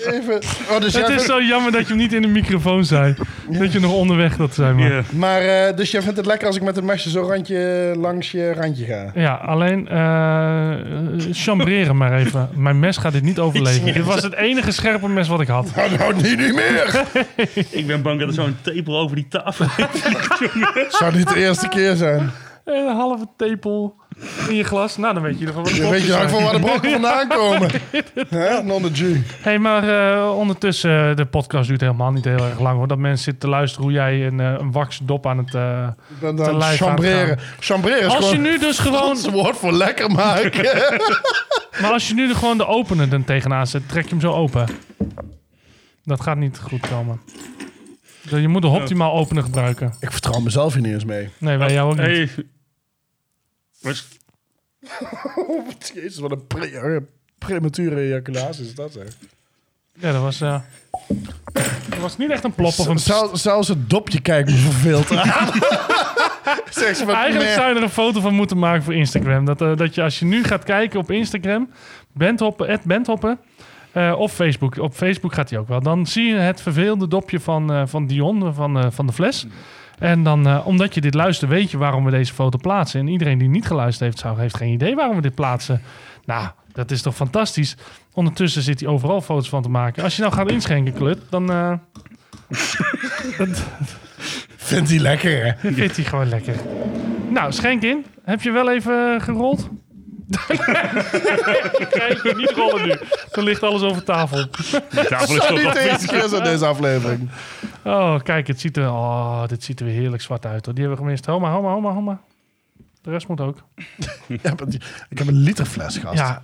A: Even... Oh,
B: Het
A: dus jij
B: is
A: vindt-
B: zo jammer dat je hem niet in de microfoon zei. Dat je nog onderweg dat zei. Maar.
C: Ja.
A: Maar eh, dus jij vindt het lekker als ik met een mesje zo randje langs je randje ga?
B: Ja, alleen eh, eh, chambreren maar even. Mijn mes gaat dit niet overleven. Dit was het enige scherpe mes wat ik had.
A: Nou, nou niet, niet
C: <laughs>
A: meer.
C: Ik ben bang dat er zo'n tepel over die tafel
A: Zou niet de eerste keer zijn.
B: Een halve tepel <laughs> in je glas. Nou, dan weet je in ieder geval wat
A: Dan
B: het
A: weet je ook
B: <laughs>
A: van waar de brokken vandaan komen. Hè? Non de G.
B: Hey, maar eh, ondertussen, eh, de podcast duurt helemaal niet heel erg lang hoor. Dat mensen zitten te luisteren hoe jij een, eh, een waksdop aan het... eh,
A: Ik ben
B: Te
A: dan
B: lijf
A: chambreren. Chambreren is
B: Als je
A: gewoon
B: nu dus gewoon...
A: het woord voor lekker maken. <laughs>
B: Maar als je nu er gewoon de opener dan tegenaan zet, trek je hem zo open. Dat gaat niet goed komen. Dus Je moet de optimaal opener gebruiken.
A: ik vertrouw mezelf hier niet eens mee.
B: Nee, bij jou ook niet.
C: Hey. Was-
A: Jezus, wat een pre- eh, premature ejaculatie is dat zeg.
B: Ja, dat was... eh, dat was niet echt een plop of een... pssst.
A: Zelf, zelfs het dopje kijkt me
B: <laughs>
A: verveeld aan. <laughs> zeg ze wat
B: Eigenlijk
A: meer.
B: zou je er een foto van moeten maken voor Instagram. Dat, eh, dat je als je nu gaat kijken op Instagram, bandhoppen, at bandhoppen, eh, of Facebook. Op Facebook gaat hij ook wel. Dan zie je het verveelde dopje van, eh, van Dion, eh, van, eh, van de fles. En dan, eh, omdat je dit luistert, weet je waarom we deze foto plaatsen. En iedereen die niet geluisterd heeft, zou, heeft geen idee waarom we dit plaatsen. Nou, dat is toch fantastisch. Ondertussen zit hij overal foto's van te maken. Als je nou gaat inschenken, klut, dan eh <laughs>
A: Vindt hij lekker, hè?
B: vindt hij gewoon lekker. Nou, schenk in. Heb je wel even eh, gerold? <laughs> Kijk, niet rollen nu. Dan ligt alles over tafel.
C: Die tafel is
A: Zou
C: toch
A: niet
C: wel
A: de eerste keer zijn deze aflevering.
B: Oh, kijk, het ziet er, oh, dit ziet er weer heerlijk zwart uit. Hoor. Die hebben we gemist. Homa, homa, homa, homa. De rest moet ook.
A: <laughs> Ja, maar die- ik heb een literfles, gast.
B: Ja,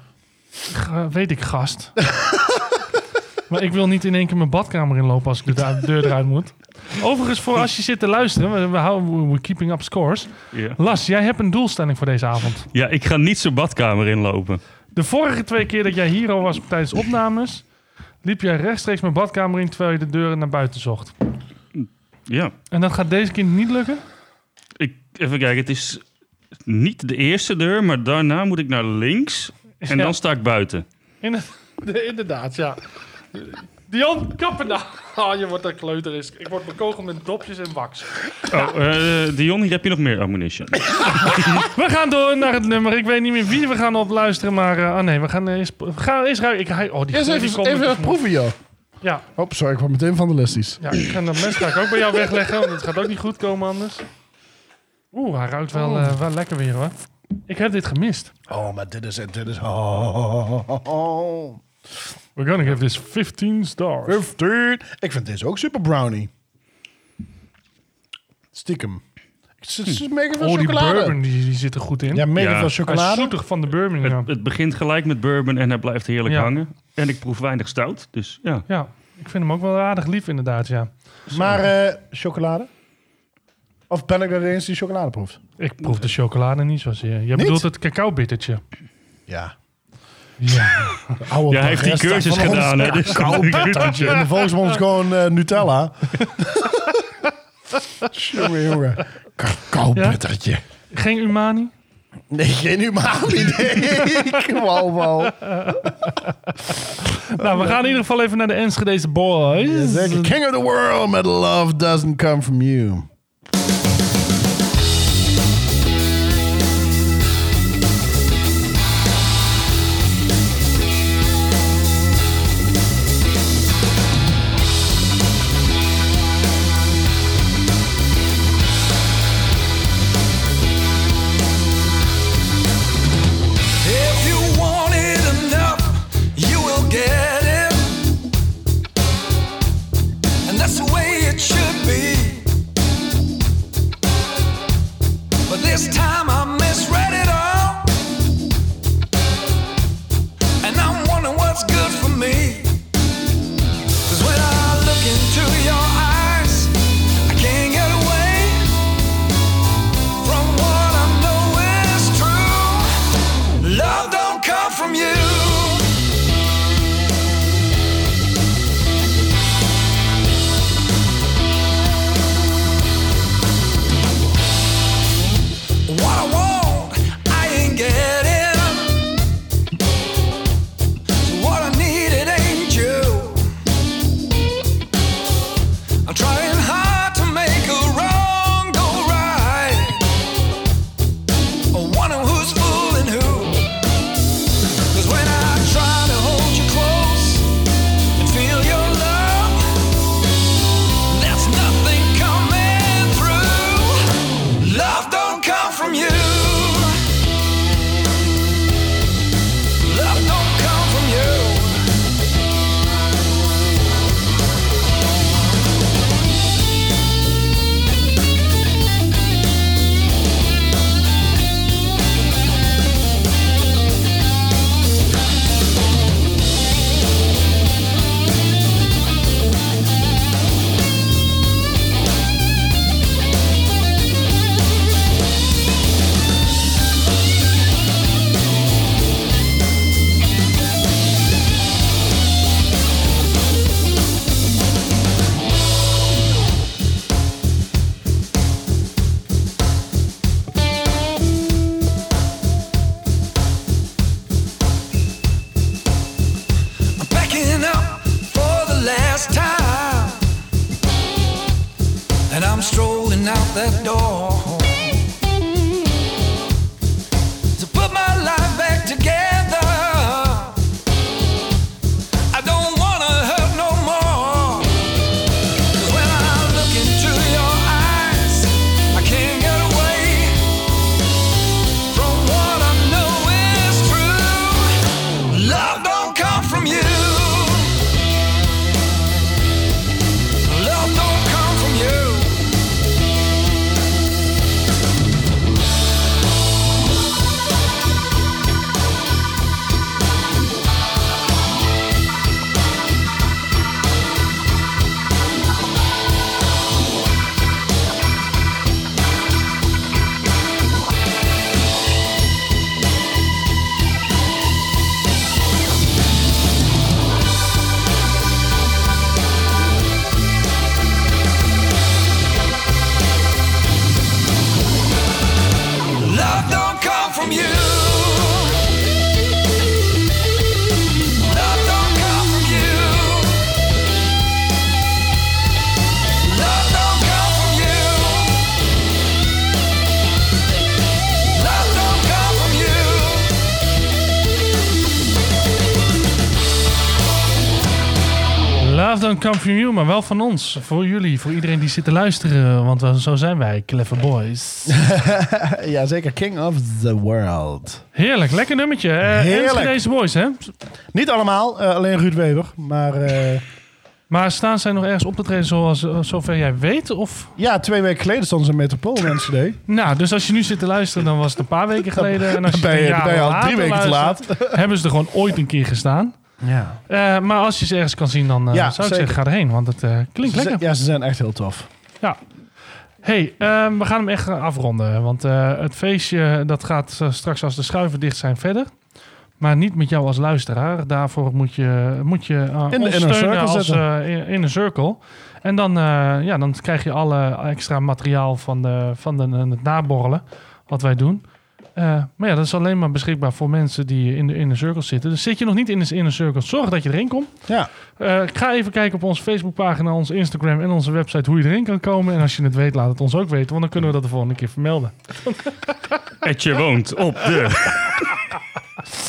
B: g- weet ik, gast. <laughs> maar ik wil niet in één keer mijn badkamer inlopen als ik de da- deur eruit moet. Overigens, voor als je zit te luisteren, we, we houden we're keeping up scores.
C: Ja.
B: Las, jij hebt een doelstelling voor deze avond.
C: Ja, ik ga niet zijn badkamer inlopen.
B: De vorige twee keer dat jij hier al was tijdens opnames, liep jij rechtstreeks mijn badkamer in terwijl je de deuren naar buiten zocht.
C: Ja.
B: En dat gaat deze keer niet lukken?
C: Ik, even kijken, het is niet de eerste deur, maar daarna moet ik naar links. En
B: Ja.
C: dan sta ik buiten.
B: In <laughs> inderdaad, ja. Dion, kappen <laughs> nou. Oh, je wordt een kleuter. is. Ik word bekogeld met dopjes en wax.
C: Oh, eh, Dion, hier heb je nog meer ammunition.
B: We gaan door naar het nummer. Ik weet niet meer wie we gaan opluisteren, maar... eh, ah nee, we gaan eerst... we gaan eerst ruiken. Ik, hij- oh, die
A: Eerst
B: geur,
A: even,
B: die komt
A: even,
B: met-
A: proeven, joh.
B: Ja,
A: Hop, sorry, ik word meteen vandalistisch.
B: ja, ik ga dat mes ga ik ook bij jou wegleggen, want het gaat ook niet goed komen anders. Oeh, hij ruikt wel, eh, wel lekker weer, hoor. Ik heb dit gemist.
A: Oh, maar dit is het, dit is... Oh, oh, oh.
B: We're gonna give this 15 stars.
A: Fifteen. Ik vind deze ook super brownie. Stiekem. Het is- het is mega veel
B: Oh, die
A: chocolade.
B: bourbon die, die zit er goed in.
A: Ja, mega
C: Ja.
A: veel
B: Hij is
A: chocolade.
B: zoetig van de bourbon, ja.
C: Het begint gelijk met bourbon en hij blijft heerlijk
B: Ja.
C: hangen. En ik proef weinig stout, dus ja.
B: Ja, ik vind hem ook wel aardig lief inderdaad, ja.
A: Maar eh, chocolade? Of ben ik dat eens die chocolade proeft?
B: Ik proef de chocolade niet zozeer. Je bedoelt het cacaobittertje.
A: Ja. <laughs>
B: Ja.
A: Oude
C: Jij heeft die
A: barista
C: cursus
A: van ons.
C: gedaan, hè?
A: <laughs>
C: Dus
A: En de volksmond is gewoon eh,
B: <laughs>
A: Nutella. jongen, jongen. Cacao bittertje.
B: Geen umani?
A: Nee, geen humaan <laughs> idee. Wauw, wauw.
B: Nou, we gaan in ieder geval even naar de Enschedeze boys.
A: Zeker. King of the world, but love doesn't come from you.
I: If you want it enough, you will get it. And that's the way it should be. But this time I misread it all. And I'm wondering what's good for me. Cause when I look into your eyes, I can't get away from what I know is true. Love don't come from you. What I want, I ain't getting. What I need, it ain't you. I'm trying hard to make a wrong go right. I wonder who's fooling who. Cause when I try to hold you close and feel your love, there's nothing coming through. Love don't come from you. Love don't come from you. I'm packing up for the last time. And I'm strolling out that door to put my life back together. I don't want to hurt no more. 'Cause when I look into your eyes, I can't get away from what I know is true. Love don't come from you. Love don't come from you. Love don't come from you. Love don't come from you. Love don't come from you. Love don't come from you.
B: Love don't come from you, maar wel van ons. Voor jullie, voor iedereen die zit te luisteren. Want we- zo zijn wij, clever boys.
A: <laughs> Ja, zeker. King of the world.
B: Heerlijk, lekker nummertje.
A: Heerlijk.
B: Heerlijk. Enschedeze boys, hè?
A: Niet allemaal, eh, alleen Ruud Weber. Maar eh,
B: Maar staan zij nog ergens op te treden zoals, zover jij weet? Of?
A: ja, twee weken geleden stond ze in Metropool in Enschede.
B: Nou, dus als je nu zit te luisteren, dan was het een paar weken geleden. En als je
A: ben
B: het
A: je-
B: een jaar
A: ben je al
B: later
A: drie weken te
B: luistert, <laughs> Hebben ze er gewoon ooit een keer gestaan.
A: Ja.
B: Eh, maar als je ze ergens kan zien, dan eh,
A: Ja,
B: zou ik
A: zeker.
B: zeggen, ga erheen. Want het eh, klinkt
A: Ze,
B: lekker.
A: ja, ze zijn echt heel tof.
B: Ja. hey, ehm, we gaan hem echt eh, afronden. Want eh, het feestje dat gaat eh, straks als de schuiven dicht zijn verder. Maar niet met jou als luisteraar. Daarvoor moet je, moet je eh,
A: In de
B: ons steunen
A: inner circle
B: als,
A: zetten.
B: eh, in- in een cirkel. En dan, eh, ja, dan krijg je alle extra materiaal van, de, van de, het naborrelen. Wat wij doen. Eh, Eh, maar ja, dat is alleen maar beschikbaar voor mensen die in de inner circle zitten. Dus zit je nog niet in de inner circle, zorg dat je erin komt.
A: Ja.
B: Eh, ik ga even kijken op onze Facebookpagina, onze Instagram en onze website hoe je erin kan komen. En als je het weet, laat het ons ook weten, want dan kunnen we dat de volgende keer vermelden.
C: Etje woont op de...
B: <laughs>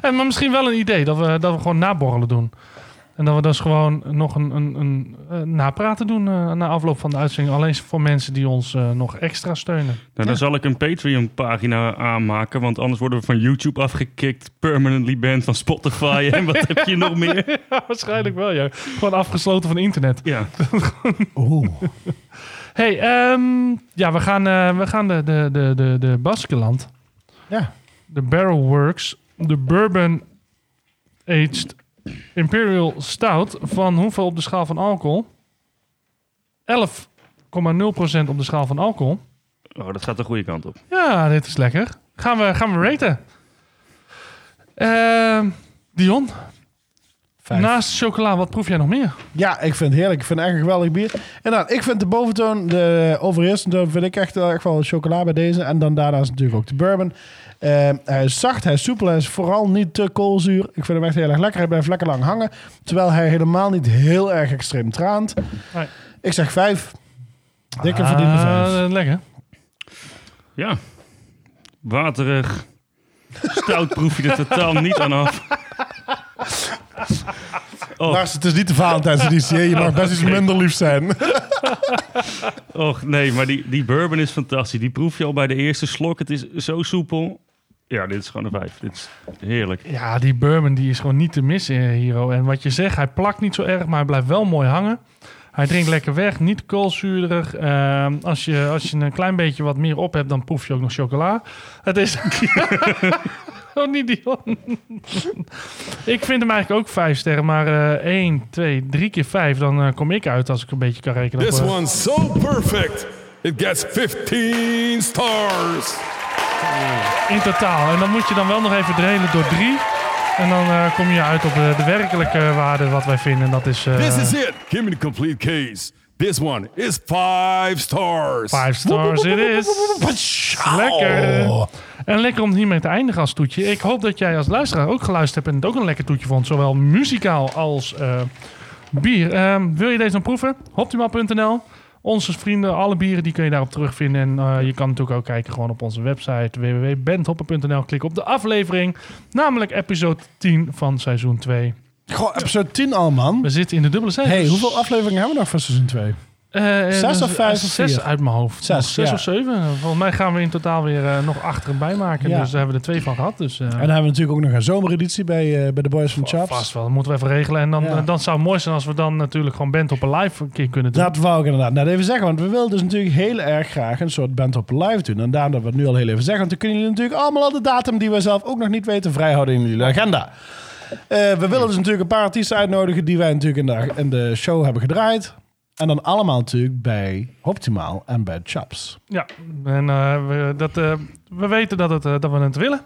B: En Eh, maar misschien wel een idee dat we, dat we gewoon naborrelen doen. En dat we dus gewoon nog een, een, een eh, napraten doen eh, na afloop van de uitzending. Alleen voor mensen die ons eh, nog extra steunen.
C: Nou, dan zal ik een Patreon-pagina aanmaken, want anders worden we van YouTube afgekikt, permanently banned van Spotify en wat heb je nog
B: <laughs>
C: meer?
B: Waarschijnlijk wel, ja. Gewoon afgesloten van internet. <laughs>
C: Ja,
A: Oeh.
B: hey, ehm, ja, we gaan, eh, we gaan de, de, de, de, de Baskeland,
A: Ja.
B: de Barrel Works, de Bourbon Aged Imperial Stout. Van hoeveel op de schaal van alcohol? 11,0% op de schaal van alcohol.
C: oh, dat gaat de goede kant op.
B: Ja, dit is lekker. Gaan we, gaan we raten. Ehm, Dion, Nou,
A: Vijf.
B: naast chocola, wat proef jij nog meer?
A: Ja, ik vind het heerlijk. Ik vind het echt een geweldig bier. Inderdaad, ik vind de boventoon, de overheersende toon, vind ik echt, eh, echt wel chocola bij deze. En dan daarnaast natuurlijk ook de bourbon. Eh, hij is zacht, hij is soepel, hij is vooral niet te koolzuur. Ik vind hem echt heel erg lekker. Hij blijft lekker lang hangen. Terwijl hij helemaal niet heel erg extreem traant.
B: Nee.
A: Ik zeg vijf. Dikke
B: Ah,
A: verdiende vijf.
B: lekker.
C: Ja, waterig, stout proef je er totaal niet aan af. Oh.
A: Lars, het is niet de Valentijnseditie. hè. Je mag best <laughs> iets minder lief zijn.
C: Och nee, maar die, die bourbon is fantastisch. Die proef je al bij de eerste slok. Het is zo soepel. Ja, dit is gewoon een vijf. Dit is heerlijk.
B: Ja, die bourbon die is gewoon niet te missen, eh, Hero. En wat je zegt, hij plakt niet zo erg, maar hij blijft wel mooi hangen. Hij drinkt lekker weg, niet koolzuurig. Ehm, als, je, als je een klein beetje wat meer op hebt, dan proef je ook nog chocola. Het is... <laughs> oh, niet Dion. ik vind hem eigenlijk ook vijf sterren, maar eh één, twee, drie keer vijf, dan eh, kom ik uit als ik een beetje kan rekenen.
D: This
B: op, eh,
D: one's so perfect, it gets 15 stars.
B: In totaal. En dan moet je dan wel nog even delen door drie. En dan eh, kom je uit op de, de werkelijke waarde wat wij vinden. En dat is eh,
D: This is it. Give me the complete case. This one is five stars.
B: five stars it is.
D: Oh.
B: Lekker. En lekker om hiermee te eindigen als toetje. Ik hoop dat jij als luisteraar ook geluisterd hebt en het ook een lekker toetje vond. Zowel muzikaal als eh, bier. Ehm, wil je deze dan proeven? Optimaal.nl. Onze vrienden, alle bieren, die kun je daarop terugvinden. En eh, je kan natuurlijk ook kijken gewoon op onze website www.bendhopper.nl. Klik op de aflevering, namelijk episode 10 van seizoen 2.
A: Goh, episode 10 al, man.
B: We zitten in de dubbele cijfers.
A: hey, hoeveel afleveringen hebben we nog van seizoen 2?
B: Eh, eh,
A: Zes of vijf of
B: Zes
A: vier?
B: uit mijn hoofd.
A: Zes,
B: Nog zes
A: ja.
B: of zeven. Volgens mij gaan we in totaal weer eh, nog achter en bij maken.
A: Ja.
B: Dus daar hebben we er twee van gehad. Dus, eh,
A: En dan hebben we natuurlijk ook nog een zomereditie bij, eh, bij de Boys van Chaps.
B: Vast wel, dat moeten we even regelen. En dan,
A: Ja.
B: eh, dan zou het mooi zijn als we dan natuurlijk gewoon band op een live een keer kunnen doen.
A: Dat wou ik inderdaad net even zeggen. Want we willen dus natuurlijk heel erg graag een soort band op live doen. En daarom dat we het nu al heel even zeggen. Want dan kunnen jullie natuurlijk allemaal al de datum die we zelf ook nog niet weten vrijhouden in jullie agenda. Eh, we willen dus natuurlijk een paar artiesten uitnodigen die wij natuurlijk in de, in de show hebben gedraaid. En dan allemaal natuurlijk bij Optimaal en bij Chaps.
B: Ja, en eh, we, dat, eh, we weten dat, het, eh, dat we het willen.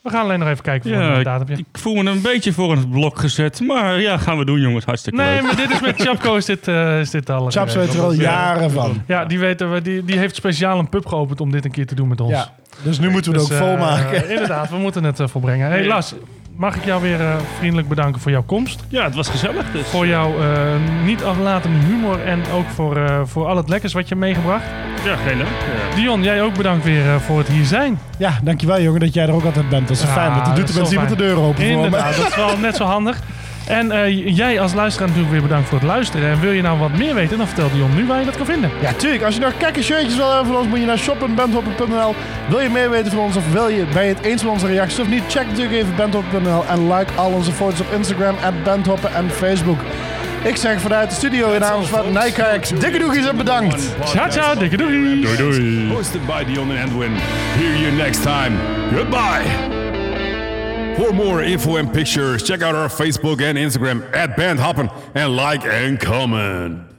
B: We gaan alleen nog even kijken voor
C: Ja,
B: een
C: ik,
B: datum. Ja.
C: ik voel me een beetje voor een blok gezet. Maar ja, gaan we doen jongens. Hartstikke
B: Nee,
C: leuk.
B: maar dit is met Chapco is dit, eh, is dit al.
A: Chaps weet er al
B: geregeld.
A: jaren van.
B: Ja, die, weten we, die, die heeft speciaal een pub geopend om dit een keer te doen met ons.
A: Ja, dus nu moeten we het
B: Dus,
A: ook
B: eh,
A: volmaken.
B: <laughs> inderdaad, we moeten het eh, volbrengen. Hey Lars, mag ik jou weer eh, vriendelijk bedanken voor jouw komst.
C: Ja, het was gezellig dus.
B: Voor jouw eh, niet aflatende humor en ook voor, eh, voor al het lekkers wat je hebt meegebracht.
C: Ja, geen dank. Ja.
B: Dion, jij ook bedankt weer eh, voor het hier zijn.
A: Ja, dankjewel jongen dat jij er ook altijd bent. Dat is
B: Ja,
A: fijn, want dat doet
B: Ah, dat
A: de
B: is
A: mensen
B: wel
A: iemand de
B: fijn.
A: deur open voor me.
B: Inderdaad, dat is wel net zo handig. En eh, jij als luisteraar natuurlijk weer bedankt voor het luisteren. En wil je nou wat meer weten, dan vertel Dion nu waar je dat kan vinden.
A: Ja, tuurlijk. Als je nog kekke shirtjes wil hebben van ons, moet je naar shop.bandhopper.nl. Wil je meer weten van ons of wil je, ben je het eens met onze reacties of niet? Check natuurlijk even bandhopper.nl en like al onze foto's op Instagram, at bandhopper en Facebook. Ik zeg vanuit de studio in namens van Nijkerk, dikke doegies en bedankt!
B: Ciao, ciao, dikke doei.
D: Doei doei. Hosted by Dion and Edwin. Hear you next time. Goodbye. For more info and pictures, check out our Facebook and Instagram at Bandhoppen and like and comment.